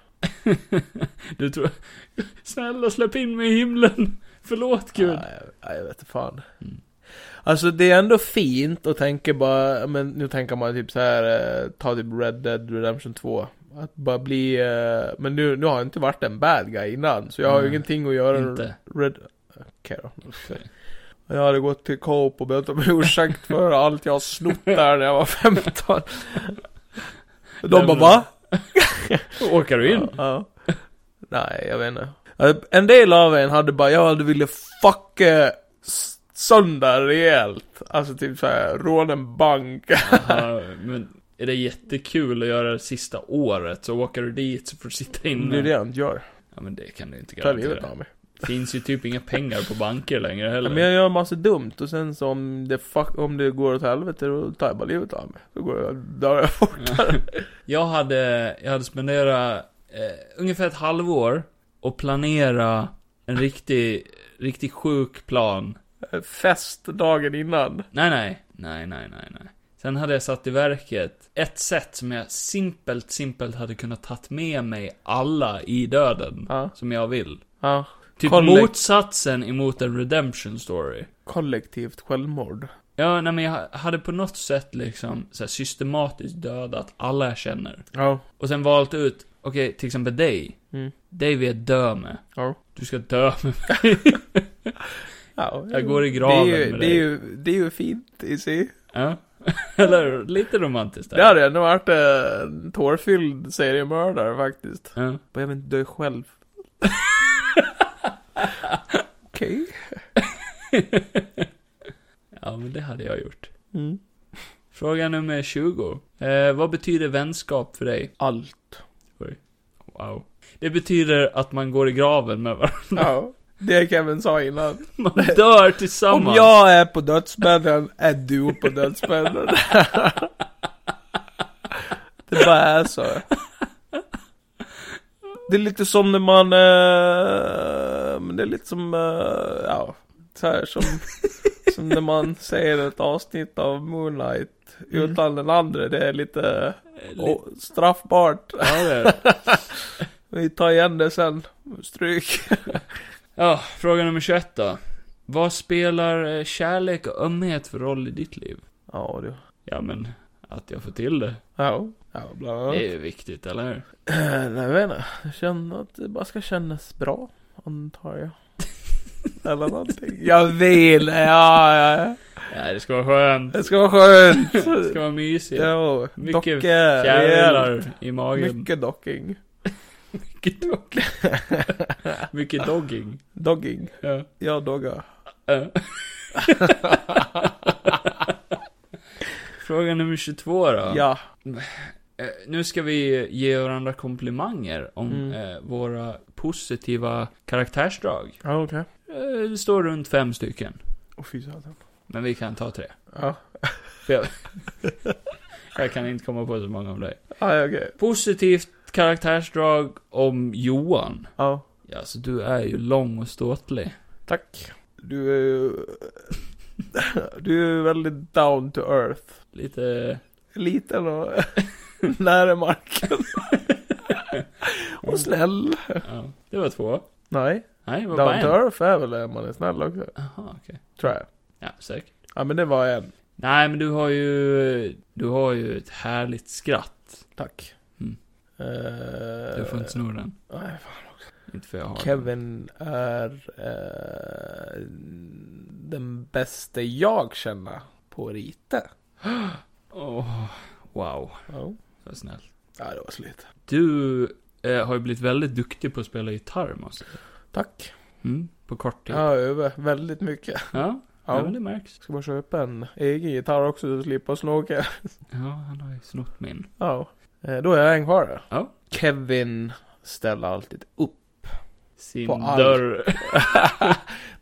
Speaker 1: Du tror... Snälla släpp in mig i himlen! Förlåt Gud.
Speaker 2: Nej, jag- jag vet inte fan.
Speaker 1: Mm.
Speaker 2: Alltså det är ändå fint att tänka bara, men nu tänker man typ så här eh, ta typ Red Dead Redemption 2. Att bara bli... eh, men nu, nu har jag inte varit en bad guy innan. Så jag har ju
Speaker 1: Nej,
Speaker 2: ingenting att göra.
Speaker 1: Inte.
Speaker 2: Red... Okej då. Jag hade gått till Coop och bett om ursäkt för allt jag har snott där när jag var 15. De bara
Speaker 1: men-
Speaker 2: va?
Speaker 1: Åkar du in?
Speaker 2: Ja. Nej, jag vet inte. En del av en hade bara, jag hade ville fucka s- sönder rejält. Alltså typ såhär, råna en bank.
Speaker 1: Aha, men är det jättekul att göra det sista året så åker du dit så får du sitta
Speaker 2: Mm, Det är det
Speaker 1: inne.
Speaker 2: jag inte gör.
Speaker 1: Ja men det kan du inte
Speaker 2: Ta livet
Speaker 1: garantera.
Speaker 2: av mig.
Speaker 1: Det finns ju typ inga pengar på banker längre heller.
Speaker 2: Men jag gör massa dumt och sen så om det, fuck, om det går åt helvete då tar jag bara livet av mig. Då går jag, dör jag fort.
Speaker 1: Jag hade, jag hade spenderat eh, ungefär ett halvår och planera en riktig, riktig sjuk plan.
Speaker 2: Fest dagen innan.
Speaker 1: Nej, nej, nej, nej, nej, nej. Sen hade jag satt i verket ett sätt som jag simpelt, simpelt hade kunnat tagit med mig alla i döden.
Speaker 2: Ja.
Speaker 1: Som jag vill.
Speaker 2: ja.
Speaker 1: Typ
Speaker 2: Kollek-
Speaker 1: motsatsen emot en redemption story.
Speaker 2: Kollektivt självmord.
Speaker 1: Ja, nej men jag hade på något sätt liksom så här, systematiskt dödat alla jag känner.
Speaker 2: Ja.
Speaker 1: Och sen valt ut, okej, till exempel dig.
Speaker 2: Mm.
Speaker 1: Dig vill jag dö med.
Speaker 2: Ja.
Speaker 1: Du ska dö med mig.
Speaker 2: ja.
Speaker 1: Jag går i graven
Speaker 2: det är ju,
Speaker 1: med
Speaker 2: det är
Speaker 1: dig.
Speaker 2: ju, det är ju fint i sig.
Speaker 1: Ja. Eller lite romantiskt där.
Speaker 2: Det hade ändå varit eh, en tårfylld seriemördare faktiskt.
Speaker 1: Ja.
Speaker 2: Men jag vill inte dö själv. Okej.
Speaker 1: ja, men det hade jag gjort.
Speaker 2: Mm.
Speaker 1: Fråga nummer 20. Eh, vad betyder vänskap för dig?
Speaker 2: Allt.
Speaker 1: Wow. Det betyder att man går i graven med varandra.
Speaker 2: Ja. Det Kevin sa innan.
Speaker 1: Man dör
Speaker 2: Om
Speaker 1: tillsammans.
Speaker 2: jag är på dödsbädden, är du på dödsbädden. det bara är så. Det är lite som när man, eh, men det är lite som, eh, ja, så här som, som när man ser ett avsnitt av Moonlight utan den andra. Det är lite
Speaker 1: Eh,
Speaker 2: oh, straffbart.
Speaker 1: Ja, det är det.
Speaker 2: Vi tar igen det sen. Stryk.
Speaker 1: Ja, fråga nummer 21 då. Vad spelar eh, kärlek och ömhet för roll i ditt liv?
Speaker 2: Ja, du.
Speaker 1: Ja, men att jag får till det.
Speaker 2: Ja, ja bland annat.
Speaker 1: Det är ju viktigt, eller hur?
Speaker 2: Eh, Nej, jag vet inte. Jag känner att det bara ska kännas bra, antar jag. Eller någonting. Jag vill, ja, ja, ja.
Speaker 1: Nej, det ska vara skönt.
Speaker 2: Det ska vara skönt.
Speaker 1: Det ska vara mysigt.
Speaker 2: Jo,
Speaker 1: Mycket
Speaker 2: docke, rejält.
Speaker 1: Fjärilar i magen.
Speaker 2: Mycket docking.
Speaker 1: Mycket dogging. Mycket dogging.
Speaker 2: Dogging.
Speaker 1: Ja.
Speaker 2: Jag doggar.
Speaker 1: Ja. Fråga nummer 22 då.
Speaker 2: Ja.
Speaker 1: Eh, Nu ska vi ge varandra komplimanger om
Speaker 2: Mm.
Speaker 1: eh, våra positiva karaktärsdrag.
Speaker 2: Ja, okej.
Speaker 1: Eh, det står runt fem stycken.
Speaker 2: Åh fy satan.
Speaker 1: Men vi kan ta tre.
Speaker 2: Ja,
Speaker 1: Jag kan inte komma på så många av dig.
Speaker 2: ja okej.
Speaker 1: Positivt karaktärsdrag om Johan.
Speaker 2: Ja.
Speaker 1: Ja, alltså du är ju lång och ståtlig.
Speaker 2: Tack. Du är ju... Du är ju väldigt down to earth.
Speaker 1: Lite...
Speaker 2: Liten och nära marken. och snäll.
Speaker 1: Ja, det var två.
Speaker 2: Nej,
Speaker 1: Nej, det var bara
Speaker 2: down to
Speaker 1: en.
Speaker 2: earth är väl det man är snäll också.
Speaker 1: Jaha, okej.
Speaker 2: Tror jag.
Speaker 1: Ja, säkert.
Speaker 2: Ja men det var en.
Speaker 1: Nej, men du har ju... Du har ju ett härligt skratt.
Speaker 2: Tack.
Speaker 1: Mm.
Speaker 2: Eh,
Speaker 1: Du får inte sno den.
Speaker 2: nej, fan.
Speaker 1: Inte för jag har den.
Speaker 2: Kevin är eh, den bästa jag känner på rite.
Speaker 1: Åh, wow.
Speaker 2: Ja,
Speaker 1: Så snällt.
Speaker 2: Ja, det var slut.
Speaker 1: Du eh, har ju blivit väldigt duktig på att spela gitarr, måste jag säga.
Speaker 2: Tack.
Speaker 1: Mm, på kort tid. Ja.
Speaker 2: Ja, över väldigt mycket.
Speaker 1: Ja,
Speaker 2: Ja.
Speaker 1: men det märks.
Speaker 2: Ska bara köpa en egen gitarr också så slipper snoka.
Speaker 1: Ja, han har ju snott min.
Speaker 2: Ja, eh, då är jag en kvar där.
Speaker 1: Ja.
Speaker 2: Kevin ställer alltid upp.
Speaker 1: Sin
Speaker 2: På allt.
Speaker 1: dörr.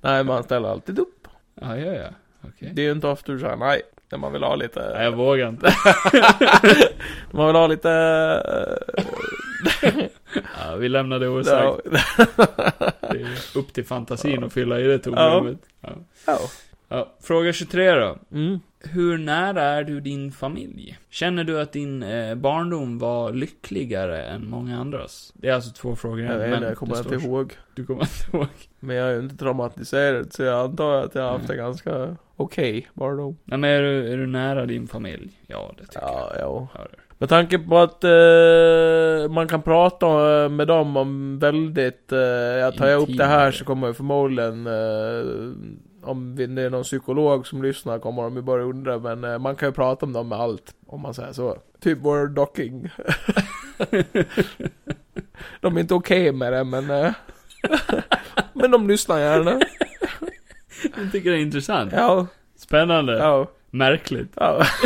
Speaker 2: nej, man ställer alltid upp.
Speaker 1: Ja, ja, ja. Okej.
Speaker 2: Det är ju inte ofta du säger nej. När man vill ha lite...
Speaker 1: Nej, jag vågar inte.
Speaker 2: när man vill ha lite... eh,
Speaker 1: Ja, vi lämnar det
Speaker 2: ja,
Speaker 1: osagt. Det är upp till fantasin att fylla i det tomrummet. Ja.
Speaker 2: ja.
Speaker 1: Ja, fråga 23 då.
Speaker 2: Mm.
Speaker 1: Hur nära är du din familj? Känner du att din eh, barndom var lyckligare än många andras? Det är alltså två frågor.
Speaker 2: Jag, vet, inte, jag
Speaker 1: det
Speaker 2: kommer inte
Speaker 1: står-
Speaker 2: ihåg.
Speaker 1: Du kommer inte ihåg.
Speaker 2: Men jag är ju inte traumatiserad så jag antar att jag har haft det
Speaker 1: Nej.
Speaker 2: ganska okej barndom.
Speaker 1: Nej, men är du, är du nära din familj? Ja, det tycker
Speaker 2: Ja, ja.
Speaker 1: jag. Hör.
Speaker 2: Med tanke på att eh, man kan prata eh, med dem om väldigt... Eh, jag tar jag upp det här
Speaker 1: Intimare.
Speaker 2: så kommer jag förmodligen... Eh, om vi- det är någon psykolog som lyssnar kommer de ju bara undra men eh, man kan ju prata om dem med allt. Om man säger så. Typ vår docking. de är inte okej med det men... Eh, men de lyssnar gärna.
Speaker 1: Jag tycker det är intressant.
Speaker 2: Ja,
Speaker 1: Spännande.
Speaker 2: ja.
Speaker 1: Märkligt.
Speaker 2: Ja.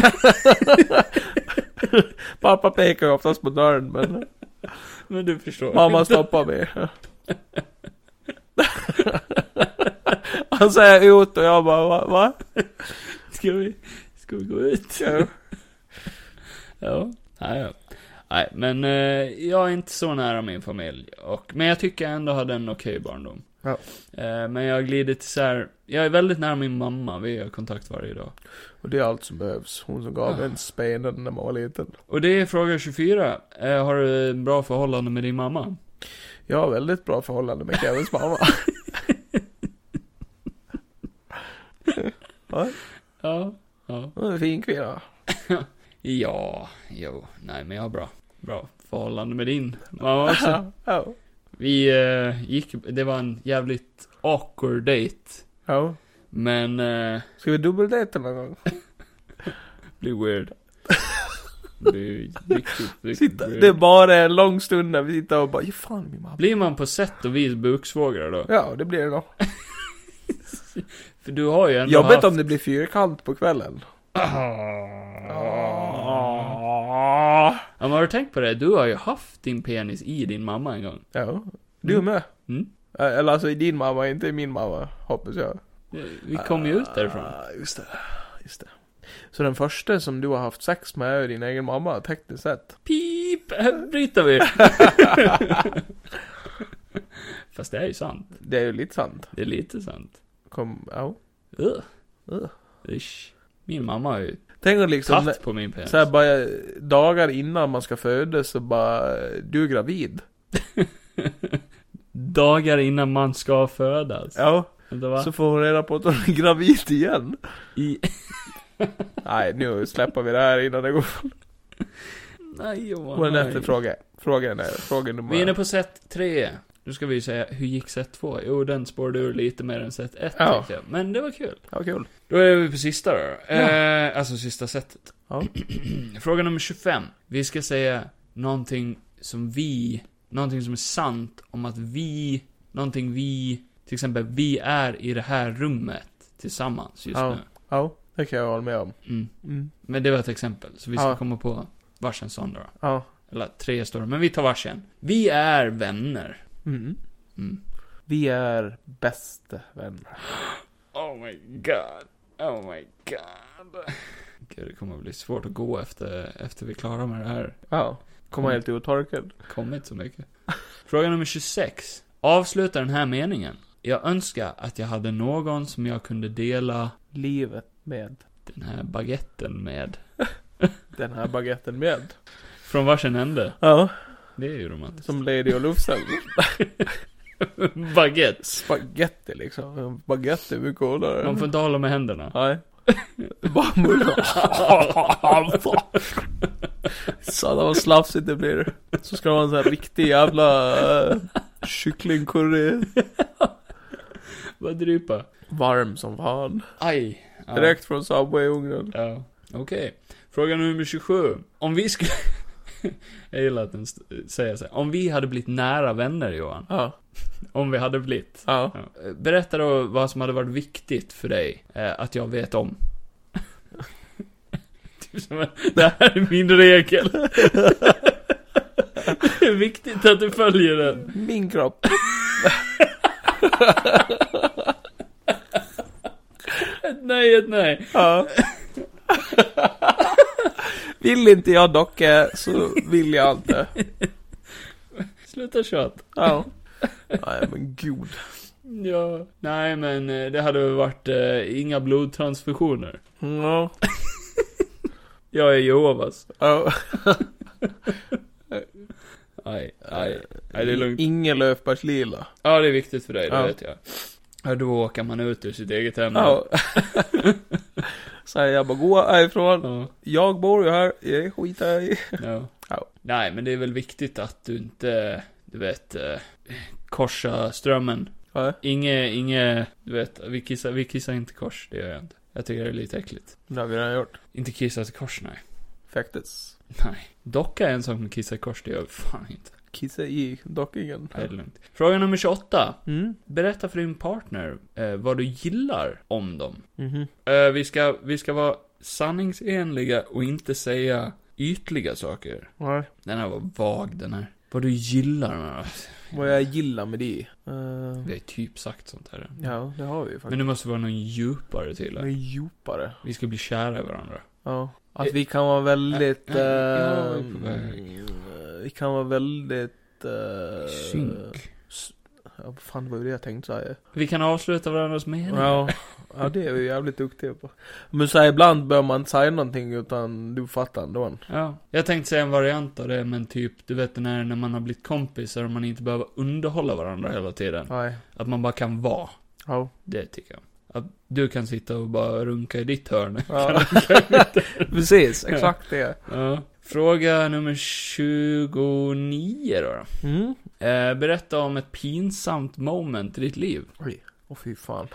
Speaker 2: Pappa pekar ju oftast på dörren men
Speaker 1: Men du förstår.
Speaker 2: mamma stoppar mig. Han säger ut och jag bara va? va?
Speaker 1: Ska vi, ska vi gå ut?
Speaker 2: Ja.
Speaker 1: Ja. Nej, ja. Nej, men eh, jag är inte så nära min familj. Och, men jag tycker jag ändå hade en okej barndom.
Speaker 2: Ja.
Speaker 1: Eh, men jag har glidit isär. Jag är väldigt nära min mamma. Vi har kontakt varje dag.
Speaker 2: Och det är allt som behövs. Hon som gav en spenen när man var liten.
Speaker 1: Och det är fråga 24. Eh, har du en bra förhållande med din mamma?
Speaker 2: Jag har väldigt bra förhållande med Kevins mamma.
Speaker 1: Ja. Ja.
Speaker 2: Hon är en fin kvinna.
Speaker 1: Ja, jo. Nej, men jag har bra. Bra förhållande med din mamma också.
Speaker 2: Ja.
Speaker 1: Vi eh, gick, det var en jävligt awkward date.
Speaker 2: Ja.
Speaker 1: Men, eh,
Speaker 2: Ska vi dubbeldejta någon gång?
Speaker 1: blev weird. Det är riktigt, riktigt
Speaker 2: Sitta,
Speaker 1: weird.
Speaker 2: det är bara en lång stund när vi sitter och bara, ge fan min mamma.
Speaker 1: Blir man på sätt och vis buksvågare då?
Speaker 2: Ja, det blir det då.
Speaker 1: För du har ju ändå
Speaker 2: Jobbigt
Speaker 1: haft...
Speaker 2: om det blir fyrkant på kvällen.
Speaker 1: Ah. Ja, men har du tänkt på det? Du har ju haft din penis i din mamma en gång.
Speaker 2: Ja. Du med?
Speaker 1: Mm.
Speaker 2: Ä- Eller alltså i din mamma, inte i min mamma, hoppas jag.
Speaker 1: Vi kom ju ut därifrån.
Speaker 2: Ah, just det. Just det. Så den första som du har haft sex med är ju din egen mamma, tekniskt sett.
Speaker 1: Pip! Här bryter vi! Fast det är ju sant.
Speaker 2: Det är ju lite sant.
Speaker 1: Det är lite sant.
Speaker 2: Kom, ja.
Speaker 1: Ugh.
Speaker 2: Ugh.
Speaker 1: Usch. Min mamma har ju
Speaker 2: Tänk om liksom,
Speaker 1: tatt på min penis.
Speaker 2: så här bara dagar innan man ska födas så bara, du är gravid.
Speaker 1: Dagar innan man ska födas.
Speaker 2: Ja.
Speaker 1: Vänta, va?
Speaker 2: Så får hon reda på att hon är gravid igen.
Speaker 1: I...
Speaker 2: Nej, nu släpper vi det här innan det går
Speaker 1: Nej, Johan.
Speaker 2: på en
Speaker 1: nej.
Speaker 2: efterfråga. Frågan är, fråga nummer...
Speaker 1: Vi är inne på set 3. Nu ska vi säga, hur gick set 2? Jo, den spårade ur lite mer än set 1
Speaker 2: Ja.
Speaker 1: tyckte jag. Men det var kul.
Speaker 2: Ja, kul.
Speaker 1: Då är vi på sista då. Eh, alltså sista setet.
Speaker 2: Ja.
Speaker 1: Fråga nummer 25. Vi ska säga någonting som vi, någonting som är sant om att vi, någonting vi, till exempel vi är i det här rummet tillsammans just
Speaker 2: Ja.
Speaker 1: nu.
Speaker 2: Ja, det kan jag hålla med om.
Speaker 1: Mm.
Speaker 2: Mm.
Speaker 1: Men det var ett exempel, så vi ska
Speaker 2: Ja.
Speaker 1: komma på varsin sån då.
Speaker 2: Ja.
Speaker 1: Eller tre står det, men vi tar varsin. Vi är vänner.
Speaker 2: Mm.
Speaker 1: Mm.
Speaker 2: Vi är bästa vänner.
Speaker 1: Oh my god. Oh my god. Gud, det kommer bli svårt att gå efter, efter vi är klara med det här.
Speaker 2: Ja.
Speaker 1: Mm.
Speaker 2: Kommer helt uttorkad.
Speaker 1: Kommit så mycket. Fråga nummer 26. Avsluta den här meningen. Jag önskar att jag hade någon som jag kunde dela
Speaker 2: Livet med
Speaker 1: den här baguetten med.
Speaker 2: den här baguetten med.
Speaker 1: Från varsin ände.
Speaker 2: Ja.
Speaker 1: Det är ju romantiskt.
Speaker 2: Som Lady och Lufsen.
Speaker 1: Baguette.
Speaker 2: Spaghetti liksom. Baguette är mycket coolare.
Speaker 1: Man får inte hålla med händerna.
Speaker 2: Nej. Bara munnen. Satan vad slafsigt det blir. Så ska det vara en sån här riktig jävla uh, kycklingcurry.
Speaker 1: Bara drypa.
Speaker 2: Varm som fan.
Speaker 1: Aj. Ja.
Speaker 2: Direkt från Subway-ugnen.
Speaker 1: Ja, okej. Fråga nummer 27. Om vi skulle... Jag gillar att den st- säger så här. Om vi hade blivit nära vänner, Johan.
Speaker 2: Ja.
Speaker 1: Om vi hade blivit.
Speaker 2: Ja.
Speaker 1: Ja. Berätta då vad som hade varit viktigt för dig eh, att jag vet om. Typ som en- Det här är min regel. Det är viktigt att du följer den.
Speaker 2: Min kropp.
Speaker 1: Ett nej, ett nej.
Speaker 2: Ja. Vill inte jag docka så vill jag inte.
Speaker 1: Sluta tjat.
Speaker 2: Ja. Nej men gud.
Speaker 1: Ja. Nej, men eh, det hade väl varit eh, inga blodtransfusioner.
Speaker 2: Ja.
Speaker 1: Jag är Jehovas.
Speaker 2: Ja.
Speaker 1: Nej, nej. Eh, Nej, det är lugnt.
Speaker 2: Inge Löfbergs lila.
Speaker 1: Ja, det är viktigt för dig, det
Speaker 2: Ja.
Speaker 1: vet jag. Ja, då åker man ut ur sitt eget hem.
Speaker 2: Ja. Så här, jag bara, gå härifrån.
Speaker 1: Ja.
Speaker 2: Jag bor ju här, jag skiter i.
Speaker 1: Ja.
Speaker 2: Ja.
Speaker 1: Nej, men det är väl viktigt att du inte, du vet, eh, korsa strömmen.
Speaker 2: Ja.
Speaker 1: Inge, inge, du vet, vi kissar, vi kissar inte kors, det gör jag inte. Jag tycker det är lite äckligt.
Speaker 2: Det har vi redan gjort.
Speaker 1: Inte kissa till kors, nej.
Speaker 2: Faktiskt.
Speaker 1: Nej. Docka är en sak, men kissa i kors, det gör vi fan inte.
Speaker 2: Kissa i dockingen.
Speaker 1: Nej, det är lugnt. Fråga nummer 28.
Speaker 2: Mm.
Speaker 1: Berätta för din partner eh, vad du gillar om dem.
Speaker 2: Mhm.
Speaker 1: Eh, vi, ska, vi ska vara sanningsenliga och inte säga ytliga saker.
Speaker 2: Nej.
Speaker 1: Den här var vag, den här. Vad du gillar med dem.
Speaker 2: Vad jag gillar med det. Eh,
Speaker 1: Vi har ju typ sagt sånt här.
Speaker 2: ja, det har vi ju
Speaker 1: Men
Speaker 2: faktiskt.
Speaker 1: det måste vara någon djupare till
Speaker 2: Men
Speaker 1: det.
Speaker 2: djupare.
Speaker 1: Vi ska bli kära i varandra.
Speaker 2: Ja. Att vi kan vara väldigt...
Speaker 1: Eh, Ja, ja, ja, vi är på
Speaker 2: ehm,
Speaker 1: väg.
Speaker 2: vi kan vara väldigt... Uh,
Speaker 1: Synk.
Speaker 2: Ja, vad fan det var ju det jag tänkte säga.
Speaker 1: Vi kan avsluta varandras meningar.
Speaker 2: Ja, ja, det är vi jävligt duktiga på. Men så här, ibland behöver man inte säga någonting utan du fattar ändå.
Speaker 1: Ja. Jag tänkte säga en variant av det, men typ, du vet den här när man har blivit kompisar och man inte behöver underhålla varandra hela tiden.
Speaker 2: Nej.
Speaker 1: Att man bara kan vara.
Speaker 2: Ja.
Speaker 1: Det tycker jag. Att du kan sitta och bara runka i ditt hörn.
Speaker 2: ja. Precis, exakt det.
Speaker 1: Ja. Fråga nummer 29 då. då.
Speaker 2: Mm.
Speaker 1: Eh, berätta om ett pinsamt moment i ditt liv.
Speaker 2: Oj. Åh fy fan.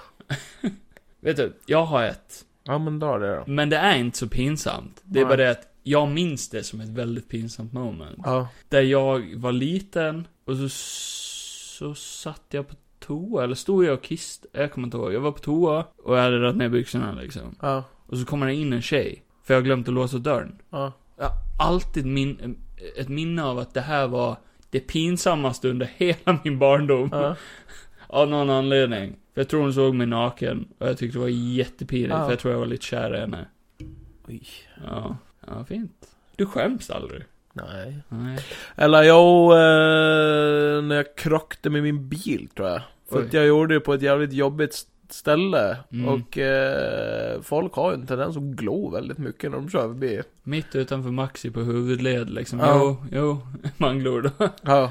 Speaker 1: Vet du, jag har ett.
Speaker 2: Ja men dra det då.
Speaker 1: Men det är inte så pinsamt. Det är
Speaker 2: Nej.
Speaker 1: bara det att jag minns det som ett väldigt pinsamt moment.
Speaker 2: Ja.
Speaker 1: Där jag var liten och så, så satt jag på toa, eller stod jag och kissade, jag kommer inte ihåg. Jag var på toa och jag hade dragit ner byxorna liksom.
Speaker 2: Ja.
Speaker 1: Och så kommer det in en tjej, för jag har glömt att låsa dörren.
Speaker 2: Ja.
Speaker 1: Jag har alltid min, ett minne av att det här var det pinsammaste under hela min barndom.
Speaker 2: Ja.
Speaker 1: Av någon anledning. För jag tror hon såg mig naken och jag tyckte det var jättepinigt
Speaker 2: Ja.
Speaker 1: för jag tror jag var lite kär i henne.
Speaker 2: Oj.
Speaker 1: Ja, ja fint. Du skäms aldrig.
Speaker 2: Nej.
Speaker 1: Nej.
Speaker 2: Eller jag, eh, när jag krockade med min bil tror jag. För
Speaker 1: Oj.
Speaker 2: att jag gjorde det på ett jävligt jobbigt st- ställe.
Speaker 1: Mm.
Speaker 2: Och eh, folk har ju en tendens att glo väldigt mycket när de kör förbi.
Speaker 1: Mitt utanför Maxi på huvudled liksom.
Speaker 2: Ja.
Speaker 1: Jo, jo, man glor då.
Speaker 2: Ja.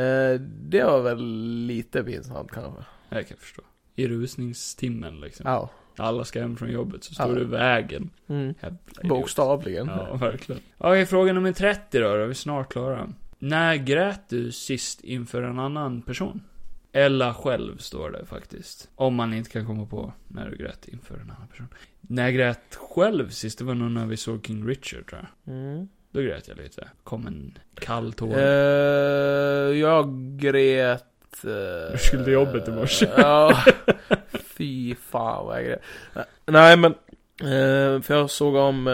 Speaker 2: Eh, det var väl lite pinsamt kanske.
Speaker 1: Jag kan förstå. I rusningstimmen liksom.
Speaker 2: Ja.
Speaker 1: Alla ska hem från jobbet så står
Speaker 2: Ja.
Speaker 1: du i vägen.
Speaker 2: Mm.
Speaker 1: Jävla idiot.
Speaker 2: Bokstavligen.
Speaker 1: Ja, verkligen. Okej, fråga nummer 30 då, då är vi snart klara. När grät du sist inför en annan person? Eller själv, står det faktiskt. Om man inte kan komma på när du grät inför en annan person. När jag grät själv sist, det var nog när vi såg King Richard, tror jag.
Speaker 2: Mm.
Speaker 1: Då grät jag lite. Kom en kall tår.
Speaker 2: Eh, jag grät... eh,
Speaker 1: Du skulle till jobbet i morse.
Speaker 2: Ja. Fy fan vad jag grät. Nej men. eh, för jag såg om, eh,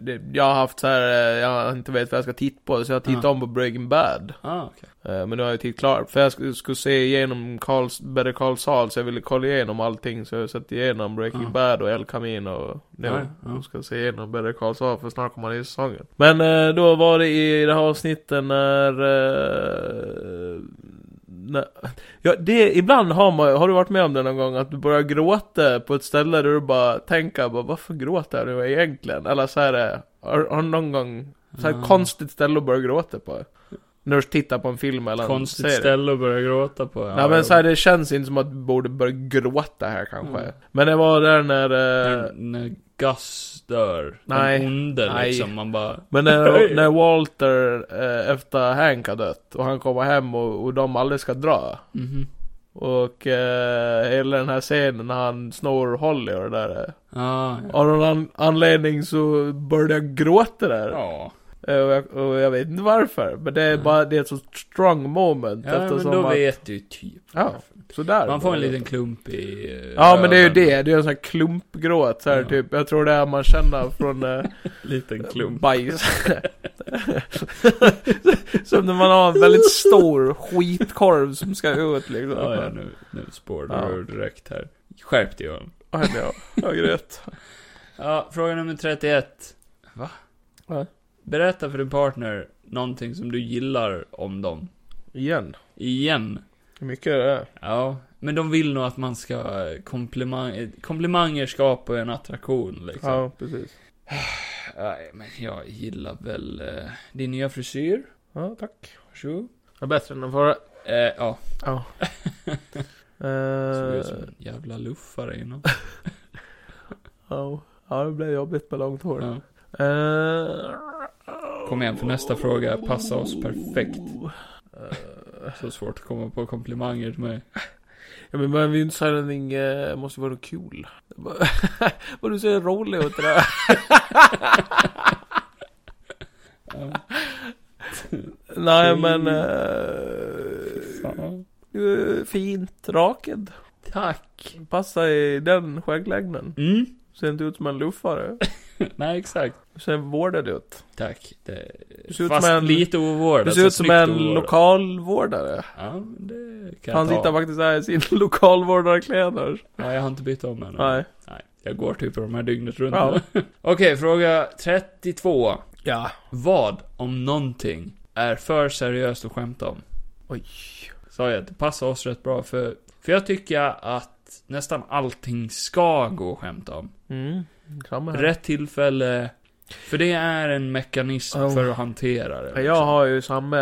Speaker 2: det- jag har haft så här, eh, jag inte vet vad jag ska titta på, så jag tittade
Speaker 1: Ja.
Speaker 2: om på Breaking Bad.
Speaker 1: Ah, okej.
Speaker 2: Eh, men nu har jag tittat klart, för jag sk- skulle se igenom Carls, Better Call Saul, så jag ville kolla igenom allting, så jag har sett igenom Breaking
Speaker 1: Ja.
Speaker 2: Bad och El Camino och nu.
Speaker 1: Ja, ja.
Speaker 2: Jag ska se igenom Better Call Saul för snart kommer den i säsongen. Men eh, då var det i det här avsnittet när... Eh, när ja, det, ibland har man har du varit med om det någon gång att du börjar gråta på ett ställe där du bara tänker bara, varför gråter jag nu egentligen? Eller så här, eh, har, har du någon gång så här
Speaker 1: Ja.
Speaker 2: konstigt ställe att börja gråta på? När du tittar på en film eller en
Speaker 1: Konstigt
Speaker 2: serie.
Speaker 1: ställe att börja gråta på. Ja,
Speaker 2: Nej men
Speaker 1: jag-
Speaker 2: så här, det känns inte som att du borde börja gråta här kanske.
Speaker 1: Mm.
Speaker 2: Men det var där när... Eh,
Speaker 1: När, när Gus dör.
Speaker 2: Nej.
Speaker 1: Den onde
Speaker 2: Nej.
Speaker 1: liksom. Man bara...
Speaker 2: Men när, när Walter eh, efter Hank har dött och han kommer hem och, och de aldrig ska dra.
Speaker 1: Mhm.
Speaker 2: Och eh, hela den här scenen när han snor Holly och det där. eh.
Speaker 1: Ah, ja.
Speaker 2: Av någon an- anledning så började jag gråta där.
Speaker 1: Ja.
Speaker 2: Eh, och, jag, och jag vet inte varför. Men det är
Speaker 1: Mm.
Speaker 2: bara, det är ett så strong moment.
Speaker 1: Ja, men
Speaker 2: eftersom
Speaker 1: då
Speaker 2: att,
Speaker 1: vet du typ.
Speaker 2: Ja, sådär.
Speaker 1: Man får en liten klump i eh,
Speaker 2: Ja men det är ju
Speaker 1: röven.
Speaker 2: det, det är en sån här klumpgråt så här,
Speaker 1: Ja.
Speaker 2: typ. Jag tror det är man känner från eh,
Speaker 1: Liten klump.
Speaker 2: Bajs. som när man har en väldigt stor skitkorv som ska ut liksom.
Speaker 1: Ja, ja, nu, nu spår du
Speaker 2: Ja.
Speaker 1: ur direkt här. Skärp dig Johan.
Speaker 2: Aj, men jag, jag grät.
Speaker 1: Ja, fråga nummer 31. Va?
Speaker 2: Ja.
Speaker 1: Berätta för din partner någonting som du gillar om dem.
Speaker 2: Igen.
Speaker 1: Igen.
Speaker 2: Hur mycket är det?
Speaker 1: Ja, men de vill nog att man ska eh, komplimang, eh, komplimanger skapar ju en attraktion liksom.
Speaker 2: Ja, precis.
Speaker 1: Nej, men jag gillar väl eh, din nya frisyr.
Speaker 2: Ja, tack.
Speaker 1: Varsågod.
Speaker 2: Det är bättre än den förra.
Speaker 1: Eh, ja,
Speaker 2: Ja.
Speaker 1: såg
Speaker 2: Eh,
Speaker 1: ut som en jävla luffare innan.
Speaker 2: ja. ja, det blev jobbigt med långt hår.
Speaker 1: Ja.
Speaker 2: Eh,
Speaker 1: Kom igen, för nästa fråga passar oss perfekt.
Speaker 2: Eh,
Speaker 1: Så svårt att komma på komplimanger till mig.
Speaker 2: Ja men man vill ju inte säga någonting, eh, måste ju vara något kul. Bara, Vad du ser rolig ut det där.
Speaker 1: Ja,
Speaker 2: Nej
Speaker 1: Fy.
Speaker 2: men...
Speaker 1: fy
Speaker 2: Eh,
Speaker 1: fan.
Speaker 2: du är fint rakad.
Speaker 1: Tack.
Speaker 2: Passar i den skägglängden.
Speaker 1: Mm.
Speaker 2: Ser inte ut som en luffare.
Speaker 1: Nej, exakt.
Speaker 2: Du ser vårdad ut.
Speaker 1: Tack. Det...
Speaker 2: Du ser ut
Speaker 1: Fast
Speaker 2: som en-
Speaker 1: lite ovårdat.
Speaker 2: Du ser ut
Speaker 1: så
Speaker 2: som
Speaker 1: snyggt
Speaker 2: en
Speaker 1: ovårdat.
Speaker 2: lokalvårdare.
Speaker 1: Ja, men det kan
Speaker 2: Han
Speaker 1: jag ta. Mm.
Speaker 2: sitter faktiskt här i sin lokalvårdarkläder.
Speaker 1: Ja, jag har inte bytt om ännu.
Speaker 2: Nej.
Speaker 1: Jag går typ de här dygnet runt
Speaker 2: Ja.
Speaker 1: nu. Okej, fråga 32.
Speaker 2: Ja.
Speaker 1: Vad, om någonting, är för seriöst att skämta om?
Speaker 2: Oj.
Speaker 1: Sa jag att det passar oss rätt bra för... För jag tycker att nästan allting ska gå att skämta om.
Speaker 2: Mm. Samma här.
Speaker 1: Rätt tillfälle. För det är en mekanism
Speaker 2: Oh.
Speaker 1: för att hantera det.
Speaker 2: Ja,
Speaker 1: liksom.
Speaker 2: Jag har ju samma,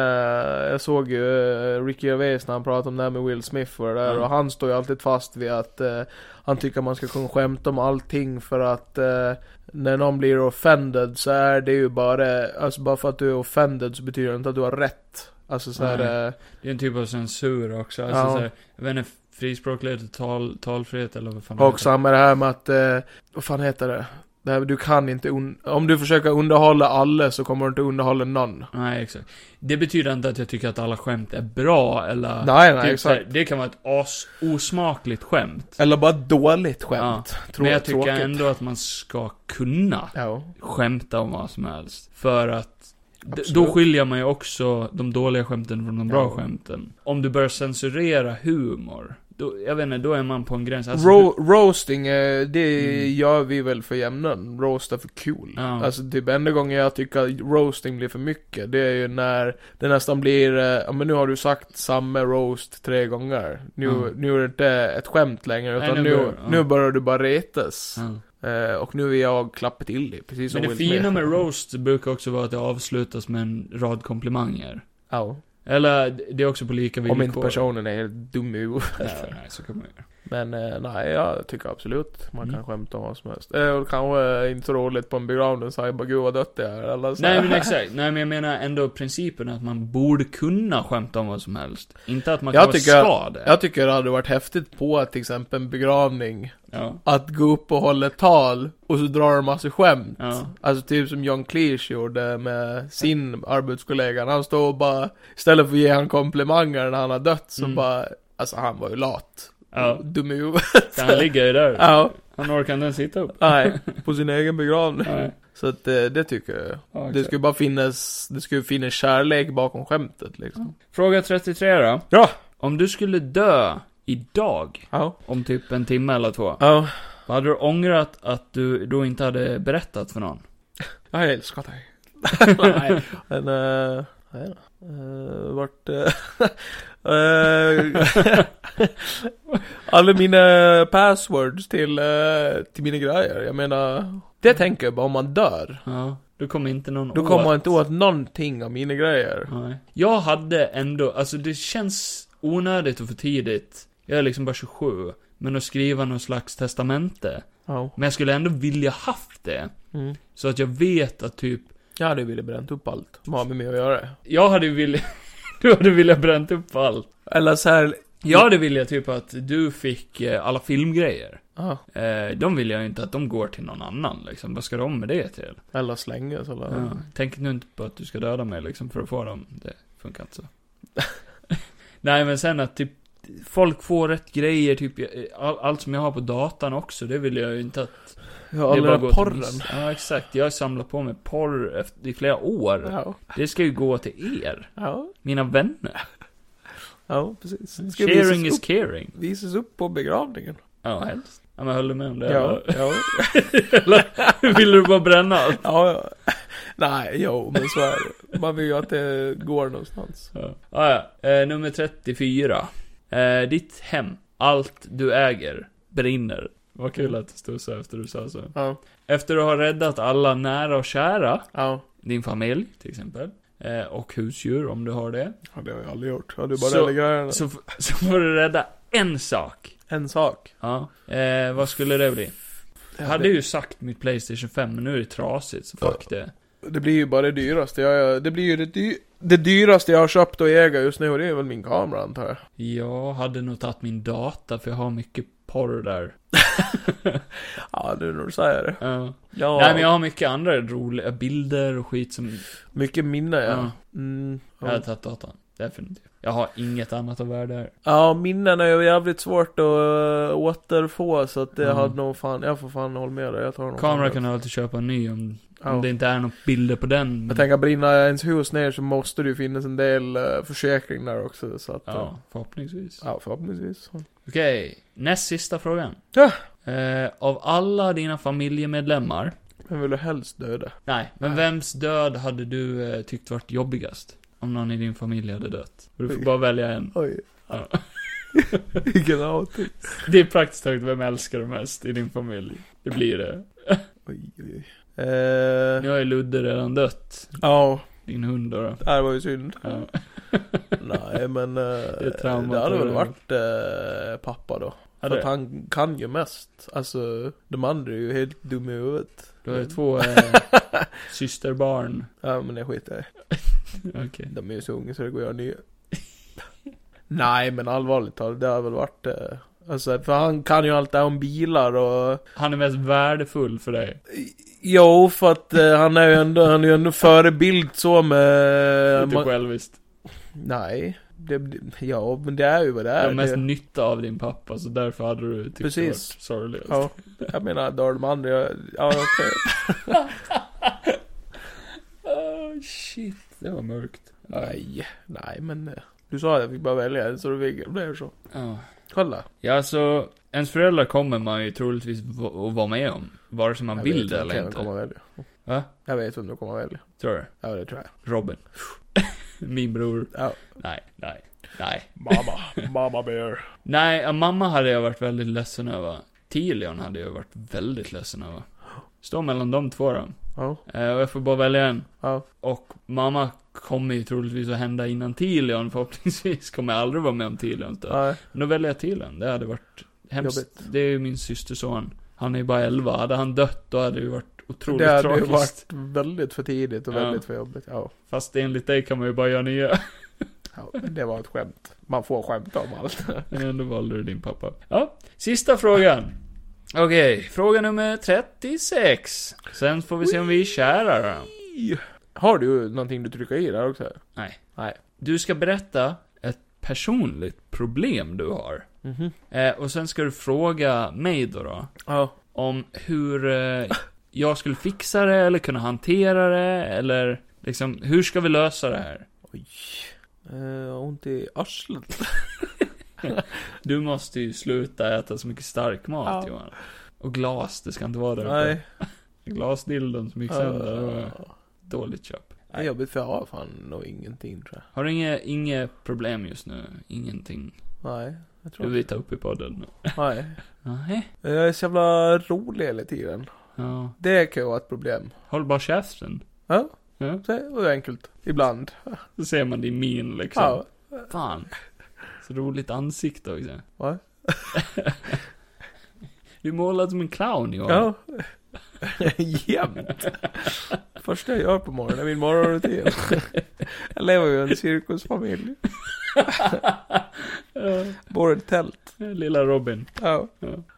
Speaker 2: jag såg ju eh, Ricky Gervais när han pratade om det här med Will Smith och det där
Speaker 1: Mm.
Speaker 2: och han står ju alltid fast vid att eh, han tycker man ska kunna skämta om allting för att eh, när någon blir offended så är det ju bara, alltså bara för att du är offended så betyder det inte att du har rätt. Alltså så här,
Speaker 1: Nej.
Speaker 2: eh,
Speaker 1: Det är en typ av censur också. Alltså,
Speaker 2: Ja.
Speaker 1: så här, jag vet inte, frispråklighet och tal, talfrihet eller vad fan det
Speaker 2: och samma det här med att, eh, vad fan heter det? det här, du kan inte, un- om du försöker underhålla alla så kommer du inte underhålla någon.
Speaker 1: heter. Nej, exakt. Det betyder inte att jag tycker att alla skämt är bra eller...
Speaker 2: Nej, nej,
Speaker 1: typ så här,
Speaker 2: exakt.
Speaker 1: det kan vara ett as osmakligt skämt.
Speaker 2: Eller bara dåligt skämt. Trå-
Speaker 1: Men jag tycker
Speaker 2: tråkigt.
Speaker 1: ändå att man ska kunna
Speaker 2: Ja.
Speaker 1: skämta om vad som helst. För att d- då
Speaker 2: Absolut.
Speaker 1: skiljer man ju också de dåliga skämten från de bra
Speaker 2: Ja.
Speaker 1: skämten. Om du börjar censurera humor, då, jag vet inte, då är man på en gräns. Alltså,
Speaker 2: Ro- roasting, eh, det
Speaker 1: Mm.
Speaker 2: gör vi väl för jämnan. Roast är för kul.
Speaker 1: Ja.
Speaker 2: Alltså typ enda gången jag tycker att roasting blir för mycket, det är ju när det nästan blir, eh, ja men nu har du sagt samma roast tre gånger. Nu,
Speaker 1: Mm.
Speaker 2: nu är det inte ett skämt längre,
Speaker 1: Nej,
Speaker 2: utan
Speaker 1: nu
Speaker 2: nu,
Speaker 1: börjar- ja.
Speaker 2: nu börjar du bara retas.
Speaker 1: Ja.
Speaker 2: Eh, och nu är jag klappat till dig, precis som
Speaker 1: Men det
Speaker 2: Will
Speaker 1: fina
Speaker 2: Smith.
Speaker 1: med roast brukar också vara att det avslutas med en rad komplimanger.
Speaker 2: Ja.
Speaker 1: Eller, det är också på lika villkor.
Speaker 2: Om inte personen är helt dum i huvudet.
Speaker 1: Ja, nej, så kan man göra.
Speaker 2: Men eh, nej, jag tycker absolut man
Speaker 1: Mm.
Speaker 2: kan skämta om vad som helst. Eh, och kanske inte så roligt på en begravning, så jag bara gud vad dött det är. Eller så.
Speaker 1: Nej men exakt, nej men jag menar ändå principen att man borde kunna skämta om vad som helst. Inte att man
Speaker 2: Jag
Speaker 1: kanske
Speaker 2: tycker-
Speaker 1: ska det.
Speaker 2: Jag tycker det hade varit häftigt på till exempel en begravning,
Speaker 1: Ja.
Speaker 2: att gå upp och hålla ett tal, och så drar de massa skämt.
Speaker 1: Ja.
Speaker 2: Alltså typ som John Cleese gjorde med sin arbetskollega, han står och bara, istället för att ge han komplimanger när han har dött, så
Speaker 1: Mm.
Speaker 2: bara, alltså han var ju lat.
Speaker 1: Ja.
Speaker 2: Dum i huvudet.
Speaker 1: Så han ligger ju där.
Speaker 2: Ja,
Speaker 1: Han orkar inte ens sitta upp.
Speaker 2: nej, på sin egen begravning.
Speaker 1: Nej.
Speaker 2: Så att eh, det tycker jag.
Speaker 1: Ja,
Speaker 2: Det
Speaker 1: exakt.
Speaker 2: skulle bara finnas, det skulle finnas kärlek bakom skämtet liksom.
Speaker 1: Fråga 33 då.
Speaker 2: Ja.
Speaker 1: Om du skulle dö idag,
Speaker 2: Ja.
Speaker 1: om typ en timme eller två,
Speaker 2: Ja.
Speaker 1: vad hade du ångrat att du då inte hade berättat för någon?
Speaker 2: Jag älskar dig.
Speaker 1: Nej.
Speaker 2: Men, eh, nej då. Eh, vart, eh, eh, alla mina passwords till, eh, till mina grejer. Jag menar, det tänker jag bara om man dör.
Speaker 1: Ja, då kommer inte någon
Speaker 2: Då kommer man inte åt någonting av mina grejer.
Speaker 1: Nej. Jag hade ändå, alltså det känns onödigt och för tidigt. Jag är liksom bara 27. Men att skriva någon slags testamente.
Speaker 2: Ja.
Speaker 1: Men jag skulle ändå vilja haft det.
Speaker 2: Mm.
Speaker 1: Så att jag vet att typ,
Speaker 2: Jag hade velat bränt upp allt som har med mig att göra.
Speaker 1: jag hade velat, du hade velat bränt upp allt.
Speaker 2: Eller så här,
Speaker 1: Jag hade velat typ att du fick eh, alla filmgrejer.
Speaker 2: ja.
Speaker 1: Eh, de vill jag ju inte att de går till någon annan liksom. Vad ska de med det till?
Speaker 2: eller slängas eller...
Speaker 1: Ja. Tänk nu inte på att du ska döda mig liksom för att få dem. Det funkar inte så. Nej men sen att typ Folk får rätt grejer, typ jag- all, allt som jag har på datan också, det vill jag ju inte att...
Speaker 2: Ja,
Speaker 1: det
Speaker 2: eller
Speaker 1: går
Speaker 2: porren.
Speaker 1: Till, ja, exakt. Jag har samlat på mig porr efter, i flera år.
Speaker 2: Ja.
Speaker 1: Det ska ju gå till er,
Speaker 2: Ja,
Speaker 1: mina vänner.
Speaker 2: ja precis. Det ska
Speaker 1: Sharing
Speaker 2: visas,
Speaker 1: is
Speaker 2: upp,
Speaker 1: caring.
Speaker 2: visas upp på begravningen.
Speaker 1: Ja, helst. Ja, men höll du med om det?
Speaker 2: Ja,
Speaker 1: eller?
Speaker 2: ja.
Speaker 1: Eller vill du bara bränna allt?
Speaker 2: ja, ja. Nej, jo, men så
Speaker 1: Ah,
Speaker 2: är det. Man vill ju att det går någonstans.
Speaker 1: Ja, ja. Eh, nummer 34. Eh, ditt hem, allt du äger, brinner. Vad kul att du stussade efter du sa så.
Speaker 2: Ja.
Speaker 1: Efter att ha räddat alla nära och kära,
Speaker 2: Ja.
Speaker 1: din familj till exempel, eh, och husdjur om du har det,
Speaker 2: ja, det har jag aldrig gjort. Ja, du
Speaker 1: Så-
Speaker 2: bara lägger grejerna.
Speaker 1: så, f- så får du rädda en sak.
Speaker 2: En sak.
Speaker 1: Ja, eh, vad skulle det bli? Jag hade
Speaker 2: det,
Speaker 1: ju sagt mitt Playstation 5, men nu är det trasigt, så fuck det.
Speaker 2: det blir ju bara det dyraste. Jag, jag, det blir ju det, dy, det dyraste jag har köpt och äger just nu och det är väl min kamera antar jag.
Speaker 1: Jag hade nog tagit min data, för jag har mycket porr där.
Speaker 2: Ja, nu när du säger det.
Speaker 1: Ja.
Speaker 2: Ja,
Speaker 1: Nej, men jag har mycket andra roliga bilder och skit som...
Speaker 2: mycket minne ja.
Speaker 1: Ja.
Speaker 2: Mm,
Speaker 1: Jag
Speaker 2: ja.
Speaker 1: hade tagit datan. Definitivt. Jag har inget annat av värde här.
Speaker 2: ja, minnen är ju jävligt svårt att äh, återfå så att det
Speaker 1: Mm.
Speaker 2: hade nog fan, jag får fan hålla med dig. Jag tar nog
Speaker 1: Kamera
Speaker 2: fan
Speaker 1: kan du alltid köpa en ny om,
Speaker 2: Ja.
Speaker 1: om det inte är några bilder på den.
Speaker 2: Jag tänker brinna ens hus ner så måste det ju finnas en del eh, försäkring där också så att... eh,
Speaker 1: Ja, förhoppningsvis.
Speaker 2: ja förhoppningsvis.
Speaker 1: Okej, näst sista frågan.
Speaker 2: Ja.
Speaker 1: Eh, av alla dina familjemedlemmar,
Speaker 2: Vem vill du helst döda?
Speaker 1: nej, men
Speaker 2: Nej.
Speaker 1: vems död hade du eh, tyckt varit jobbigast? Om någon i din familj hade dött. Du får
Speaker 2: Oj.
Speaker 1: bara välja en.
Speaker 2: Oj.
Speaker 1: Ja.
Speaker 2: Vilken outing.
Speaker 1: Det är praktiskt taget vem älskar du mest i din familj. Det blir det.
Speaker 2: Oj, oj, oj.
Speaker 1: Nu
Speaker 2: Eh,
Speaker 1: har ju Ludde redan dött.
Speaker 2: ja,
Speaker 1: Din hund då. då.
Speaker 2: det här var ju synd.
Speaker 1: Ja.
Speaker 2: Nej men... eh,
Speaker 1: är trauma
Speaker 2: det hade
Speaker 1: för
Speaker 2: väl
Speaker 1: det.
Speaker 2: varit eh, pappa då. För att
Speaker 1: Hade,
Speaker 2: han kan ju mest. Alltså, de andra är ju helt dumma i huvudet.
Speaker 1: du har ju två eh, systerbarn.
Speaker 2: Ja men det skiter jag i.
Speaker 1: Okej.
Speaker 2: De är ju så unga så det går att göra nya. Nej men allvarligt talat, det har väl varit eh, Alltså för han kan ju allt det här om bilar och...
Speaker 1: Han är mest värdefull för dig.
Speaker 2: Jo för att eh, han är ju ändå, han är ju ändå förebild så med...
Speaker 1: Lite
Speaker 2: man-
Speaker 1: själviskt.
Speaker 2: Nej. Det, det- ja men det är ju vad det
Speaker 1: Du
Speaker 2: är.
Speaker 1: har mest
Speaker 2: det,
Speaker 1: nytta av din pappa, så därför hade du tyckt
Speaker 2: Precis.
Speaker 1: det varit sorgligast.
Speaker 2: ja, jag menar, då har de andra... Ja okej.
Speaker 1: Oh, shit, det var mörkt.
Speaker 2: Nej, nej men... eh, Du sa att jag fick bara välja en så då fick- blev det så.
Speaker 1: Ja.
Speaker 2: Kolla.
Speaker 1: Ja, alltså, ens föräldrar kommer man ju troligtvis v- att vara med om. Vare sig man
Speaker 2: Jag
Speaker 1: vill
Speaker 2: vet
Speaker 1: det
Speaker 2: vem
Speaker 1: eller
Speaker 2: jag
Speaker 1: inte.
Speaker 2: kommer att välja.
Speaker 1: Va?
Speaker 2: Jag vet vem du kommer att välja.
Speaker 1: Tror du?
Speaker 2: Ja det tror jag.
Speaker 1: Robin. Min bror.
Speaker 2: Ja.
Speaker 1: Nej, nej, nej.
Speaker 2: Mamma, mamma bear.
Speaker 1: Nej, ja, mamma hade jag varit väldigt ledsen över. Tilion hade jag varit väldigt ledsen över. Står mellan de två då.
Speaker 2: Ja,
Speaker 1: Eh, och jag får bara välja en.
Speaker 2: ja.
Speaker 1: Och mamma kommer ju troligtvis att hända innan Tilion. Förhoppningsvis kommer jag aldrig vara med om Tilions död.
Speaker 2: Nej,
Speaker 1: Men då väljer jag Tilion. Det hade varit hemskt.
Speaker 2: Jobbigt.
Speaker 1: Det är ju min systerson. Han är ju bara 11. Hade han dött då hade det ju varit otroligt
Speaker 2: det hade ju
Speaker 1: tragiskt.
Speaker 2: varit väldigt för tidigt och
Speaker 1: Ja.
Speaker 2: väldigt för jobbigt. Ja.
Speaker 1: Fast enligt dig kan man ju bara göra nya.
Speaker 2: ja, men det var ett skämt. Man får skämta om allt.
Speaker 1: Men ändå valde du din pappa. Ja, sista frågan. Okej, fråga nummer 36. Sen får vi se om vi är kära då.
Speaker 2: Har du någonting du trycker i där också?
Speaker 1: Du ska berätta ett personligt problem du har.
Speaker 2: Mhm.
Speaker 1: Eh, och sen ska du fråga mig då, då
Speaker 2: Ja.
Speaker 1: om hur eh, jag skulle fixa det, eller kunna hantera det, eller liksom, hur ska vi lösa det här?
Speaker 2: Oj. Eh, ont i arslet.
Speaker 1: Du måste ju sluta äta så mycket stark mat,
Speaker 2: Ja.
Speaker 1: Johan. Och glas, det ska inte vara där uppe.
Speaker 2: Nej. Eh,
Speaker 1: Glasdildon som gick sönder, det var dåligt köp.
Speaker 2: Det är jobbigt för jag har fan nog ingenting tror
Speaker 1: Har du inga, inga problem just nu? Ingenting?
Speaker 2: jag. Nej. Jag
Speaker 1: Du
Speaker 2: tror
Speaker 1: vill ta upp i podden nu?
Speaker 2: Nej.
Speaker 1: Nej.
Speaker 2: Eh, Jag är så jävla rolig hela tiden.
Speaker 1: Ja.
Speaker 2: Det kan ju vara ett problem.
Speaker 1: Håll bara käften.
Speaker 2: Ja.
Speaker 1: Ja.
Speaker 2: Så Det var enkelt. Ibland.
Speaker 1: Då ser man din min liksom.
Speaker 2: Ja.
Speaker 1: Fan. Så roligt ansikte också.
Speaker 2: Va?
Speaker 1: Du målar som en clown Johan.
Speaker 2: Ja. Jämt. Första jag gör på morgonen är min morgonrutin. Jag lever ju i en cirkusfamilj.
Speaker 1: Ja.
Speaker 2: Bor i ett tält.
Speaker 1: Lilla Robin.
Speaker 2: Ja.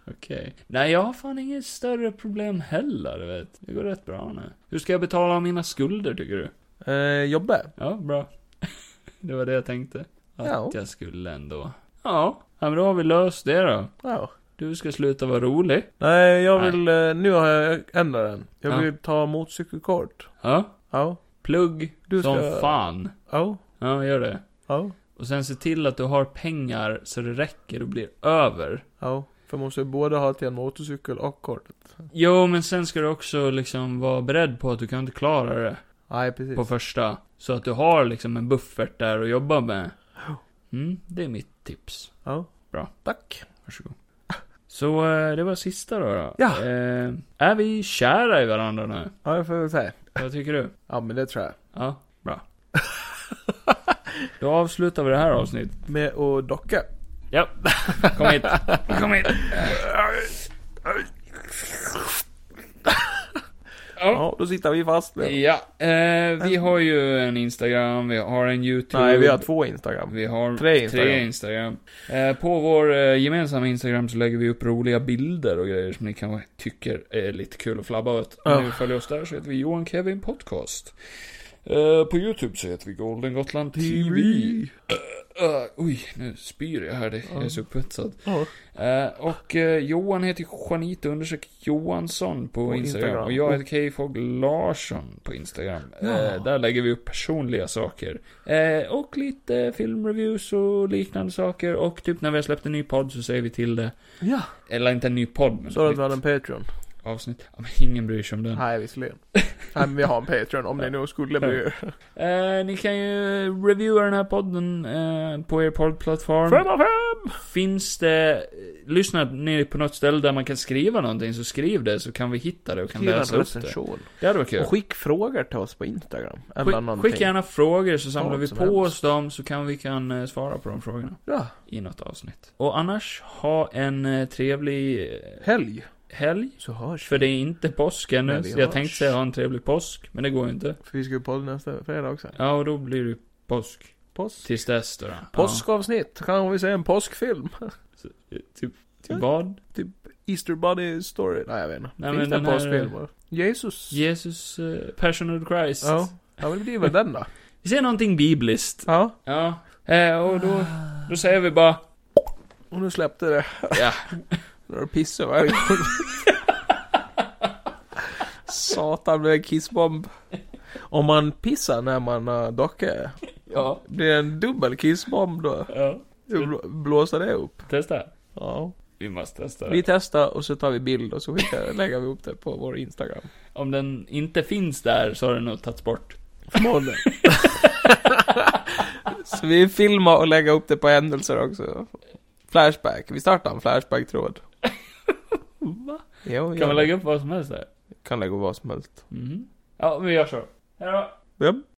Speaker 1: Okej. Nej, jag har fan inget större problem heller, du vet. Det går rätt bra nu. Hur ska jag betala mina skulder, tycker du?
Speaker 2: Eh, jobba.
Speaker 1: Ja, bra. det var det jag tänkte. Att
Speaker 2: Ja.
Speaker 1: jag skulle ändå. Ja. ja, men då har vi löst det då.
Speaker 2: Ja.
Speaker 1: Du ska sluta vara rolig.
Speaker 2: Nej, jag vill... eh, Nu har jag ändrat den. Jag
Speaker 1: Ja.
Speaker 2: vill ta motorcykelkort.
Speaker 1: Ja.
Speaker 2: Ja.
Speaker 1: Plugg
Speaker 2: Du
Speaker 1: som
Speaker 2: ska-
Speaker 1: fan.
Speaker 2: Ja.
Speaker 1: Ja, gör det.
Speaker 2: Ja.
Speaker 1: Och sen se till att du har pengar så det räcker och blir över.
Speaker 2: Ja. För man måste ju både ha till en motorcykel och kortet.
Speaker 1: Jo, men sen ska du också liksom vara beredd på att du kan inte klara det
Speaker 2: Nej, precis.
Speaker 1: på första. Så att du har liksom en buffert där att jobba med.
Speaker 2: Ja.
Speaker 1: Mm, det är mitt tips.
Speaker 2: Ja.
Speaker 1: Bra.
Speaker 2: Tack.
Speaker 1: Varsågod. Så eh, det var sista då. då.
Speaker 2: Ja.
Speaker 1: Eh, är vi kära i varandra nu?
Speaker 2: Ja, jag får väl säga.
Speaker 1: Vad tycker du?
Speaker 2: Ja, men det tror jag.
Speaker 1: Ja, bra. Då avslutar vi det här avsnittet.
Speaker 2: Med och docka.
Speaker 1: Ja, kom hit. Kom hit. Ja,
Speaker 2: Ja, då sitter vi fast nu.
Speaker 1: ja. Eh, vi har ju en Instagram, vi har en YouTube.
Speaker 2: Nej, vi har två Instagram.
Speaker 1: Vi har
Speaker 2: Tre Instagram.
Speaker 1: tre Instagram. Eh, på vår eh, gemensamma Instagram så lägger vi upp roliga bilder och grejer som ni kanske tycker är lite kul att flabba åt. Om
Speaker 2: Ja.
Speaker 1: ni vill följa oss där så heter vi Johan Kevin Podcast. Eh, på YouTube så heter vi Golden Gotland TV. Eh, oj, nu spyr jag här. Det, Jag är så upphetsad.
Speaker 2: Ja.
Speaker 1: Eh, och eh, Johan heter Juanito undersök Johansson på
Speaker 2: På
Speaker 1: Instagram.
Speaker 2: Instagram.
Speaker 1: Och jag heter Keyfog Larsson på Instagram.
Speaker 2: Ja.
Speaker 1: Eh, där lägger vi upp personliga saker. Eh, och lite filmreviews och liknande saker. Och typ när vi har släppt en ny podd så säger vi till det.
Speaker 2: Ja.
Speaker 1: Eller inte en ny podd, men
Speaker 2: Så att
Speaker 1: ett
Speaker 2: vi hade en Patreon.
Speaker 1: nytt avsnitt. Ja, men ingen bryr sig om den.
Speaker 2: Nej, visserligen. Nej, men vi har en Patreon om ni nu skulle bli...
Speaker 1: Eh, ni kan ju reviewa den här podden eh, på er poddplattform.
Speaker 2: Fem av fem!
Speaker 1: Finns det, lyssnar ni på något ställe där man kan skriva någonting så skriv det så kan vi hitta det och kan
Speaker 2: Skriv en
Speaker 1: läsa upp det.
Speaker 2: recension.
Speaker 1: Det hade varit kul.
Speaker 2: Och skick frågor till oss på Instagram. Eller
Speaker 1: Skick,
Speaker 2: någonting.
Speaker 1: skicka gärna frågor så samlar
Speaker 2: Vad
Speaker 1: vi
Speaker 2: som
Speaker 1: på
Speaker 2: helst.
Speaker 1: oss dem så kan vi kan eh, svara på de frågorna
Speaker 2: Ja,
Speaker 1: i något avsnitt. Och annars, ha en eh, trevlig eh,
Speaker 2: helg.
Speaker 1: helg.
Speaker 2: Så hörs vi.
Speaker 1: För det är inte påsk ännu,
Speaker 2: Nej, vi
Speaker 1: så jag
Speaker 2: hörs.
Speaker 1: tänkte säga ha en trevlig påsk, men det går ju inte.
Speaker 2: För vi ska ju podda nästa fredag också.
Speaker 1: Ja, och då blir det påsk.
Speaker 2: Påsk.
Speaker 1: Tills dess då. då.
Speaker 2: Påskavsnitt. Kan vi säga en påskfilm?
Speaker 1: Ja, typ, typ vad?
Speaker 2: Easter Bunny Story. Nej, jag vet inte.
Speaker 1: Nej,
Speaker 2: Finns
Speaker 1: men
Speaker 2: det en
Speaker 1: den här-
Speaker 2: påskfilm? va? Jesus.
Speaker 1: Jesus, eh, Passion of Christ.
Speaker 2: Ja. Ja, men det blir väl den då.
Speaker 1: Vi ser någonting bibliskt.
Speaker 2: Ja.
Speaker 1: Ja. Eh, och då, då säger vi bara...
Speaker 2: Och nu släppte det.
Speaker 1: Ja.
Speaker 2: Nu har du pissat varje gång. Satan med kissbomb. Om man pissar när man uh, dockar,
Speaker 1: Ja.
Speaker 2: blir det en dubbel kissbomb då?
Speaker 1: ja.
Speaker 2: Hur bl- blåser det upp?
Speaker 1: Testa.
Speaker 2: Ja.
Speaker 1: Vi måste testa det.
Speaker 2: Vi testar och så tar vi bild och så skickar, lägger vi upp det på vår Instagram.
Speaker 1: Om den inte finns där så har den nog tagits bort.
Speaker 2: Förmodligen. så vi filmar och lägger upp det på händelser också. Flashback. Vi startar en Flashback-tråd.
Speaker 1: Va?
Speaker 2: Jo,
Speaker 1: Kan
Speaker 2: ja.
Speaker 1: man lägga upp vad som helst där?
Speaker 2: kan lägga upp vad som helst.
Speaker 1: Mhm. Ja, vi gör så. Hejdå.
Speaker 2: Japp.